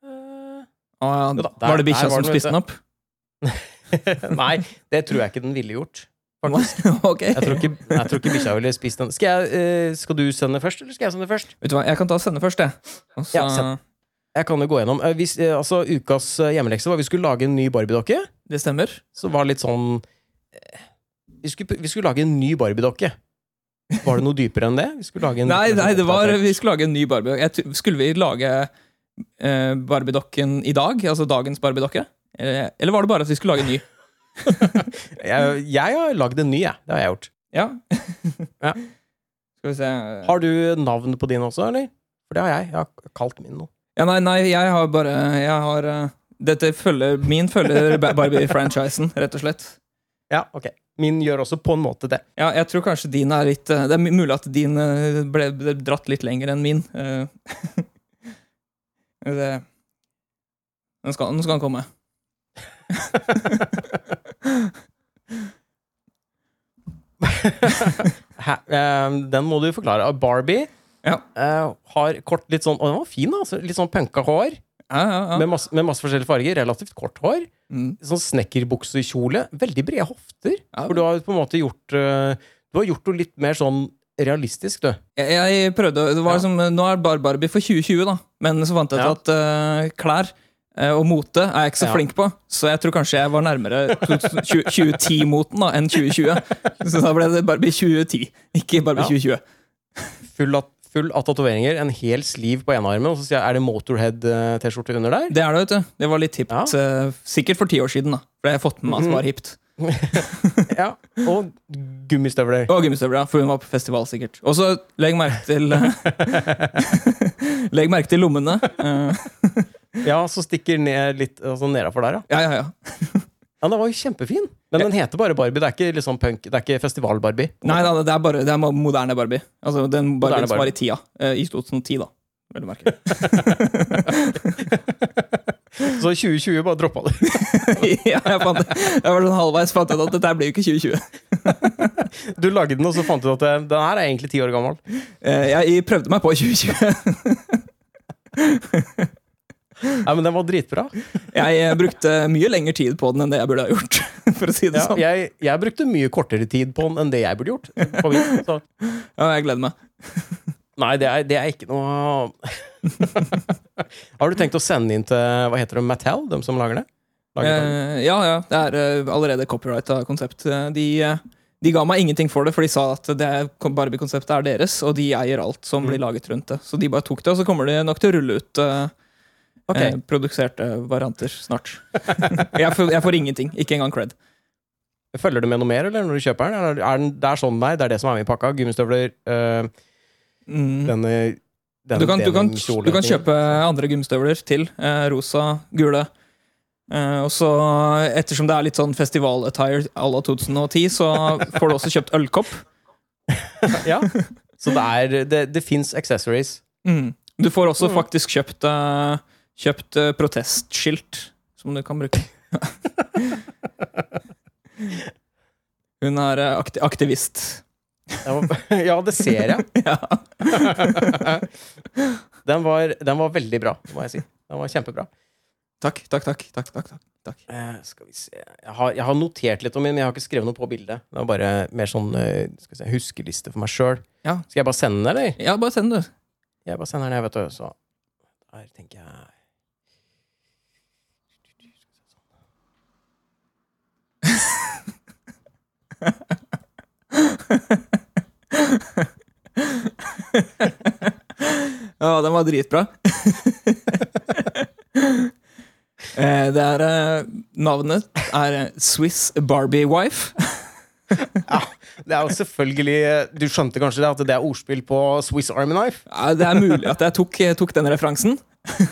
B: Eh,
A: Ah,
B: Jo da, der-
A: var det bikkja
B: der var
A: som
B: den,
A: spiste
B: vet
A: den opp?
B: Nei, det tror jeg ikke den ville gjort.
A: ok.
B: Jeg tror ikke, jeg tror ikke bikkja ville spist den. Skal, jeg, eh, skal du sende først, eller skal jeg sende først?
A: Vet du hva, jeg kan ta og sende først, jeg. Og så-
B: Ja, send. Jeg kan jo gå gjennom. Eh, Hvis, eh, altså, ukas eh, hjemmelekse var vi skulle lage en ny Barbie-dokke.
A: det stemmer.
B: Så var det litt sånn eh, vi skulle, vi skulle lage en ny Barbie-dokke. Var det noe dypere enn det? Vi skulle lage en,
A: Nei, nei, det var,
B: oppdatert-
A: vi skulle lage en ny Barbie. Jeg, t- skulle vi lage eh, Barbie-dokken i dag? Altså dagens Barbie-dokke? Eh, Eller var det bare at vi skulle lage en ny?
B: jeg, jeg har lagd en ny, jeg. Det har jeg gjort.
A: Ja.
B: Ja.
A: Skal vi se
B: Har du navn på din også, eller? For det har jeg. Jeg har kalt min noe.
A: ja, Nei, nei, jeg har bare Jeg har eh, Dette følger Min følger Ba- Barbie-franchisen, rett og slett.
B: Ja, ok. Min gjør også på en måte det.
A: Ja, jeg tror kanskje din er litt eh, Det er mulig at din eh, ble ble dratt litt lenger enn min. eh. det, nå, skal, nå skal han komme.
B: Hæ? Eh, den må du forklare. Barbie
A: Ja.
B: eh, har kort, litt sånn Å, den var fin, altså. Litt sånn punka hår.
A: Ja, ja, ja.
B: Med, masse, med masse forskjellige farger. Relativt kort hår.
A: Mm.
B: Sånn snekkerbuksekjole. Veldig brede hofter.
A: Ja.
B: For du har på en måte gjort eh, Du har gjort det litt mer sånn realistisk, du.
A: Jeg, jeg prøvde det var
B: Ja.
A: liksom, Nå er Bar Barbie for 2020, da. Men så fant jeg ut
B: Ja.
A: at eh, klær eh, og mote er jeg ikke så
B: Ja.
A: flink på. Så jeg tror kanskje jeg var nærmere 2010-moten da enn 2020. Så da ble det Barbie 2010, ikke Barbie
B: Ja.
A: 2020.
B: Full av, full av tatoveringer. En hel sliv på enarmen. Og så sier jeg, er det Motorhead-T-skjorte under der?
A: Det er det, vet du. Det var litt hipt.
B: Ja. Mhm.
A: eh, Sikkert for ti år siden, da. For det har jeg fått med meg at det var hipt.
B: Ja. Og gummistøvler.
A: Og gummistøvler, ja, for hun var på festival, sikkert. Og så legg merke til Legg merke til lommene. Eh,
B: Ja, så stikker ned litt altså nedafor der, ja.
A: ja, ja, ja.
B: Ja, den var jo kjempefin. Men den heter bare Barbie. Det er ikke liksom punk, det er ikke festival-Barbie.
A: Nei da, det er bare det er mo- moderne Barbie. Altså den Barbien
B: Moderne
A: som var
B: Barbie.
A: i tida. eh, I 2010, da. Vel å merke.
B: Så 2020 bare droppa det.
A: ja, jeg, fant, jeg var sånn halvveis fant jeg ut at dette her blir jo ikke 2020.
B: Du lagde den, og så fant du at eh, den her er egentlig ti år gammel.
A: Eh, Jeg prøvde meg på 2020.
B: Nei, men den var dritbra.
A: Jeg eh, brukte mye lengre tid på den enn det jeg burde ha gjort. For å si det
B: Ja,
A: sånn.
B: jeg, jeg brukte mye kortere tid på den enn det jeg burde gjort. På min, så.
A: Ja, jeg gleder meg.
B: Nei, det er, det er ikke noe Har du tenkt å sende inn til hva heter det, Mattel, de som lager det? Lager det?
A: Eh, Ja, ja. Det er eh, allerede copyrighta konsept. Eh, De, eh, de ga meg ingenting for det, for de sa at det Barbie-konseptet er deres, og de eier alt
B: Mm.
A: som blir laget rundt det. Så de bare tok det, og så kommer de nok til å rulle ut eh,
B: Ok.
A: eh, produserte varianter snart. jeg, får, jeg får ingenting. Ikke engang cred.
B: Følger du med noe mer eller når du kjøper den? Eller er den det er sånn, nei, det er det som er med i pakka? Gummistøvler, øh,
A: Mm.
B: denne, denne
A: Du, kan, du, kan,
B: denimkjolen-
A: du kan kjøpe andre gummistøvler til. Eh, rosa, gule. Eh, og så, ettersom det er litt sånn festival-attire à la 2010, så får du også kjøpt ølkopp.
B: Ja. Så det, er- det, det fins accessories.
A: Mm. Du får også
B: Mm.
A: faktisk kjøpt, eh, kjøpt eh, protestskilt, som du kan bruke. Hun er eh, akti- aktivist.
B: Den var- Ja, det ser jeg.
A: Ja.
B: Den var, den var veldig bra, må jeg si. Den var kjempebra.
A: Takk, takk, takk. takk, takk, takk.
B: Eh, skal vi se jeg har, jeg har notert litt om den, men jeg har ikke skrevet noe på bildet. Det var bare mer sånn eh, skal vi se, huskeliste for meg sjøl.
A: Ja.
B: Skal jeg bare sende den, eller?
A: Ja, bare send, du.
B: Jeg bare sender den, jeg, vet du. Så her tenker jeg
A: Ja, den var dritbra. Eh, det er eh, Navnet er eh, Swiss Barbie Wife.
B: Det er jo selvfølgelig eh, Du skjønte kanskje det, at det er ordspill på Swiss Army Knife?
A: Ja, det er mulig at jeg tok, eh, tok den referansen.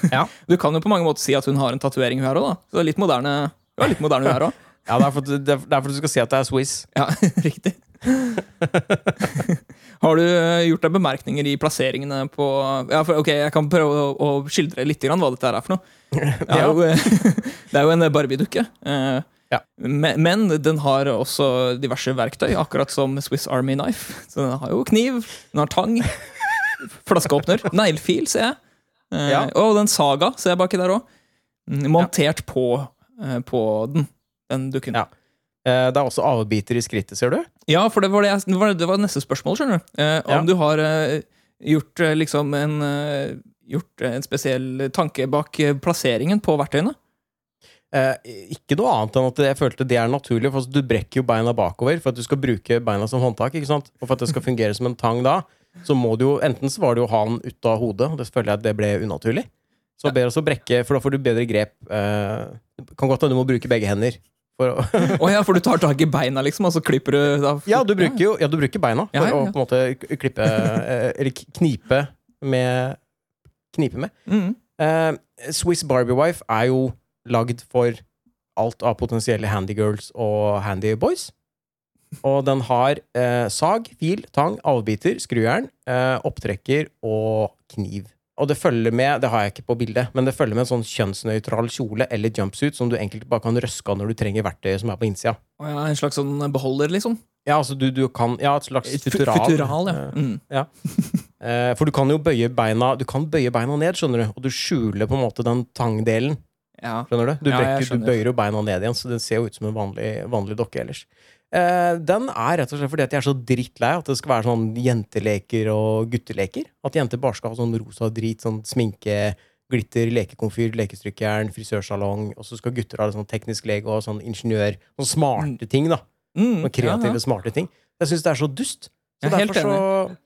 B: Ja.
A: Du kan jo på mange måter si at hun har en tatovering, hun her òg. Så det er litt moderne, det var litt moderne hun her òg.
B: Ja, det er for, det er det er for at du skal si at det er Swiss.
A: Ja, riktig. Har du eh, gjort deg bemerkninger i plasseringene på ja, for, Ok, jeg kan prøve å, å skildre litt grann hva dette her er for noe. Det er jo, eh, det er jo en Barbie-dukke. eh,
B: Ja.
A: me- Men den har også diverse verktøy, akkurat som Swiss Army Knife. Så den har jo kniv, den har tang, flaskeåpner, neglefil, ser jeg. Eh,
B: Ja.
A: Og den saga ser jeg baki der òg. Montert på, eh, på den, den dukken.
B: Ja. Eh, Det er også avbiter i skrittet, ser du.
A: Ja, for det var, det, jeg, det, var, det var neste spørsmål, skjønner du. Eh, om
B: Ja.
A: du har eh, gjort eh, liksom en eh, Gjort eh, en spesiell tanke bak eh, plasseringen på verktøyene.
B: Eh, ikke noe annet enn at jeg følte det er naturlig, for altså, du brekker jo beina bakover for at du skal bruke beina som håndtak. ikke sant? Og for at det skal fungere som en tang da, så må du jo enten så var det jo å ha den ut av hodet, og det føler jeg at det ble unaturlig. Så bedre å brekke, for da får du bedre grep. Eh, det kan godt hende du må bruke begge hender. For å,
A: Å ja, for du tar tak i beina, liksom, og så klipper du da,
B: ja, du bruker jo ja, du bruker beina for
A: Ja, ja, ja.
B: å på en måte klippe eh, Eller knipe med Knipe med.
A: Mm.
B: Eh, Swiss Barbie Wife er jo lagd for alt av potensielle handygirls og handyboys. Og den har eh, sag, fil, tang, avbiter, skrujern, eh, opptrekker og kniv. og det følger med det har jeg ikke på bildet, men det følger med en sånn kjønnsnøytral kjole eller jumpsuit som du enkelt bare kan røske av når du trenger verktøyet som er på innsida.
A: Å ja, en slags sånn beholder, liksom?
B: Ja, altså du, du kan, ja, et slags
A: Fu-
B: futural.
A: Futural, ja. Mm.
B: Eh, for du kan jo bøye beina Du kan bøye beina ned, skjønner du, og du skjuler på en måte den tangdelen.
A: ja.
B: Skjønner du? Du,
A: Ja, jeg
B: brekker,
A: skjønner.
B: du bøyer jo beina ned igjen, så den ser jo ut som en vanlig, vanlig dokke ellers. Eh, den er rett og slett fordi at jeg er så drittlei at det skal være sånn jenteleker og gutteleker. At jenter bare skal ha sånn rosa drit, sånn sminke, glitter, lekekomfyr, lekestrykjern, frisørsalong, og så skal gutter ha litt sånn teknisk lego og sånn ingeniør. Sånne smarte ting, da.
A: Mm,
B: Noen kreative, smarte ting. Jeg syns det er så dust. Så
A: Jeg er helt
B: derfor så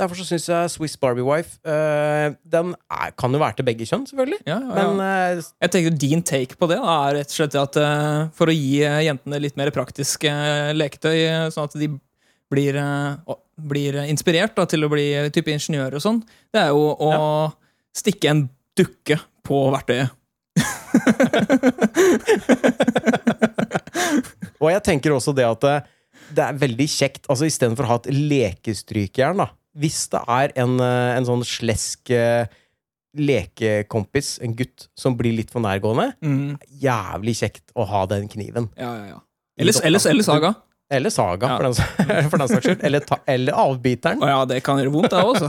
B: Derfor så syns jeg Swiss Barbie Wife eh, Den er, kan jo være til begge kjønn, selvfølgelig.
A: Ja, ja, ja, ja.
B: Men eh,
A: Jeg tenker Din take på det da, er rett og slett at eh, for å gi eh, jentene litt mer praktiske eh, leketøy, eh, sånn at de blir, eh, å- blir eh, inspirert da, til å bli eh, type ingeniør og sånn, det er jo å stikke en dukke på verktøyet.
B: Og jeg tenker også det at eh, det er veldig kjekt, altså istedenfor å ha et lekestrykjern, da. Hvis det er en, eh, en sånn slesk eh, lekekompis, en gutt, som blir litt for nærgående,
A: Mm.
B: jævlig kjekt å ha den kniven.
A: Ja, ja, ja. Ellers, ellers, ellers Saga.
B: Eller saga,
A: Ja.
B: for, den, s- for den saks skyld. Eller, ta, eller avbiteren.
A: Å ja, det kan gjøre vondt, det også.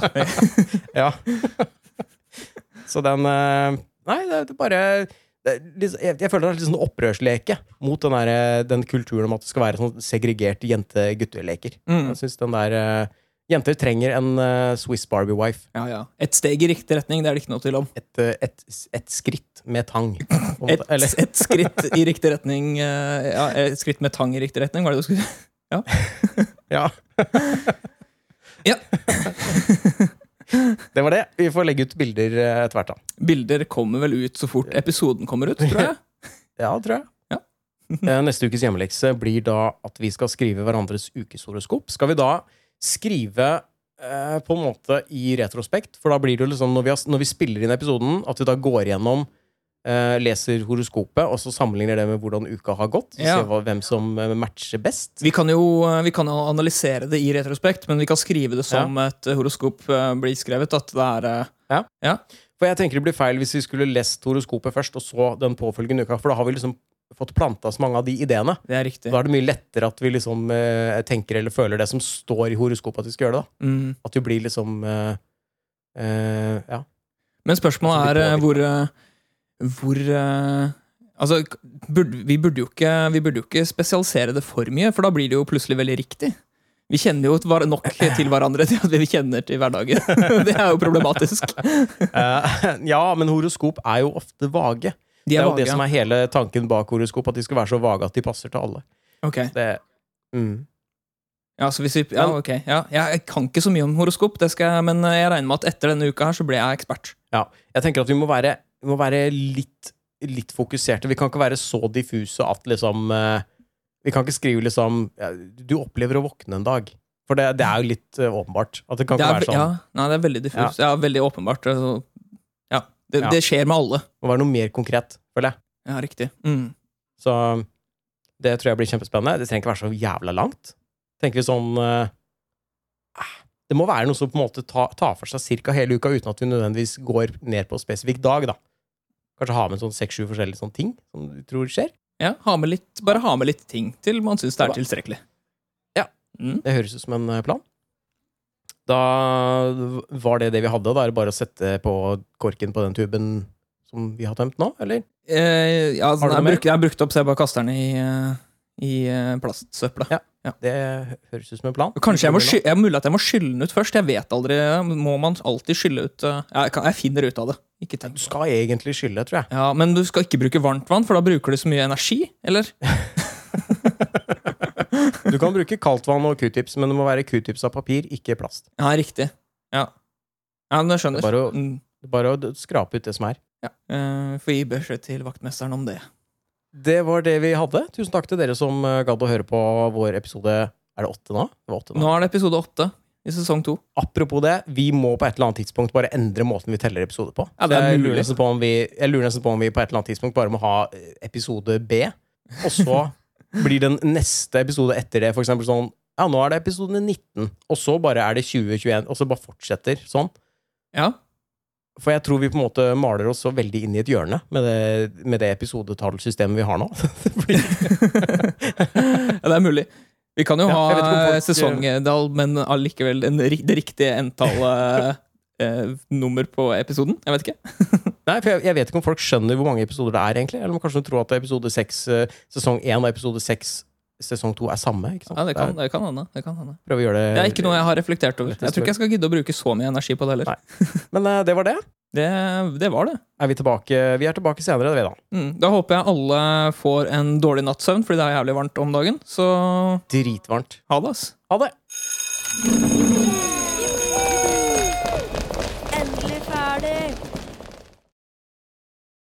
B: Ja. Så den eh, Nei, det er bare det er litt- jeg, jeg føler det er litt sånn opprørsleke mot den, der, eh, den kulturen om at det skal være sånn segregert jente-gutteleker.
A: Mm.
B: Jeg synes den der eh, Jenter trenger en eh, Swiss Barbie-wife.
A: Ja, ja. Et steg i riktig retning, det er det ikke noe tvil om.
B: Et, eh, et, et skritt med tang. på en måte.
A: Et,
B: Eller,
A: et skritt i riktig retning eh, Ja, et skritt med tang i riktig retning, var det du skulle si?
B: ja.
A: Ja.
B: det var det. Vi får legge ut bilder eh, etter hvert, da.
A: Bilder kommer vel ut så fort episoden kommer ut, tror jeg.
B: Ja, tror jeg.
A: Ja.
B: Eh, Neste ukes hjemmelekse blir da at vi skal skrive hverandres ukeshoroskop. Skal vi da skrive eh, på en måte i retrospekt? For da blir det jo liksom, når vi, har, når vi spiller inn episoden, at vi da går igjennom eh, leser horoskopet, og så sammenligner det med hvordan uka har gått. Så
A: Ja.
B: ser vi hva- hvem som eh, matcher best.
A: Vi kan jo eh, vi kan jo analysere det i retrospekt, men vi kan skrive det som et horoskop eh, blir skrevet. At det er eh,
B: For jeg tenker det blir feil hvis vi skulle lest horoskopet først, og så den påfølgende uka, for da har vi liksom fått planta så mange av de ideene.
A: Det er riktig.
B: Da er det mye lettere at vi liksom eh, tenker eller føler det som står i horoskopet at vi skal gjøre det. da.
A: Mm.
B: At vi blir liksom eh, eh, Ja.
A: Men spørsmålet er
B: At Altså, det
A: eh, hvor
B: blir
A: eh, Hvor eh, Altså, k- burde, vi, burde jo ikke, vi burde jo ikke spesialisere det for mye, for da blir det jo plutselig veldig riktig. Vi kjenner jo et var- nok til hverandre til at vi kjenner til hverdagen. Det er jo problematisk.
B: Eh, ja, men horoskop er jo ofte vage.
A: De
B: det
A: er
B: er jo det
A: vage.
B: som er hele tanken bak horoskop, at de skal være så vage at de passer til alle.
A: Ok.
B: Det, mm.
A: Ja, så hvis vi, ja,
B: Men-
A: ok. Ja, jeg jeg kan ikke så mye om horoskop, det skal, jeg- men eh, jeg regner med at etter denne uka her så blir jeg ekspert.
B: Ja, jeg tenker at vi må være, vi må være litt, litt fokuserte. Vi kan ikke være så diffuse at liksom eh, Vi kan ikke skrive liksom ja, Du opplever å våkne en dag. For det, det er jo litt eh, åpenbart. At det kan
A: Det
B: ikke
A: er,
B: være sånn.
A: ja, nei, det er veldig diffust. Ja. veldig åpenbart. altså. Ja, det,
B: Ja.
A: det skjer med alle.
B: Det må være noe mer konkret, føler jeg.
A: Ja, riktig. Mm.
B: Så det tror jeg blir kjempespennende. Det trenger ikke være så jævla langt. Tenker vi sånn eh, ah, Det må være noe som på en måte ta- tar for seg ca. hele uka, uten at vi nødvendigvis går ned på spesifikk dag, da. Kanskje ha med sånn seks-sju forskjellige sånne ting som du tror skjer.
A: Ja, ha med litt, bare ha med litt ting til man syns det er
B: Hva?
A: tilstrekkelig.
B: Ja.
A: Mm.
B: Det høres ut som en eh, plan. Da var det det vi hadde. Da er det bare å sette på korken på den tuben som vi har tømt nå, eller?
A: Eh, ja,
B: Har
A: den
B: du
A: er
B: noe mer?
A: brukt, jeg har brukt opp, så jeg bare kaster den i, eh, i eh, plastsøpla.
B: Ja. Det høres ut som en plan.
A: Kanskje jeg må, sky jeg, mulig at jeg må skylle den ut først. Jeg vet aldri. Må man alltid skylle ut eh, jeg, kan, jeg finner ut av det. Ikke tenk
B: Du
A: på det.
B: skal egentlig skylle, tror jeg.
A: Ja, Men du skal ikke bruke varmt vann, for da bruker du så mye energi. Eller?
B: Du kan bruke kaldtvann og q-tips, men det må være q-tips av papir, ikke plast.
A: Ja, riktig. Ja, ja men jeg skjønner.
B: Det er bare å-
A: Mm.
B: Det er Bare å d- skrape ut det som er.
A: Ja. Eh, Får gi beskjed til vaktmesteren om det.
B: Det var det vi hadde. Tusen takk til dere som eh, gadd å høre på vår episode Er det åtte nå? Det var åtte nå.
A: Nå er det episode åtte i sesong to.
B: Apropos det, vi må på et eller annet tidspunkt bare endre måten vi teller episoder på.
A: Ja, det er
B: jeg,
A: mulig.
B: lurer nesten på om vi, jeg lurer nesten på om vi på et eller annet tidspunkt bare må ha eh, episode B, og så blir den neste episode etter det for eksempel sånn Ja, nå er det episode 19, og så bare er det 2021, og så bare fortsetter sånn.
A: Ja,
B: For jeg tror vi på en måte maler oss så veldig inn i et hjørne med det, med det episodetallsystemet vi har nå. Det blir-
A: Ja, det er mulig. Vi kan jo
B: Ja, jeg vet ikke om
A: ha
B: folk-
A: sesongedal, men allikevel en, ri- det riktige entallet eh, nummer på episoden. Jeg vet ikke.
B: Nei, for jeg, jeg vet ikke om folk skjønner hvor mange episoder det er, egentlig. Eller om kanskje de tror at episode 6, sesong 1 og episode 6, sesong 2 er samme. Ikke sant?
A: Ja, det kan,
B: er-
A: det kan hende. Det kan hende.
B: Prøver å gjøre det
A: Det er ikke noe jeg har reflektert over. Jeg tror ikke jeg skal gidde å bruke så mye energi på det heller.
B: Nei. Men eh, det var det.
A: Det, det var det.
B: Er vi tilbake Vi er tilbake senere, det, da.
A: Mm. Da håper jeg alle får en dårlig natts søvn, fordi det er jævlig varmt om dagen. Så
B: Dritvarmt.
A: ha det, ass.
B: Ha det!